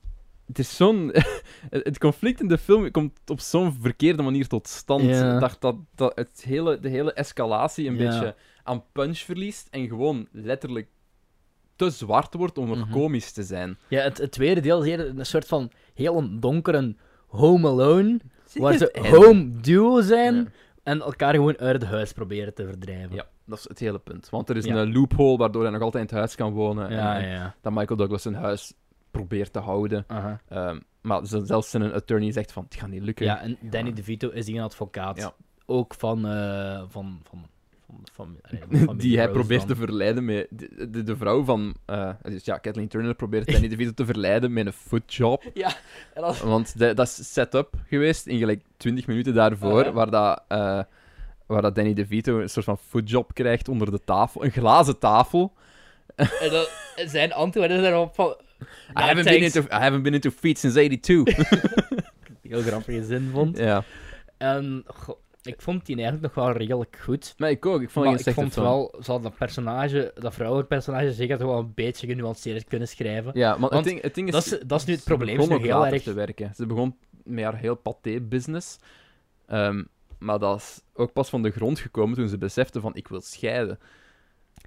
[SPEAKER 1] het is zo'n... het conflict in de film komt op zo'n verkeerde manier tot stand.
[SPEAKER 2] Ja.
[SPEAKER 1] Ik dacht dat, dat het hele, de hele escalatie een
[SPEAKER 2] Ja.
[SPEAKER 1] beetje aan punch verliest en gewoon letterlijk te zwart wordt om nog
[SPEAKER 2] Mhm.
[SPEAKER 1] komisch te zijn.
[SPEAKER 2] ja het, het tweede deel is eerder een soort van heel donkere Home Alone, waar ze home duo zijn
[SPEAKER 1] Ja.
[SPEAKER 2] en elkaar gewoon uit het huis proberen te verdrijven.
[SPEAKER 1] Ja, dat is het hele punt. Want er is
[SPEAKER 2] Ja.
[SPEAKER 1] een loophole waardoor hij nog altijd in het huis kan wonen.
[SPEAKER 2] ja.
[SPEAKER 1] en, en
[SPEAKER 2] ja.
[SPEAKER 1] dat Michael Douglas zijn huis probeert te houden.
[SPEAKER 2] Aha.
[SPEAKER 1] Ehm, maar z- zelfs zijn attorney zegt van, het gaat niet lukken.
[SPEAKER 2] Ja, en Danny DeVito is die een advocaat.
[SPEAKER 1] Ja.
[SPEAKER 2] Ook van, eh, van, van, van, van, allee, van
[SPEAKER 1] die hij
[SPEAKER 2] Rose
[SPEAKER 1] probeert
[SPEAKER 2] dan.
[SPEAKER 1] te verleiden met... De, de, de vrouw van... eh, dus ja, Kathleen Turner probeert Danny DeVito te verleiden met een footjob.
[SPEAKER 2] En als-
[SPEAKER 1] Want de- dat is set-up geweest in gelijk 20 minuten daarvoor,
[SPEAKER 2] Ah, ja.
[SPEAKER 1] waar, dat, eh, waar dat Danny DeVito een soort van footjob krijgt onder de tafel. Een glazen tafel.
[SPEAKER 2] en dan- zijn antwoord is daarop van...
[SPEAKER 1] I haven't, been into, I haven't been into feet since 82.
[SPEAKER 2] Heel grappige zin vond.
[SPEAKER 1] ja.
[SPEAKER 2] En goh, ik vond die eigenlijk nog wel redelijk goed.
[SPEAKER 1] Maar ik ook. Ik vond
[SPEAKER 2] maar
[SPEAKER 1] het
[SPEAKER 2] ik
[SPEAKER 1] echt
[SPEAKER 2] vond wel, ze hadden dat personage, dat vrouwelijk personage, zeker toch wel een beetje genuanceerd kunnen schrijven.
[SPEAKER 1] Ja, maar
[SPEAKER 2] Want
[SPEAKER 1] het ding, het ding is...
[SPEAKER 2] dat, is, dat is nu het
[SPEAKER 1] ze
[SPEAKER 2] probleem, is
[SPEAKER 1] begon
[SPEAKER 2] nu
[SPEAKER 1] ook
[SPEAKER 2] heel
[SPEAKER 1] later
[SPEAKER 2] erg...
[SPEAKER 1] te werken. Ze begon met haar heel paté-business. Ehm, maar dat is ook pas van de grond gekomen toen ze besefte van ik wil scheiden.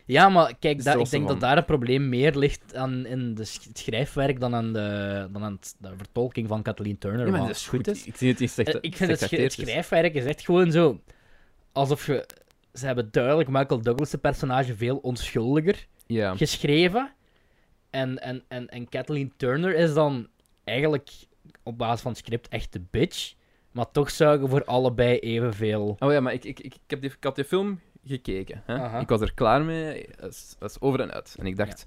[SPEAKER 2] Ja, maar kijk,
[SPEAKER 1] Dus
[SPEAKER 2] dat,
[SPEAKER 1] dat
[SPEAKER 2] ik
[SPEAKER 1] was
[SPEAKER 2] denk
[SPEAKER 1] ervan.
[SPEAKER 2] dat daar het probleem meer ligt aan in de sch- het schrijfwerk dan aan de, dan aan het- de vertolking van Kathleen Turner. wat is.
[SPEAKER 1] Ik zie het niet slecht.
[SPEAKER 2] Eh, ik vind het, sch- het
[SPEAKER 1] slecht acteerd is.
[SPEAKER 2] schrijfwerk is echt gewoon zo... Alsof je... Ze hebben duidelijk Michael Douglas' personage veel onschuldiger
[SPEAKER 1] Ja.
[SPEAKER 2] geschreven. En, en, en, en Kathleen Turner is dan eigenlijk op basis van het script echt de bitch. Maar toch zuigen voor allebei evenveel.
[SPEAKER 1] Oh ja, maar ik, ik, ik, ik heb die, ik had die film gekeken. Hè?
[SPEAKER 2] Aha.
[SPEAKER 1] Ik was er klaar mee. Dat is- dat is over en uit. En ik dacht,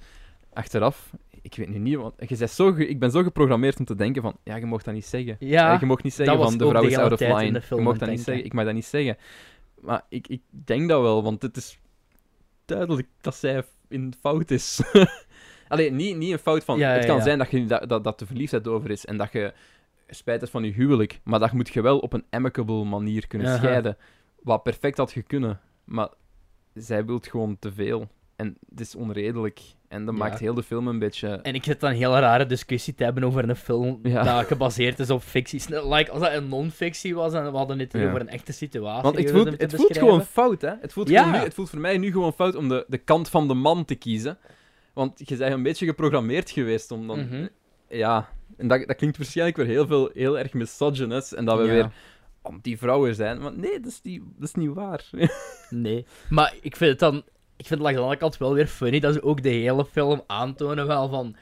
[SPEAKER 1] achteraf, ik weet nu niet, want je bent zo ge- ik ben zo geprogrammeerd om te denken van, ja, je mocht dat niet zeggen.
[SPEAKER 2] Ja,
[SPEAKER 1] Eh, je mocht niet zeggen
[SPEAKER 2] dat was
[SPEAKER 1] van de
[SPEAKER 2] ook
[SPEAKER 1] vrouw
[SPEAKER 2] de
[SPEAKER 1] is
[SPEAKER 2] hele
[SPEAKER 1] out of
[SPEAKER 2] tijd in
[SPEAKER 1] line.
[SPEAKER 2] de film
[SPEAKER 1] je
[SPEAKER 2] aan
[SPEAKER 1] mocht
[SPEAKER 2] het
[SPEAKER 1] dat niet
[SPEAKER 2] denken.
[SPEAKER 1] zeggen. Ik mag dat niet zeggen. Maar ik, ik denk dat wel, want het is duidelijk dat zij in fout is. Alleen niet, niet een fout van.
[SPEAKER 2] Ja,
[SPEAKER 1] het
[SPEAKER 2] ja,
[SPEAKER 1] kan
[SPEAKER 2] ja.
[SPEAKER 1] zijn dat, je, dat, dat, dat de verliefdheid over is en dat je spijt hebt van je huwelijk. Maar dat moet je wel op een amicable manier kunnen
[SPEAKER 2] Aha.
[SPEAKER 1] scheiden. Wat perfect had gekunnen. Maar zij wilt gewoon te veel. En het is onredelijk. En dat
[SPEAKER 2] Ja.
[SPEAKER 1] maakt heel de film een beetje.
[SPEAKER 2] En ik zit dan een hele rare discussie te hebben over een film
[SPEAKER 1] Ja.
[SPEAKER 2] dat gebaseerd is op fictie. Snel, Like, als dat een non-fictie was en we hadden het hier
[SPEAKER 1] Ja.
[SPEAKER 2] over een echte situatie.
[SPEAKER 1] Want het
[SPEAKER 2] te
[SPEAKER 1] voelt, het voelt
[SPEAKER 2] beschrijven.
[SPEAKER 1] gewoon fout, hè? Het voelt,
[SPEAKER 2] Ja.
[SPEAKER 1] gewoon nu, het voelt voor mij nu gewoon fout om de, de kant van de man te kiezen. Want je bent een beetje geprogrammeerd geweest om dan.
[SPEAKER 2] Mhm.
[SPEAKER 1] Ja, en dat, dat klinkt waarschijnlijk weer heel, veel, heel erg misogynist. En dat we
[SPEAKER 2] Ja.
[SPEAKER 1] weer anti-vrouwen zijn. Maar nee, dat is niet, dat is niet waar.
[SPEAKER 2] Nee. Maar ik vind het dan... Ik vind het aan de andere kant wel weer funny dat ze ook de hele film aantonen wel van...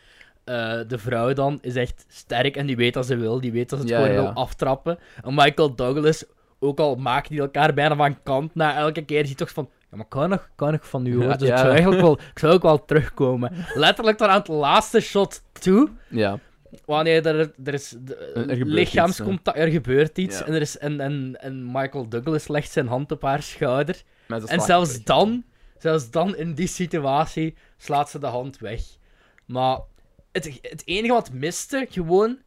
[SPEAKER 2] eh, de vrouw dan is echt sterk en die weet wat ze wil. Die weet dat ze het
[SPEAKER 1] Ja,
[SPEAKER 2] gewoon
[SPEAKER 1] ja.
[SPEAKER 2] wil aftrappen. En Michael Douglas, ook al maken die elkaar bijna van kant na elke keer, ziet toch van... Ja, maar ik hou nog, ik hou nog van u hoor,
[SPEAKER 1] Ja,
[SPEAKER 2] dus ik,
[SPEAKER 1] ja.
[SPEAKER 2] zou eigenlijk wel, ik zou ook wel terugkomen. Letterlijk tot aan het laatste shot toe
[SPEAKER 1] Ja,
[SPEAKER 2] wanneer er, er is de-
[SPEAKER 1] gebeurt iets,
[SPEAKER 2] lichaamscontact, er gebeurt iets
[SPEAKER 1] Ja.
[SPEAKER 2] en, er is, en, en, en Michael Douglas legt zijn hand op haar schouder.
[SPEAKER 1] maar ze
[SPEAKER 2] En
[SPEAKER 1] slagen
[SPEAKER 2] zelfs
[SPEAKER 1] weg.
[SPEAKER 2] dan, zelfs dan in die situatie, slaat ze de hand weg. Maar het, het enige wat miste, gewoon,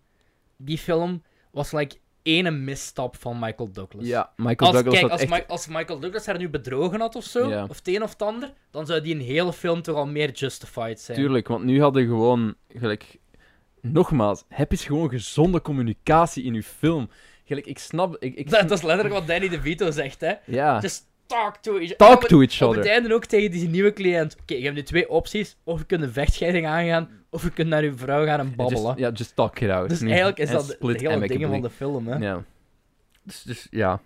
[SPEAKER 2] die film, was like ene misstap van Michael Douglas.
[SPEAKER 1] Ja, Michael
[SPEAKER 2] Als,
[SPEAKER 1] Douglas
[SPEAKER 2] kijk,
[SPEAKER 1] had
[SPEAKER 2] als,
[SPEAKER 1] echt...
[SPEAKER 2] Mi- als Michael Douglas haar nu bedrogen had of zo,
[SPEAKER 1] Ja.
[SPEAKER 2] of het een of het ander, dan zou die een hele film toch al meer justified zijn.
[SPEAKER 1] Tuurlijk, want nu hadden gewoon gelijk. Nogmaals, heb eens gewoon gezonde communicatie in uw film. Gelijk, ik snap. Ik, ik...
[SPEAKER 2] Dat, dat is letterlijk wat Danny DeVito zegt, hè.
[SPEAKER 1] Ja.
[SPEAKER 2] Just talk to each
[SPEAKER 1] Talk
[SPEAKER 2] Op het-
[SPEAKER 1] to each
[SPEAKER 2] Op het
[SPEAKER 1] other.
[SPEAKER 2] einde ook tegen die nieuwe cliënt. Oké, je hebt nu twee opties. Of je kunt een vechtscheiding aangaan, of je kunt naar je vrouw gaan en
[SPEAKER 1] Just-
[SPEAKER 2] babbelen.
[SPEAKER 1] Ja, just talk it out.
[SPEAKER 2] Dus
[SPEAKER 1] Nee,
[SPEAKER 2] eigenlijk is
[SPEAKER 1] en
[SPEAKER 2] dat de, de
[SPEAKER 1] split
[SPEAKER 2] hele ding
[SPEAKER 1] amicably.
[SPEAKER 2] van de film, hè.
[SPEAKER 1] Ja. Dus, dus ja,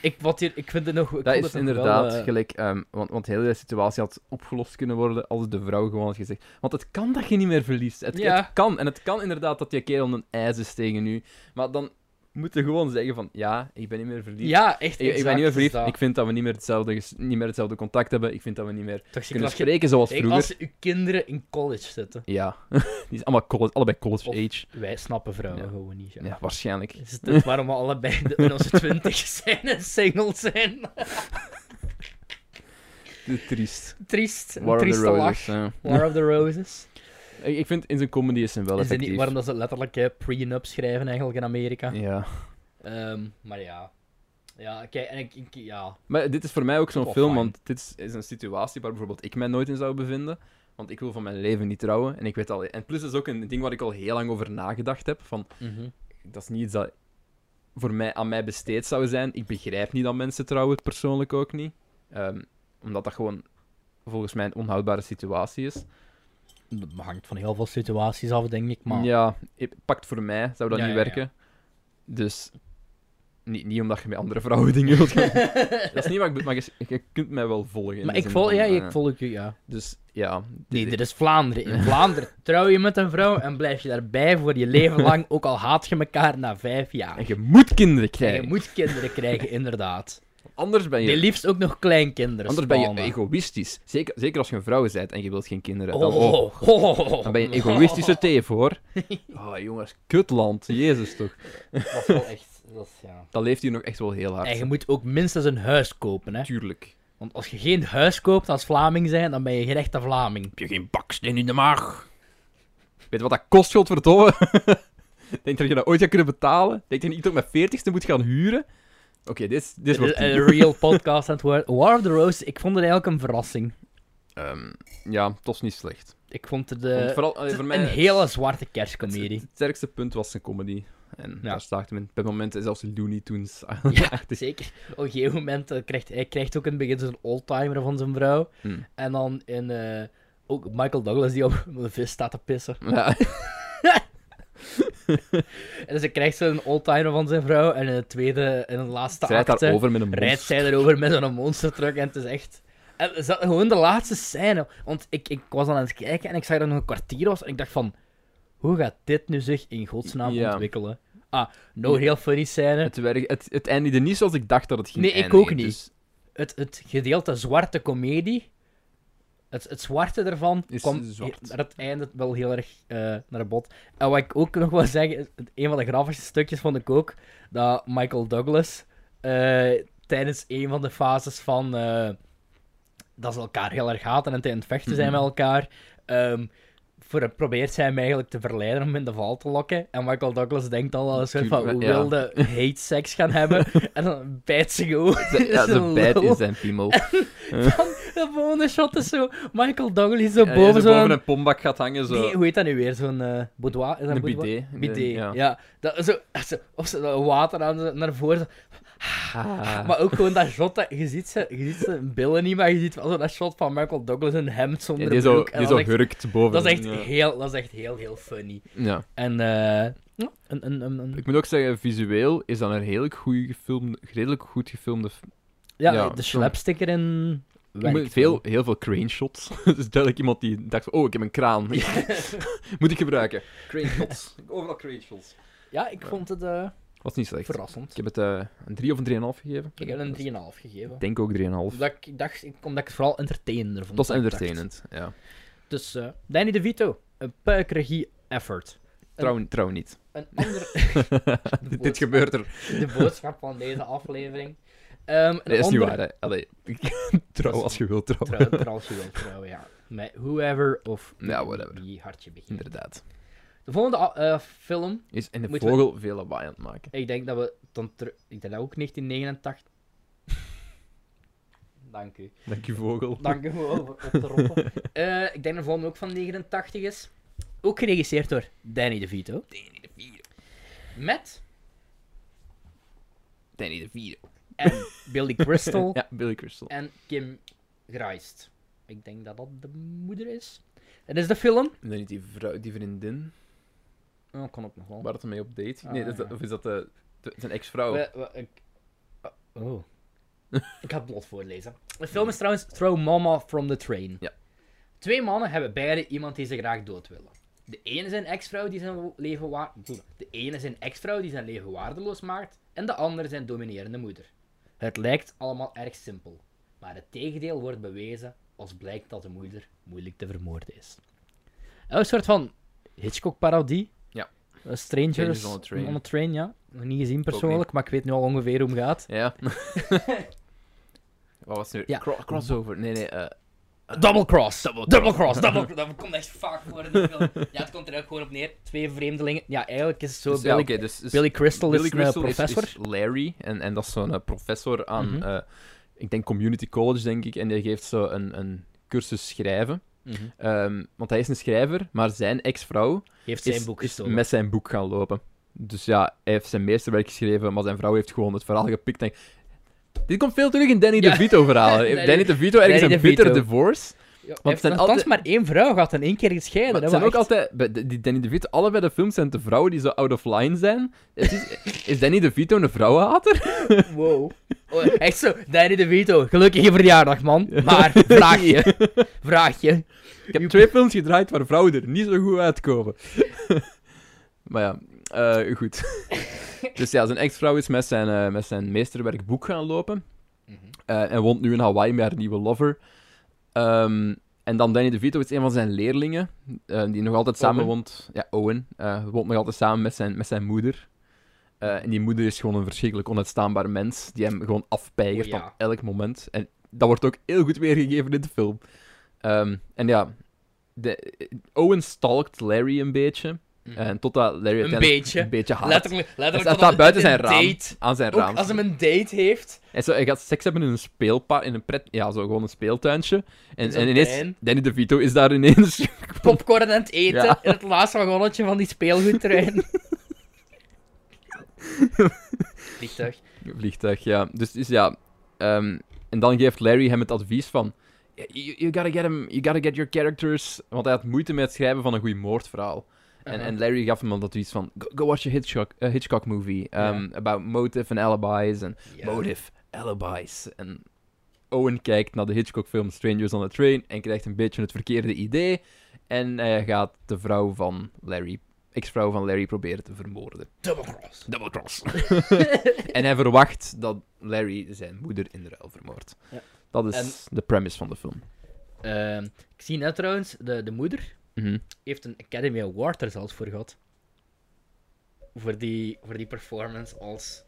[SPEAKER 2] Ik, wat hier, ik vind het nog... ik
[SPEAKER 1] dat
[SPEAKER 2] vond
[SPEAKER 1] is
[SPEAKER 2] het nog wel,
[SPEAKER 1] inderdaad
[SPEAKER 2] eh,
[SPEAKER 1] gelijk. ehm, want, want heel de situatie had opgelost kunnen worden als de vrouw gewoon had gezegd. Want het kan dat je niet meer verliest. Het,
[SPEAKER 2] Ja.
[SPEAKER 1] het kan. En het kan inderdaad dat je kerel een ijs is tegen u. Maar dan moeten gewoon zeggen van, ja, ik ben niet meer verliefd.
[SPEAKER 2] Ja, echt.
[SPEAKER 1] Ik, ik ben
[SPEAKER 2] exact,
[SPEAKER 1] niet meer
[SPEAKER 2] is
[SPEAKER 1] verliefd.
[SPEAKER 2] dat.
[SPEAKER 1] Ik vind dat we niet meer hetzelfde, ges- niet meer hetzelfde contact hebben. Ik vind dat we niet meer
[SPEAKER 2] Toch, zie ik
[SPEAKER 1] kunnen
[SPEAKER 2] als je-
[SPEAKER 1] spreken zoals
[SPEAKER 2] Kijk,
[SPEAKER 1] vroeger.
[SPEAKER 2] als uw kinderen in college zitten,
[SPEAKER 1] Ja, die is allemaal college, allebei college
[SPEAKER 2] Of-
[SPEAKER 1] age.
[SPEAKER 2] wij snappen vrouwen
[SPEAKER 1] Ja.
[SPEAKER 2] gewoon niet. Ja.
[SPEAKER 1] Ja, waarschijnlijk.
[SPEAKER 2] Is het ook waarom we allebei de- in onze twintig zijn en single zijn?
[SPEAKER 1] Triest.
[SPEAKER 2] Triest. Een
[SPEAKER 1] War of the
[SPEAKER 2] trieste
[SPEAKER 1] Roses.
[SPEAKER 2] lach.
[SPEAKER 1] ja.
[SPEAKER 2] War of the Roses.
[SPEAKER 1] Ik, ik vind in zijn comedy is hem wel
[SPEAKER 2] Is het
[SPEAKER 1] effectief.
[SPEAKER 2] niet waarom dat ze letterlijk eh, prenup schrijven eigenlijk in Amerika?
[SPEAKER 1] Ja.
[SPEAKER 2] Ehm, maar ja. Ja, kijk, en ik, ik- ja.
[SPEAKER 1] Maar dit is voor mij ook zo'n
[SPEAKER 2] wel
[SPEAKER 1] film,
[SPEAKER 2] fijn.
[SPEAKER 1] want dit is, is een situatie waar bijvoorbeeld ik mij nooit in zou bevinden. Want ik wil van mijn leven niet trouwen. En ik weet al... En plus is ook een ding waar ik al heel lang over nagedacht heb. Van, dat is niet iets dat voor mij, aan mij besteed zou zijn. Ik begrijp niet dat mensen trouwen, persoonlijk ook niet. Ehm, omdat dat gewoon volgens mij een onhoudbare situatie is.
[SPEAKER 2] Dat hangt van heel veel situaties af, denk ik. Maar
[SPEAKER 1] Ja, het pakt voor mij, zou dat
[SPEAKER 2] Ja,
[SPEAKER 1] niet
[SPEAKER 2] ja, ja.
[SPEAKER 1] werken. Dus niet, niet omdat je met andere vrouwen dingen wilt gaan doen. Dat is niet wat ik bedoel, maar je, je kunt mij wel volgen. in
[SPEAKER 2] maar
[SPEAKER 1] de
[SPEAKER 2] ik
[SPEAKER 1] zin
[SPEAKER 2] volg,
[SPEAKER 1] van,
[SPEAKER 2] ja,
[SPEAKER 1] eh,
[SPEAKER 2] ik volg je, ja.
[SPEAKER 1] Dus ja.
[SPEAKER 2] Nee,
[SPEAKER 1] dit-
[SPEAKER 2] dit is Vlaanderen. In Vlaanderen trouw je met een vrouw en blijf je daarbij voor je leven lang, ook al haat je elkaar na vijf jaar.
[SPEAKER 1] En je moet kinderen
[SPEAKER 2] En je
[SPEAKER 1] krijgen.
[SPEAKER 2] moet kinderen krijgen, inderdaad.
[SPEAKER 1] Anders ben
[SPEAKER 2] Die
[SPEAKER 1] je,
[SPEAKER 2] liefst ook nog kleinkinderen.
[SPEAKER 1] anders ben je
[SPEAKER 2] spannen.
[SPEAKER 1] egoïstisch. Zeker, zeker als je een vrouw bent en je wilt geen kinderen. Dan,
[SPEAKER 2] Oh, oh, oh, oh.
[SPEAKER 1] dan ben je een egoïstische teef, hoor. Oh, jongens, kutland. Jezus, toch.
[SPEAKER 2] Dat is wel echt. Dat is, ja.
[SPEAKER 1] Dat leeft hier nog echt wel heel hard.
[SPEAKER 2] En je moet ook minstens een huis kopen, hè?
[SPEAKER 1] Tuurlijk.
[SPEAKER 2] Want als je geen huis koopt als Vlaming zijn, dan ben je geen echte Vlaming.
[SPEAKER 1] Heb je geen baksteen in de maag? Weet je wat dat kost, godverdomme? Denk je dat je dat ooit gaat kunnen betalen? Denk je niet ook met 40ste moet gaan huren? Oké, dit, is- dit is
[SPEAKER 2] Dit
[SPEAKER 1] wat
[SPEAKER 2] is een Eh, real podcast aan het worden. War of the Roses, ik vond het eigenlijk een verrassing.
[SPEAKER 1] Ehm, Ja, toch niet slecht.
[SPEAKER 2] Ik vond het,
[SPEAKER 1] Want
[SPEAKER 2] eh,
[SPEAKER 1] vooral, eh,
[SPEAKER 2] het is
[SPEAKER 1] voor mij
[SPEAKER 2] een
[SPEAKER 1] het-
[SPEAKER 2] hele zwarte
[SPEAKER 1] het,
[SPEAKER 2] kerstcomedie.
[SPEAKER 1] het sterkste punt was zijn comedy. En
[SPEAKER 2] Ja.
[SPEAKER 1] daar staat hem in. Bij momenten zelfs Looney Tunes.
[SPEAKER 2] Ja, zeker. Op een gegeven moment eh, krijgt hij krijgt ook in het begin zo'n oldtimer van zijn vrouw.
[SPEAKER 1] Hmm.
[SPEAKER 2] En dan in, eh, ook Michael Douglas die op een vis staat te pissen.
[SPEAKER 1] Ja.
[SPEAKER 2] En dus hij krijgt zo'n oldtimer van zijn vrouw. En in het tweede, in het laatste
[SPEAKER 1] Zij
[SPEAKER 2] acte,
[SPEAKER 1] daarover met een
[SPEAKER 2] rijdt
[SPEAKER 1] bos.
[SPEAKER 2] zij erover met zo'n monstertruck. En het is echt... En is dat gewoon de laatste scène. Want ik, ik was dan aan het kijken en ik zag dat er nog een kwartier was. En ik dacht van... Hoe gaat dit nu zich in godsnaam
[SPEAKER 1] Ja.
[SPEAKER 2] ontwikkelen? Ah, nog een heel funny scène.
[SPEAKER 1] Het, werk- het, het eindigde niet zoals ik dacht dat het ging
[SPEAKER 2] Nee, ik
[SPEAKER 1] eindigen,
[SPEAKER 2] ook niet.
[SPEAKER 1] dus
[SPEAKER 2] het, het gedeelte zwarte komedie, het, het zwarte ervan,
[SPEAKER 1] Is
[SPEAKER 2] kwam
[SPEAKER 1] zwart.
[SPEAKER 2] he- naar het einde wel heel erg eh, naar bod. En wat ik ook nog wil zeggen, is, het- een van de grappigste stukjes vond ik ook, dat Michael Douglas eh, tijdens een van de fases van eh, dat ze elkaar heel erg haten en tegen het vechten zijn
[SPEAKER 1] Mhm.
[SPEAKER 2] met elkaar, ehm, voor, probeert zij hem eigenlijk te verleiden om hem in de val te lokken. En Michael Douglas denkt al als een soort van
[SPEAKER 1] Tuurlijk, ja.
[SPEAKER 2] wilde hate seks gaan hebben. en dan bijt ze gewoon.
[SPEAKER 1] ze- ja,
[SPEAKER 2] Zo'n
[SPEAKER 1] ze bijt in
[SPEAKER 2] lul.
[SPEAKER 1] zijn piemel.
[SPEAKER 2] De volgende shot is zo Michael Douglas zo
[SPEAKER 1] Ja,
[SPEAKER 2] boven
[SPEAKER 1] zo Eh, dus boven
[SPEAKER 2] zo'n...
[SPEAKER 1] een pombak gaat hangen, zo.
[SPEAKER 2] Nee, hoe heet dat nu weer? Zo'n eh boudoir? Is dat
[SPEAKER 1] een
[SPEAKER 2] boudoir?
[SPEAKER 1] bidet.
[SPEAKER 2] Bidet, ja.
[SPEAKER 1] Ja.
[SPEAKER 2] Dat, zo, zo- of zo dat water aan, zo naar voren. zo.
[SPEAKER 1] Ah.
[SPEAKER 2] Maar ook gewoon dat shot, dat, je, ziet ze, je ziet zijn billen niet, maar je ziet wel zo dat shot van Michael Douglas een hemd
[SPEAKER 1] Ja,
[SPEAKER 2] zonder
[SPEAKER 1] die zo,
[SPEAKER 2] broek. En
[SPEAKER 1] die
[SPEAKER 2] dat,
[SPEAKER 1] zo
[SPEAKER 2] is echt,
[SPEAKER 1] hurkt boven.
[SPEAKER 2] dat, is echt
[SPEAKER 1] Ja.
[SPEAKER 2] heel, dat is echt heel, heel funny.
[SPEAKER 1] Ja.
[SPEAKER 2] En eh, ja, een, een, een, een-
[SPEAKER 1] Ik moet ook zeggen, visueel is dat een redelijk, goeie gefilmde, redelijk goed gefilmde... f-
[SPEAKER 2] ja,
[SPEAKER 1] ja,
[SPEAKER 2] de
[SPEAKER 1] zo.
[SPEAKER 2] slapstick erin
[SPEAKER 1] Ik moet-
[SPEAKER 2] werkt
[SPEAKER 1] Veel,
[SPEAKER 2] wel.
[SPEAKER 1] heel veel crane shots. dus duidelijk iemand die dacht, van, oh, ik heb een kraan. moet ik gebruiken. Crane shots. Overal crane shots.
[SPEAKER 2] Ja, ik vond het eh,
[SPEAKER 1] Was niet slecht.
[SPEAKER 2] verrassend.
[SPEAKER 1] Ik heb het eh, een 3 of een 3,5 gegeven.
[SPEAKER 2] Ik heb het een 3,5 gegeven.
[SPEAKER 1] Ik denk ook 3,5.
[SPEAKER 2] Omdat ik, ik dacht, ik, omdat ik het vooral entertainender vond.
[SPEAKER 1] Dat is
[SPEAKER 2] dan ik dacht.
[SPEAKER 1] entertainend, ja.
[SPEAKER 2] Dus eh, Danny DeVito, een puikregie effort.
[SPEAKER 1] Trouw, trouw niet.
[SPEAKER 2] Een ander... De
[SPEAKER 1] Dit gebeurt er.
[SPEAKER 2] boodschap- De boodschap van deze aflevering. Ehm, een
[SPEAKER 1] Dat is niet
[SPEAKER 2] ander-
[SPEAKER 1] waar, hè. Allee, trouw als je wilt trouwen.
[SPEAKER 2] Trouw, trouw als je wilt trouwen, ja. Met whoever of
[SPEAKER 1] Ja, whatever.
[SPEAKER 2] wie hartje begint.
[SPEAKER 1] Inderdaad.
[SPEAKER 2] De volgende a- eh, film,
[SPEAKER 1] Is in de
[SPEAKER 2] Moeten we-
[SPEAKER 1] vogel veel lawaai aan het maken.
[SPEAKER 2] ik denk dat we dan ter- Ik denk dat ook 1989... Dank u.
[SPEAKER 1] Dank je vogel.
[SPEAKER 2] Dank u voor op op te roppen. Eh, ik denk dat de volgende ook van 89 is. Ook geregisseerd door Danny DeVito. Danny DeVito. Met
[SPEAKER 1] Danny de Vier.
[SPEAKER 2] en Billy Crystal
[SPEAKER 1] Ja, Billy Crystal.
[SPEAKER 2] en Kim Greist. Ik denk dat dat de moeder is. Dat is de film.
[SPEAKER 1] En dan niet die vrouw, die vriendin,
[SPEAKER 2] Oh, kan ook nog wel.
[SPEAKER 1] waar het mee op date ging.
[SPEAKER 2] Ah,
[SPEAKER 1] Nee, dat is
[SPEAKER 2] ja.
[SPEAKER 1] dat, of is dat de, de- zijn ex-vrouw?
[SPEAKER 2] We- we- ik, oh. ik ga het blot voorlezen. De film is trouwens Throw Mama from the Train.
[SPEAKER 1] Ja.
[SPEAKER 2] Twee mannen hebben beide iemand die ze graag dood willen. De ene zijn ex-vrouw die zijn leven wa- De ene zijn ex-vrouw die zijn leven waardeloos maakt. En de andere zijn dominerende moeder. Het lijkt allemaal erg simpel. Maar het tegendeel wordt bewezen als blijkt dat de moeder moeilijk te vermoorden is. En een soort van Hitchcock-parodie.
[SPEAKER 1] Ja.
[SPEAKER 2] Eh, Strangers,
[SPEAKER 1] Strangers on a Train.
[SPEAKER 2] on a Train, ja. Nog niet gezien persoonlijk, maar ik weet nu al ongeveer hoe het gaat.
[SPEAKER 1] Ja. Wat was het nu?
[SPEAKER 2] Ja.
[SPEAKER 1] Cro- crossover. Nee, nee. eh,
[SPEAKER 2] Double cross. Double, cross. Double cross. Dat komt echt vaak voor in die film. Ja, het komt er ook gewoon op neer. Twee vreemdelingen. Ja, eigenlijk is het zo.
[SPEAKER 1] dus, ja,
[SPEAKER 2] Billy,
[SPEAKER 1] oké, dus, dus
[SPEAKER 2] Billy Crystal
[SPEAKER 1] Billy
[SPEAKER 2] is
[SPEAKER 1] Crystal
[SPEAKER 2] een eh,
[SPEAKER 1] is-
[SPEAKER 2] professor.
[SPEAKER 1] Is, Larry. En, en dat is zo'n eh, professor aan,
[SPEAKER 2] Mhm.
[SPEAKER 1] eh, ik denk community college, denk ik. En die geeft zo een, een cursus schrijven.
[SPEAKER 2] Mhm.
[SPEAKER 1] Ehm, want hij is een schrijver, maar zijn ex-vrouw
[SPEAKER 2] Heeft zijn
[SPEAKER 1] is,
[SPEAKER 2] boek
[SPEAKER 1] is
[SPEAKER 2] gestolen.
[SPEAKER 1] met zijn boek gaan lopen. Dus ja, hij heeft zijn meesterwerk geschreven, maar zijn vrouw heeft gewoon het verhaal gepikt. En... Dit komt veel terug in Danny
[SPEAKER 2] Ja.
[SPEAKER 1] DeVito-verhalen.
[SPEAKER 2] Danny-
[SPEAKER 1] Danny DeVito ergens
[SPEAKER 2] Danny
[SPEAKER 1] een bitter
[SPEAKER 2] DeVito.
[SPEAKER 1] divorce.
[SPEAKER 2] Ja,
[SPEAKER 1] het zijn
[SPEAKER 2] althans
[SPEAKER 1] altijd-
[SPEAKER 2] maar één vrouw gaat in één keer
[SPEAKER 1] maar
[SPEAKER 2] gescheiden.
[SPEAKER 1] het
[SPEAKER 2] Dat
[SPEAKER 1] zijn
[SPEAKER 2] was
[SPEAKER 1] ook
[SPEAKER 2] echt-
[SPEAKER 1] altijd... bij de- Die Danny DeVito, allebei de films zijn de vrouwen die zo out of line zijn. Het Is, is Danny DeVito een vrouwenhater?
[SPEAKER 2] Wow. Oh, echt zo. Danny DeVito, gelukkige verjaardag, man. Maar, vraagje.
[SPEAKER 1] Ah,
[SPEAKER 2] vraagje.
[SPEAKER 1] Ik heb twee films gedraaid waar vrouwen er niet zo goed uitkomen. maar ja, eh, goed. dus ja, zijn ex-vrouw is met zijn, eh, met zijn meesterwerk boek gaan lopen.
[SPEAKER 2] Mhm.
[SPEAKER 1] Eh, en woont nu in Hawaii met haar nieuwe lover. Ehm, en dan Danny DeVito is een van zijn leerlingen, eh, die nog altijd samen
[SPEAKER 2] Owen.
[SPEAKER 1] woont. Ja, Owen. eh, woont nog altijd samen met zijn, met zijn moeder. Eh, en die moeder is gewoon een verschrikkelijk onuitstaanbaar mens, die hem gewoon afpeigert
[SPEAKER 2] O, Oh ja.
[SPEAKER 1] op elk moment. En dat wordt ook heel goed weergegeven in de film. Ehm, en ja, de, Owen stalkt Larry een beetje. En totdat Larry
[SPEAKER 2] Mhm. Een
[SPEAKER 1] uiteindelijk
[SPEAKER 2] beetje.
[SPEAKER 1] een beetje haat.
[SPEAKER 2] Letterlijk,
[SPEAKER 1] Hij
[SPEAKER 2] letterlijk.
[SPEAKER 1] staat
[SPEAKER 2] tot
[SPEAKER 1] daar buiten
[SPEAKER 2] een
[SPEAKER 1] zijn raam.
[SPEAKER 2] Date.
[SPEAKER 1] Aan zijn raam.
[SPEAKER 2] Ook als hij een date heeft.
[SPEAKER 1] En zo, hij gaat seks hebben in een speelpa, in een pret, ja, zo gewoon een speeltuintje. En,
[SPEAKER 2] zo'n
[SPEAKER 1] en ineens,
[SPEAKER 2] tuin.
[SPEAKER 1] Danny DeVito is daar ineens.
[SPEAKER 2] popcorn aan het eten
[SPEAKER 1] Ja.
[SPEAKER 2] in het laatste wagonnetje van die speelgoedtrein. Vliegtuig.
[SPEAKER 1] Vliegtuig, ja. Dus, dus ja. ehm, en dan geeft Larry hem het advies van. "You- You, you gotta get him, you gotta get your characters. Want hij had moeite met het schrijven van een goed moordverhaal. En,
[SPEAKER 2] Uh-huh.
[SPEAKER 1] en Larry gaf hem dan dat advies van. Go, go watch a Hitchcock, a Hitchcock movie. ehm, About motive and alibis. En
[SPEAKER 2] Ja.
[SPEAKER 1] motive, alibis. En Owen kijkt naar de Hitchcock-film Strangers on a Train en krijgt een beetje het verkeerde idee. En hij gaat de vrouw van Larry, ex-vrouw van Larry, proberen te vermoorden.
[SPEAKER 2] Double cross.
[SPEAKER 1] Double cross. en hij verwacht dat Larry zijn moeder in de ruil vermoordt.
[SPEAKER 2] Ja.
[SPEAKER 1] Dat is de premise van de film.
[SPEAKER 2] Ehm, ik zie net trouwens, de, de moeder
[SPEAKER 1] Mhm.
[SPEAKER 2] heeft een Academy Award er zelfs voor gehad. Voor die, voor die performance als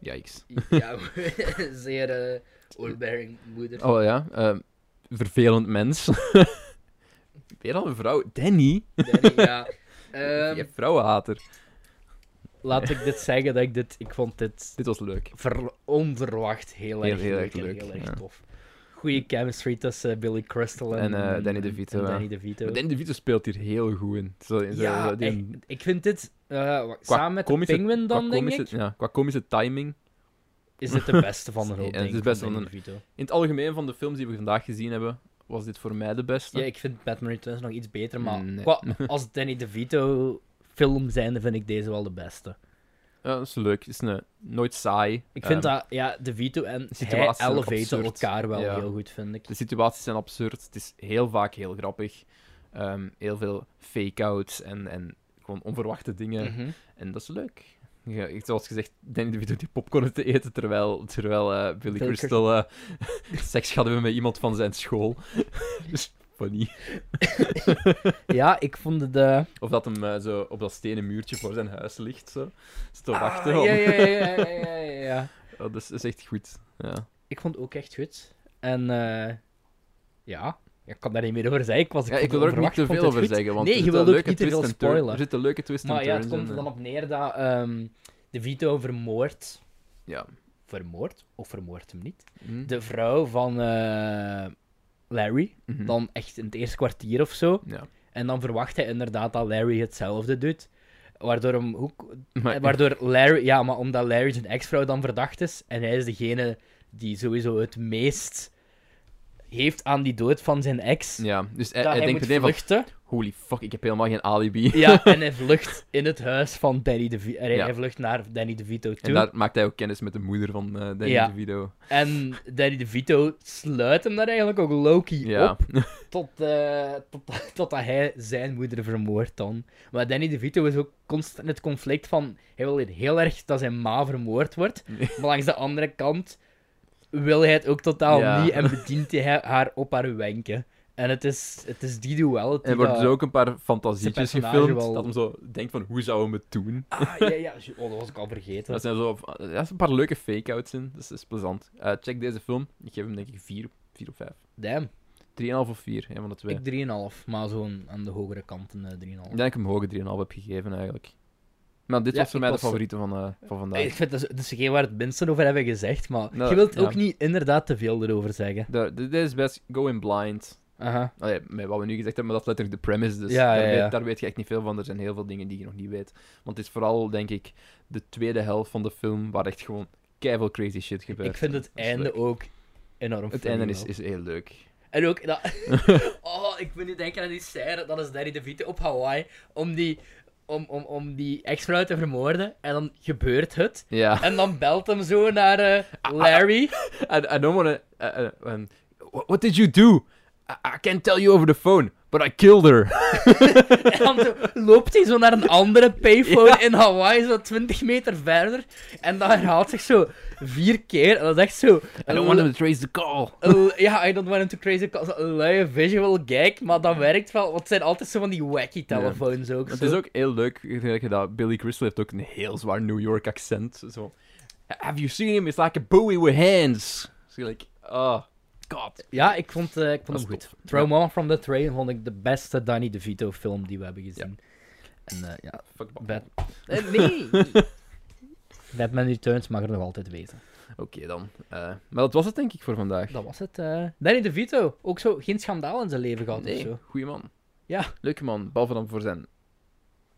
[SPEAKER 1] Yikes.
[SPEAKER 2] ja, zeer eh, overbearing moeder.
[SPEAKER 1] Oh ja, ehm, vervelend mens. Weer al een vrouw. Danny,
[SPEAKER 2] Danny, ja. Ehm,
[SPEAKER 1] je vrouwenhater.
[SPEAKER 2] Laat ik dit zeggen, dat ik dit, ik vond dit
[SPEAKER 1] Dit was leuk.
[SPEAKER 2] ver- onverwacht heel
[SPEAKER 1] Heel-
[SPEAKER 2] erg
[SPEAKER 1] heel
[SPEAKER 2] leuk
[SPEAKER 1] erg
[SPEAKER 2] en
[SPEAKER 1] leuk,
[SPEAKER 2] heel erg
[SPEAKER 1] ja.
[SPEAKER 2] tof. Goeie chemistry tussen Billy Crystal en,
[SPEAKER 1] En, eh, Danny DeVito,
[SPEAKER 2] en
[SPEAKER 1] ja.
[SPEAKER 2] Danny DeVito.
[SPEAKER 1] Maar Danny DeVito speelt hier heel goed in. Zo, zo-
[SPEAKER 2] ja,
[SPEAKER 1] zo die-
[SPEAKER 2] echt. ik vind dit eh, wa-
[SPEAKER 1] qua
[SPEAKER 2] samen met
[SPEAKER 1] komische-
[SPEAKER 2] de Penguin
[SPEAKER 1] qua
[SPEAKER 2] dan, denk
[SPEAKER 1] komische,
[SPEAKER 2] ik,
[SPEAKER 1] Ja, qua komische timing.
[SPEAKER 2] is dit de beste van de
[SPEAKER 1] Ja,
[SPEAKER 2] rol,
[SPEAKER 1] het
[SPEAKER 2] denk
[SPEAKER 1] is
[SPEAKER 2] ik,
[SPEAKER 1] best
[SPEAKER 2] van
[SPEAKER 1] wel
[SPEAKER 2] Danny
[SPEAKER 1] een-
[SPEAKER 2] DeVito.
[SPEAKER 1] In het algemeen van de films die we vandaag gezien hebben, was dit voor mij de beste.
[SPEAKER 2] Ja, ik vind Batman Returns nog iets beter, maar
[SPEAKER 1] Nee.
[SPEAKER 2] qua- als Danny DeVito film zijnde vind ik deze wel de beste.
[SPEAKER 1] Ja, dat is leuk. Het is een, nooit saai.
[SPEAKER 2] Ik vind
[SPEAKER 1] Ehm,
[SPEAKER 2] dat, ja, DeVito en hij
[SPEAKER 1] situaties zijn ook
[SPEAKER 2] elevaten
[SPEAKER 1] absurd.
[SPEAKER 2] elkaar wel
[SPEAKER 1] Ja. Dus,
[SPEAKER 2] heel goed, vind ik.
[SPEAKER 1] De situaties zijn absurd. Het is heel vaak heel grappig. Ehm, heel veel fake-outs en, en gewoon onverwachte dingen.
[SPEAKER 2] Mhm.
[SPEAKER 1] En dat is leuk. Ja, ik- zoals gezegd, Danny DeVito die popcorn te eten terwijl, terwijl eh, Billy
[SPEAKER 2] Crystal.
[SPEAKER 1] Crystal eh, seks gaat hebben met iemand van zijn school. dus funny.
[SPEAKER 2] Ja, ik vond het... eh,
[SPEAKER 1] Of dat hem eh, zo op dat stenen muurtje voor zijn huis ligt. Zo. Zit te wachten.
[SPEAKER 2] Ah,
[SPEAKER 1] om-
[SPEAKER 2] ja, ja, ja, ja, ja, ja, ja.
[SPEAKER 1] Oh, dat, is, dat is echt goed. Ja.
[SPEAKER 2] Ik vond het ook echt goed. En eh ja, ik kan daar niet meer over zeggen. Ik, was,
[SPEAKER 1] Ja, ik
[SPEAKER 2] vond
[SPEAKER 1] wil
[SPEAKER 2] het
[SPEAKER 1] er ook niet
[SPEAKER 2] onverwacht,
[SPEAKER 1] te
[SPEAKER 2] vond
[SPEAKER 1] veel
[SPEAKER 2] het
[SPEAKER 1] over
[SPEAKER 2] goed.
[SPEAKER 1] zeggen. Want
[SPEAKER 2] Nee,
[SPEAKER 1] er
[SPEAKER 2] je
[SPEAKER 1] zitten
[SPEAKER 2] wil ook
[SPEAKER 1] leuke
[SPEAKER 2] niet te veel
[SPEAKER 1] twist and turn-
[SPEAKER 2] spoilen.
[SPEAKER 1] Er zitten leuke twist en
[SPEAKER 2] Maar ja, het
[SPEAKER 1] turns
[SPEAKER 2] komt
[SPEAKER 1] in,
[SPEAKER 2] er
[SPEAKER 1] eh.
[SPEAKER 2] dan op neer dat ehm De Vito vermoordt.
[SPEAKER 1] Ja.
[SPEAKER 2] Vermoord of vermoordt hem niet?
[SPEAKER 1] Hm.
[SPEAKER 2] De vrouw van eh, Larry.
[SPEAKER 1] Mhm.
[SPEAKER 2] Dan echt in het eerste kwartier of zo.
[SPEAKER 1] Ja.
[SPEAKER 2] En dan verwacht hij inderdaad dat Larry hetzelfde doet. Waardoor, hem ook,
[SPEAKER 1] Maar-
[SPEAKER 2] eh, waardoor Larry, ja, maar omdat Larry zijn ex-vrouw dan verdacht is. En hij is degene die sowieso het meest heeft aan die dood van zijn ex.
[SPEAKER 1] Ja, dus hij,
[SPEAKER 2] dat
[SPEAKER 1] hij
[SPEAKER 2] hij
[SPEAKER 1] denkt
[SPEAKER 2] moet
[SPEAKER 1] meteen van,
[SPEAKER 2] vluchten.
[SPEAKER 1] holy fuck, ik heb helemaal geen alibi.
[SPEAKER 2] Ja, en hij vlucht in het huis van Danny DeVito. Hij,
[SPEAKER 1] Ja.
[SPEAKER 2] hij vlucht naar Danny DeVito toe.
[SPEAKER 1] En daar maakt hij ook kennis met de moeder van eh Danny
[SPEAKER 2] Ja.
[SPEAKER 1] DeVito.
[SPEAKER 2] En Danny DeVito sluit hem daar eigenlijk ook Loki
[SPEAKER 1] Ja.
[SPEAKER 2] op. Tot, eh, tot, totdat hij zijn moeder vermoordt dan. Maar Danny DeVito is ook constant in het conflict van... Hij wil hier heel erg dat zijn ma vermoord wordt. Maar langs de andere kant wil hij het ook totaal
[SPEAKER 1] Ja.
[SPEAKER 2] niet. En bedient hij haar- haar op haar wenken. En het is, het is die duel.
[SPEAKER 1] En er worden dus ook een paar fantasietjes
[SPEAKER 2] personage
[SPEAKER 1] gefilmd,
[SPEAKER 2] wel-
[SPEAKER 1] dat hem zo denkt van, hoe zouden we het doen?
[SPEAKER 2] Ah, ja, ja. Oh, dat was ik al vergeten.
[SPEAKER 1] Dat zijn zo dat is een paar leuke fake-outs in, dus dat is plezant. Eh, check deze film. Ik geef hem denk ik 4 of 5. 3,5
[SPEAKER 2] Damn.
[SPEAKER 1] of 4, een van de twee. Ik
[SPEAKER 2] Ik 3,5. Maar zo'n aan de hogere kant een eh, 3,5.
[SPEAKER 1] denk dat ik hem hoger 3,5 heb gegeven eigenlijk. Maar dit
[SPEAKER 2] Ja,
[SPEAKER 1] was voor
[SPEAKER 2] ik
[SPEAKER 1] mij de
[SPEAKER 2] was-
[SPEAKER 1] favoriete van, eh, van vandaag.
[SPEAKER 2] Ik vind dat is, dat is geen waar het minste over hebben gezegd, maar
[SPEAKER 1] Nou,
[SPEAKER 2] je wilt
[SPEAKER 1] ja.
[SPEAKER 2] ook niet inderdaad te veel erover zeggen.
[SPEAKER 1] Daar- dit dit is best go in blind.
[SPEAKER 2] Aha.
[SPEAKER 1] Allee, met wat we nu gezegd hebben, maar dat is letterlijk de premise. Dus
[SPEAKER 2] Ja,
[SPEAKER 1] daar,
[SPEAKER 2] ja, ja.
[SPEAKER 1] Weet, daar weet je echt niet veel van. Er zijn heel veel dingen die je nog niet weet. Want het is vooral, denk ik, de tweede helft van de film waar echt gewoon keiveel crazy shit gebeurt.
[SPEAKER 2] Ik vind het
[SPEAKER 1] Dat is
[SPEAKER 2] einde
[SPEAKER 1] leuk.
[SPEAKER 2] ook enorm
[SPEAKER 1] Het
[SPEAKER 2] funny
[SPEAKER 1] einde is,
[SPEAKER 2] wel.
[SPEAKER 1] is heel leuk.
[SPEAKER 2] En ook dat... oh, ik moet nu denken aan die scène, dat is Danny DeVito op Hawaii, om die, om, om, om die ex-vrouw te vermoorden, en dan gebeurt het.
[SPEAKER 1] Ja.
[SPEAKER 2] En dan belt hem zo naar
[SPEAKER 1] Ah,
[SPEAKER 2] eh, Larry.
[SPEAKER 1] I, I don't want to. Uh, uh, um, wh- what did you do? I, I can't tell you over the phone, but I killed her.
[SPEAKER 2] En dan zo, loopt hij zo naar een andere payphone in Hawaii, zo 20 meter verder. En dat herhaalt zich zo vier keer. En dat is echt zo...
[SPEAKER 1] I don't want him to trace the call.
[SPEAKER 2] L- Oh, Ja, I don't want him to crazy cause een luie visual gag, maar dat werkt wel. Want het zijn altijd zo van die wacky telefoons ook.
[SPEAKER 1] Het
[SPEAKER 2] zo.
[SPEAKER 1] is ook heel leuk gelijk dat Billy Crystal heeft ook een heel zwaar New York accent. Zo. Have you seen him? It's like a Bowie with hands. So like, oh, god.
[SPEAKER 2] Ja, ik vond, eh, ik vond
[SPEAKER 1] is
[SPEAKER 2] hem goed.
[SPEAKER 1] tof.
[SPEAKER 2] Throw Mama from the Train vond ik de beste Danny DeVito film die we hebben gezien. En eh, ja,
[SPEAKER 1] Fuck Bob.
[SPEAKER 2] Bad... Eh, nee! Batman Returns mag er nog altijd wezen.
[SPEAKER 1] Oké dan. Eh, maar dat was het denk ik voor vandaag.
[SPEAKER 2] Dat was het. eh. Danny DeVito, ook zo geen schandaal in zijn leven gehad of
[SPEAKER 1] nee,
[SPEAKER 2] zo.
[SPEAKER 1] goeie man.
[SPEAKER 2] Ja.
[SPEAKER 1] Leuke man, behalve dan voor zijn.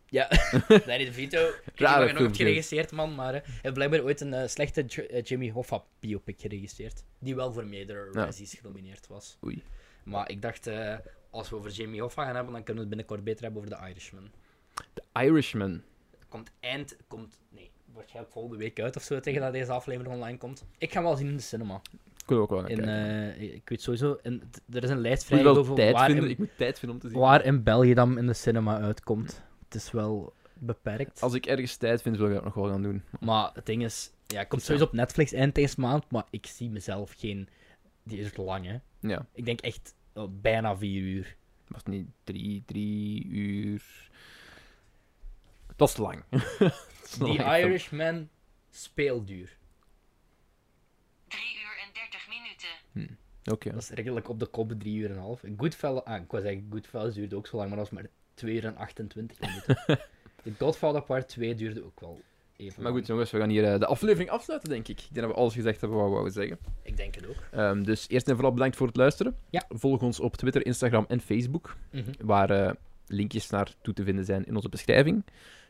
[SPEAKER 2] Ja, Danny DeVito. Ik heb
[SPEAKER 1] Rare
[SPEAKER 2] nog nooit
[SPEAKER 1] films,
[SPEAKER 2] geregisseerd, man. Maar eh, hij heeft blijkbaar ooit een eh, slechte J- eh, Jimmy Hoffa biopic geregistreerd. Die wel voor meerdere
[SPEAKER 1] Ja.
[SPEAKER 2] Razzies genomineerd was.
[SPEAKER 1] Oei.
[SPEAKER 2] Maar ik dacht, eh, als we over Jimmy Hoffa gaan hebben, dan kunnen we het binnenkort beter hebben over The Irishman.
[SPEAKER 1] Irishman.
[SPEAKER 2] Het komt eind... Komt, nee, waarschijnlijk volgende week uit of zo, tegen dat deze aflevering online komt. Ik ga hem wel zien in de cinema.
[SPEAKER 1] Kunnen we ook wel gaan
[SPEAKER 2] In,
[SPEAKER 1] kijken.
[SPEAKER 2] eh, ik weet sowieso... in- t- er is een lijst
[SPEAKER 1] Ik moet, wel
[SPEAKER 2] vrijgegeven
[SPEAKER 1] tijd
[SPEAKER 2] waar,
[SPEAKER 1] vinden,
[SPEAKER 2] in-
[SPEAKER 1] ik moet tijd vinden om te zien.
[SPEAKER 2] waar in België dan in de cinema uitkomt. Het is wel beperkt.
[SPEAKER 1] Als ik ergens tijd vind, wil ik dat nog wel gaan doen.
[SPEAKER 2] Maar het ding is, ja, het komt sowieso op Netflix eind deze maand, maar ik zie mezelf geen. Die is lang, hè?
[SPEAKER 1] Ja,
[SPEAKER 2] Ik denk echt eh, bijna vier uur.
[SPEAKER 1] was het niet drie, drie uur. Dat is lang. Oh,
[SPEAKER 2] The Irishman speelduur.
[SPEAKER 3] Drie uur en 30 minuten.
[SPEAKER 1] Oké.
[SPEAKER 2] Dat is redelijk op de kop drie uur en een half. Goodfellas, ah, ik was zeggen, Goodfellas duurde ook zo lang, maar dat was maar 2 uur en 28 minuten. The Godfather Part 2 duurde ook wel even.
[SPEAKER 1] Maar
[SPEAKER 2] lang.
[SPEAKER 1] goed, jongens, we gaan hier eh, de aflevering afsluiten, denk ik. Ik denk dat we alles gezegd hebben wat we wouden zeggen.
[SPEAKER 2] ik denk het ook.
[SPEAKER 1] Ehm, dus eerst en vooral bedankt voor het luisteren.
[SPEAKER 2] Ja.
[SPEAKER 1] Volg ons op Twitter, Instagram en Facebook,
[SPEAKER 2] Mhm.
[SPEAKER 1] waar eh, linkjes naar toe te vinden zijn in onze beschrijving.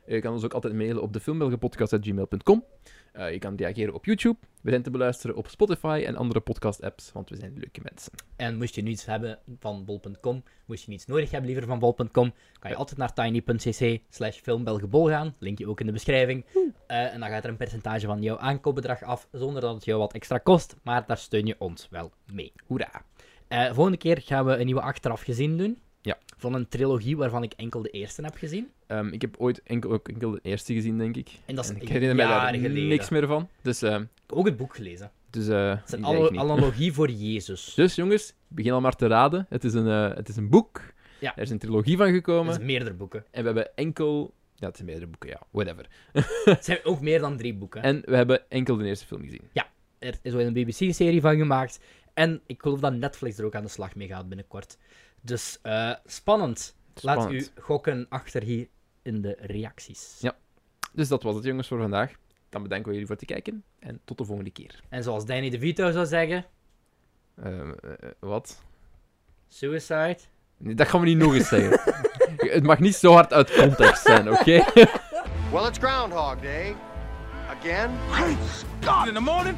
[SPEAKER 1] Eh, je kan ons ook altijd mailen op defilmbelgenpodcast.gmail.com. Eh je kan reageren op YouTube. We zijn te beluisteren op Spotify en andere podcast-apps, want we zijn leuke mensen.
[SPEAKER 2] En moest je nu iets hebben van bol.com, moest je niets nodig hebben liever van bol.com, kan je altijd naar tiny.cc slash filmbelgebol gaan, linkje ook in de beschrijving. Eh, en dan gaat er een percentage van jouw aankoopbedrag af, zonder dat het jou wat extra kost, maar daar steun je ons wel mee. Hoera. Eh, volgende keer gaan we een nieuwe achteraf gezien doen.
[SPEAKER 1] Ja.
[SPEAKER 2] Van een trilogie waarvan ik enkel de eerste heb gezien.
[SPEAKER 1] Ehm, ik heb ooit enkel, ook enkel de eerste gezien, denk ik.
[SPEAKER 2] En dat is
[SPEAKER 1] ik herinner me daar
[SPEAKER 2] jaren geleden.
[SPEAKER 1] niks meer van. Dus, ehm
[SPEAKER 2] Ook het boek gelezen.
[SPEAKER 1] dus eh,
[SPEAKER 2] Het is een
[SPEAKER 1] die ken ik
[SPEAKER 2] analo-
[SPEAKER 1] niet.
[SPEAKER 2] analogie voor Jezus.
[SPEAKER 1] Dus jongens, begin al maar te raden. Het is een, eh, het is een boek.
[SPEAKER 2] Ja.
[SPEAKER 1] Er is een trilogie van
[SPEAKER 2] Er
[SPEAKER 1] gekomen.
[SPEAKER 2] zijn meerdere boeken.
[SPEAKER 1] En we hebben enkel. Ja, het zijn meerdere boeken, ja, whatever.
[SPEAKER 2] Het zijn ook meer dan drie boeken.
[SPEAKER 1] En we hebben enkel de eerste film gezien.
[SPEAKER 2] Er is ooit een BBC-serie van gemaakt. En ik geloof dat Netflix er ook aan de slag mee gaat binnenkort. Dus eh, spannend. Laat u
[SPEAKER 1] Spannend.
[SPEAKER 2] gokken achter hier in de reacties.
[SPEAKER 1] Ja. Dus dat was het, jongens, voor vandaag. Dan bedanken we jullie voor het kijken. En tot de volgende keer.
[SPEAKER 2] En zoals Danny DeVito zou zeggen:
[SPEAKER 1] Ehm, eh, eh, wat?
[SPEAKER 2] suicide.
[SPEAKER 1] Nee, dat gaan we niet nog eens zeggen. het mag niet zo hard uit context zijn, oké?
[SPEAKER 4] Well, it's Groundhog Day. Again?
[SPEAKER 5] Great Scott! In the morning,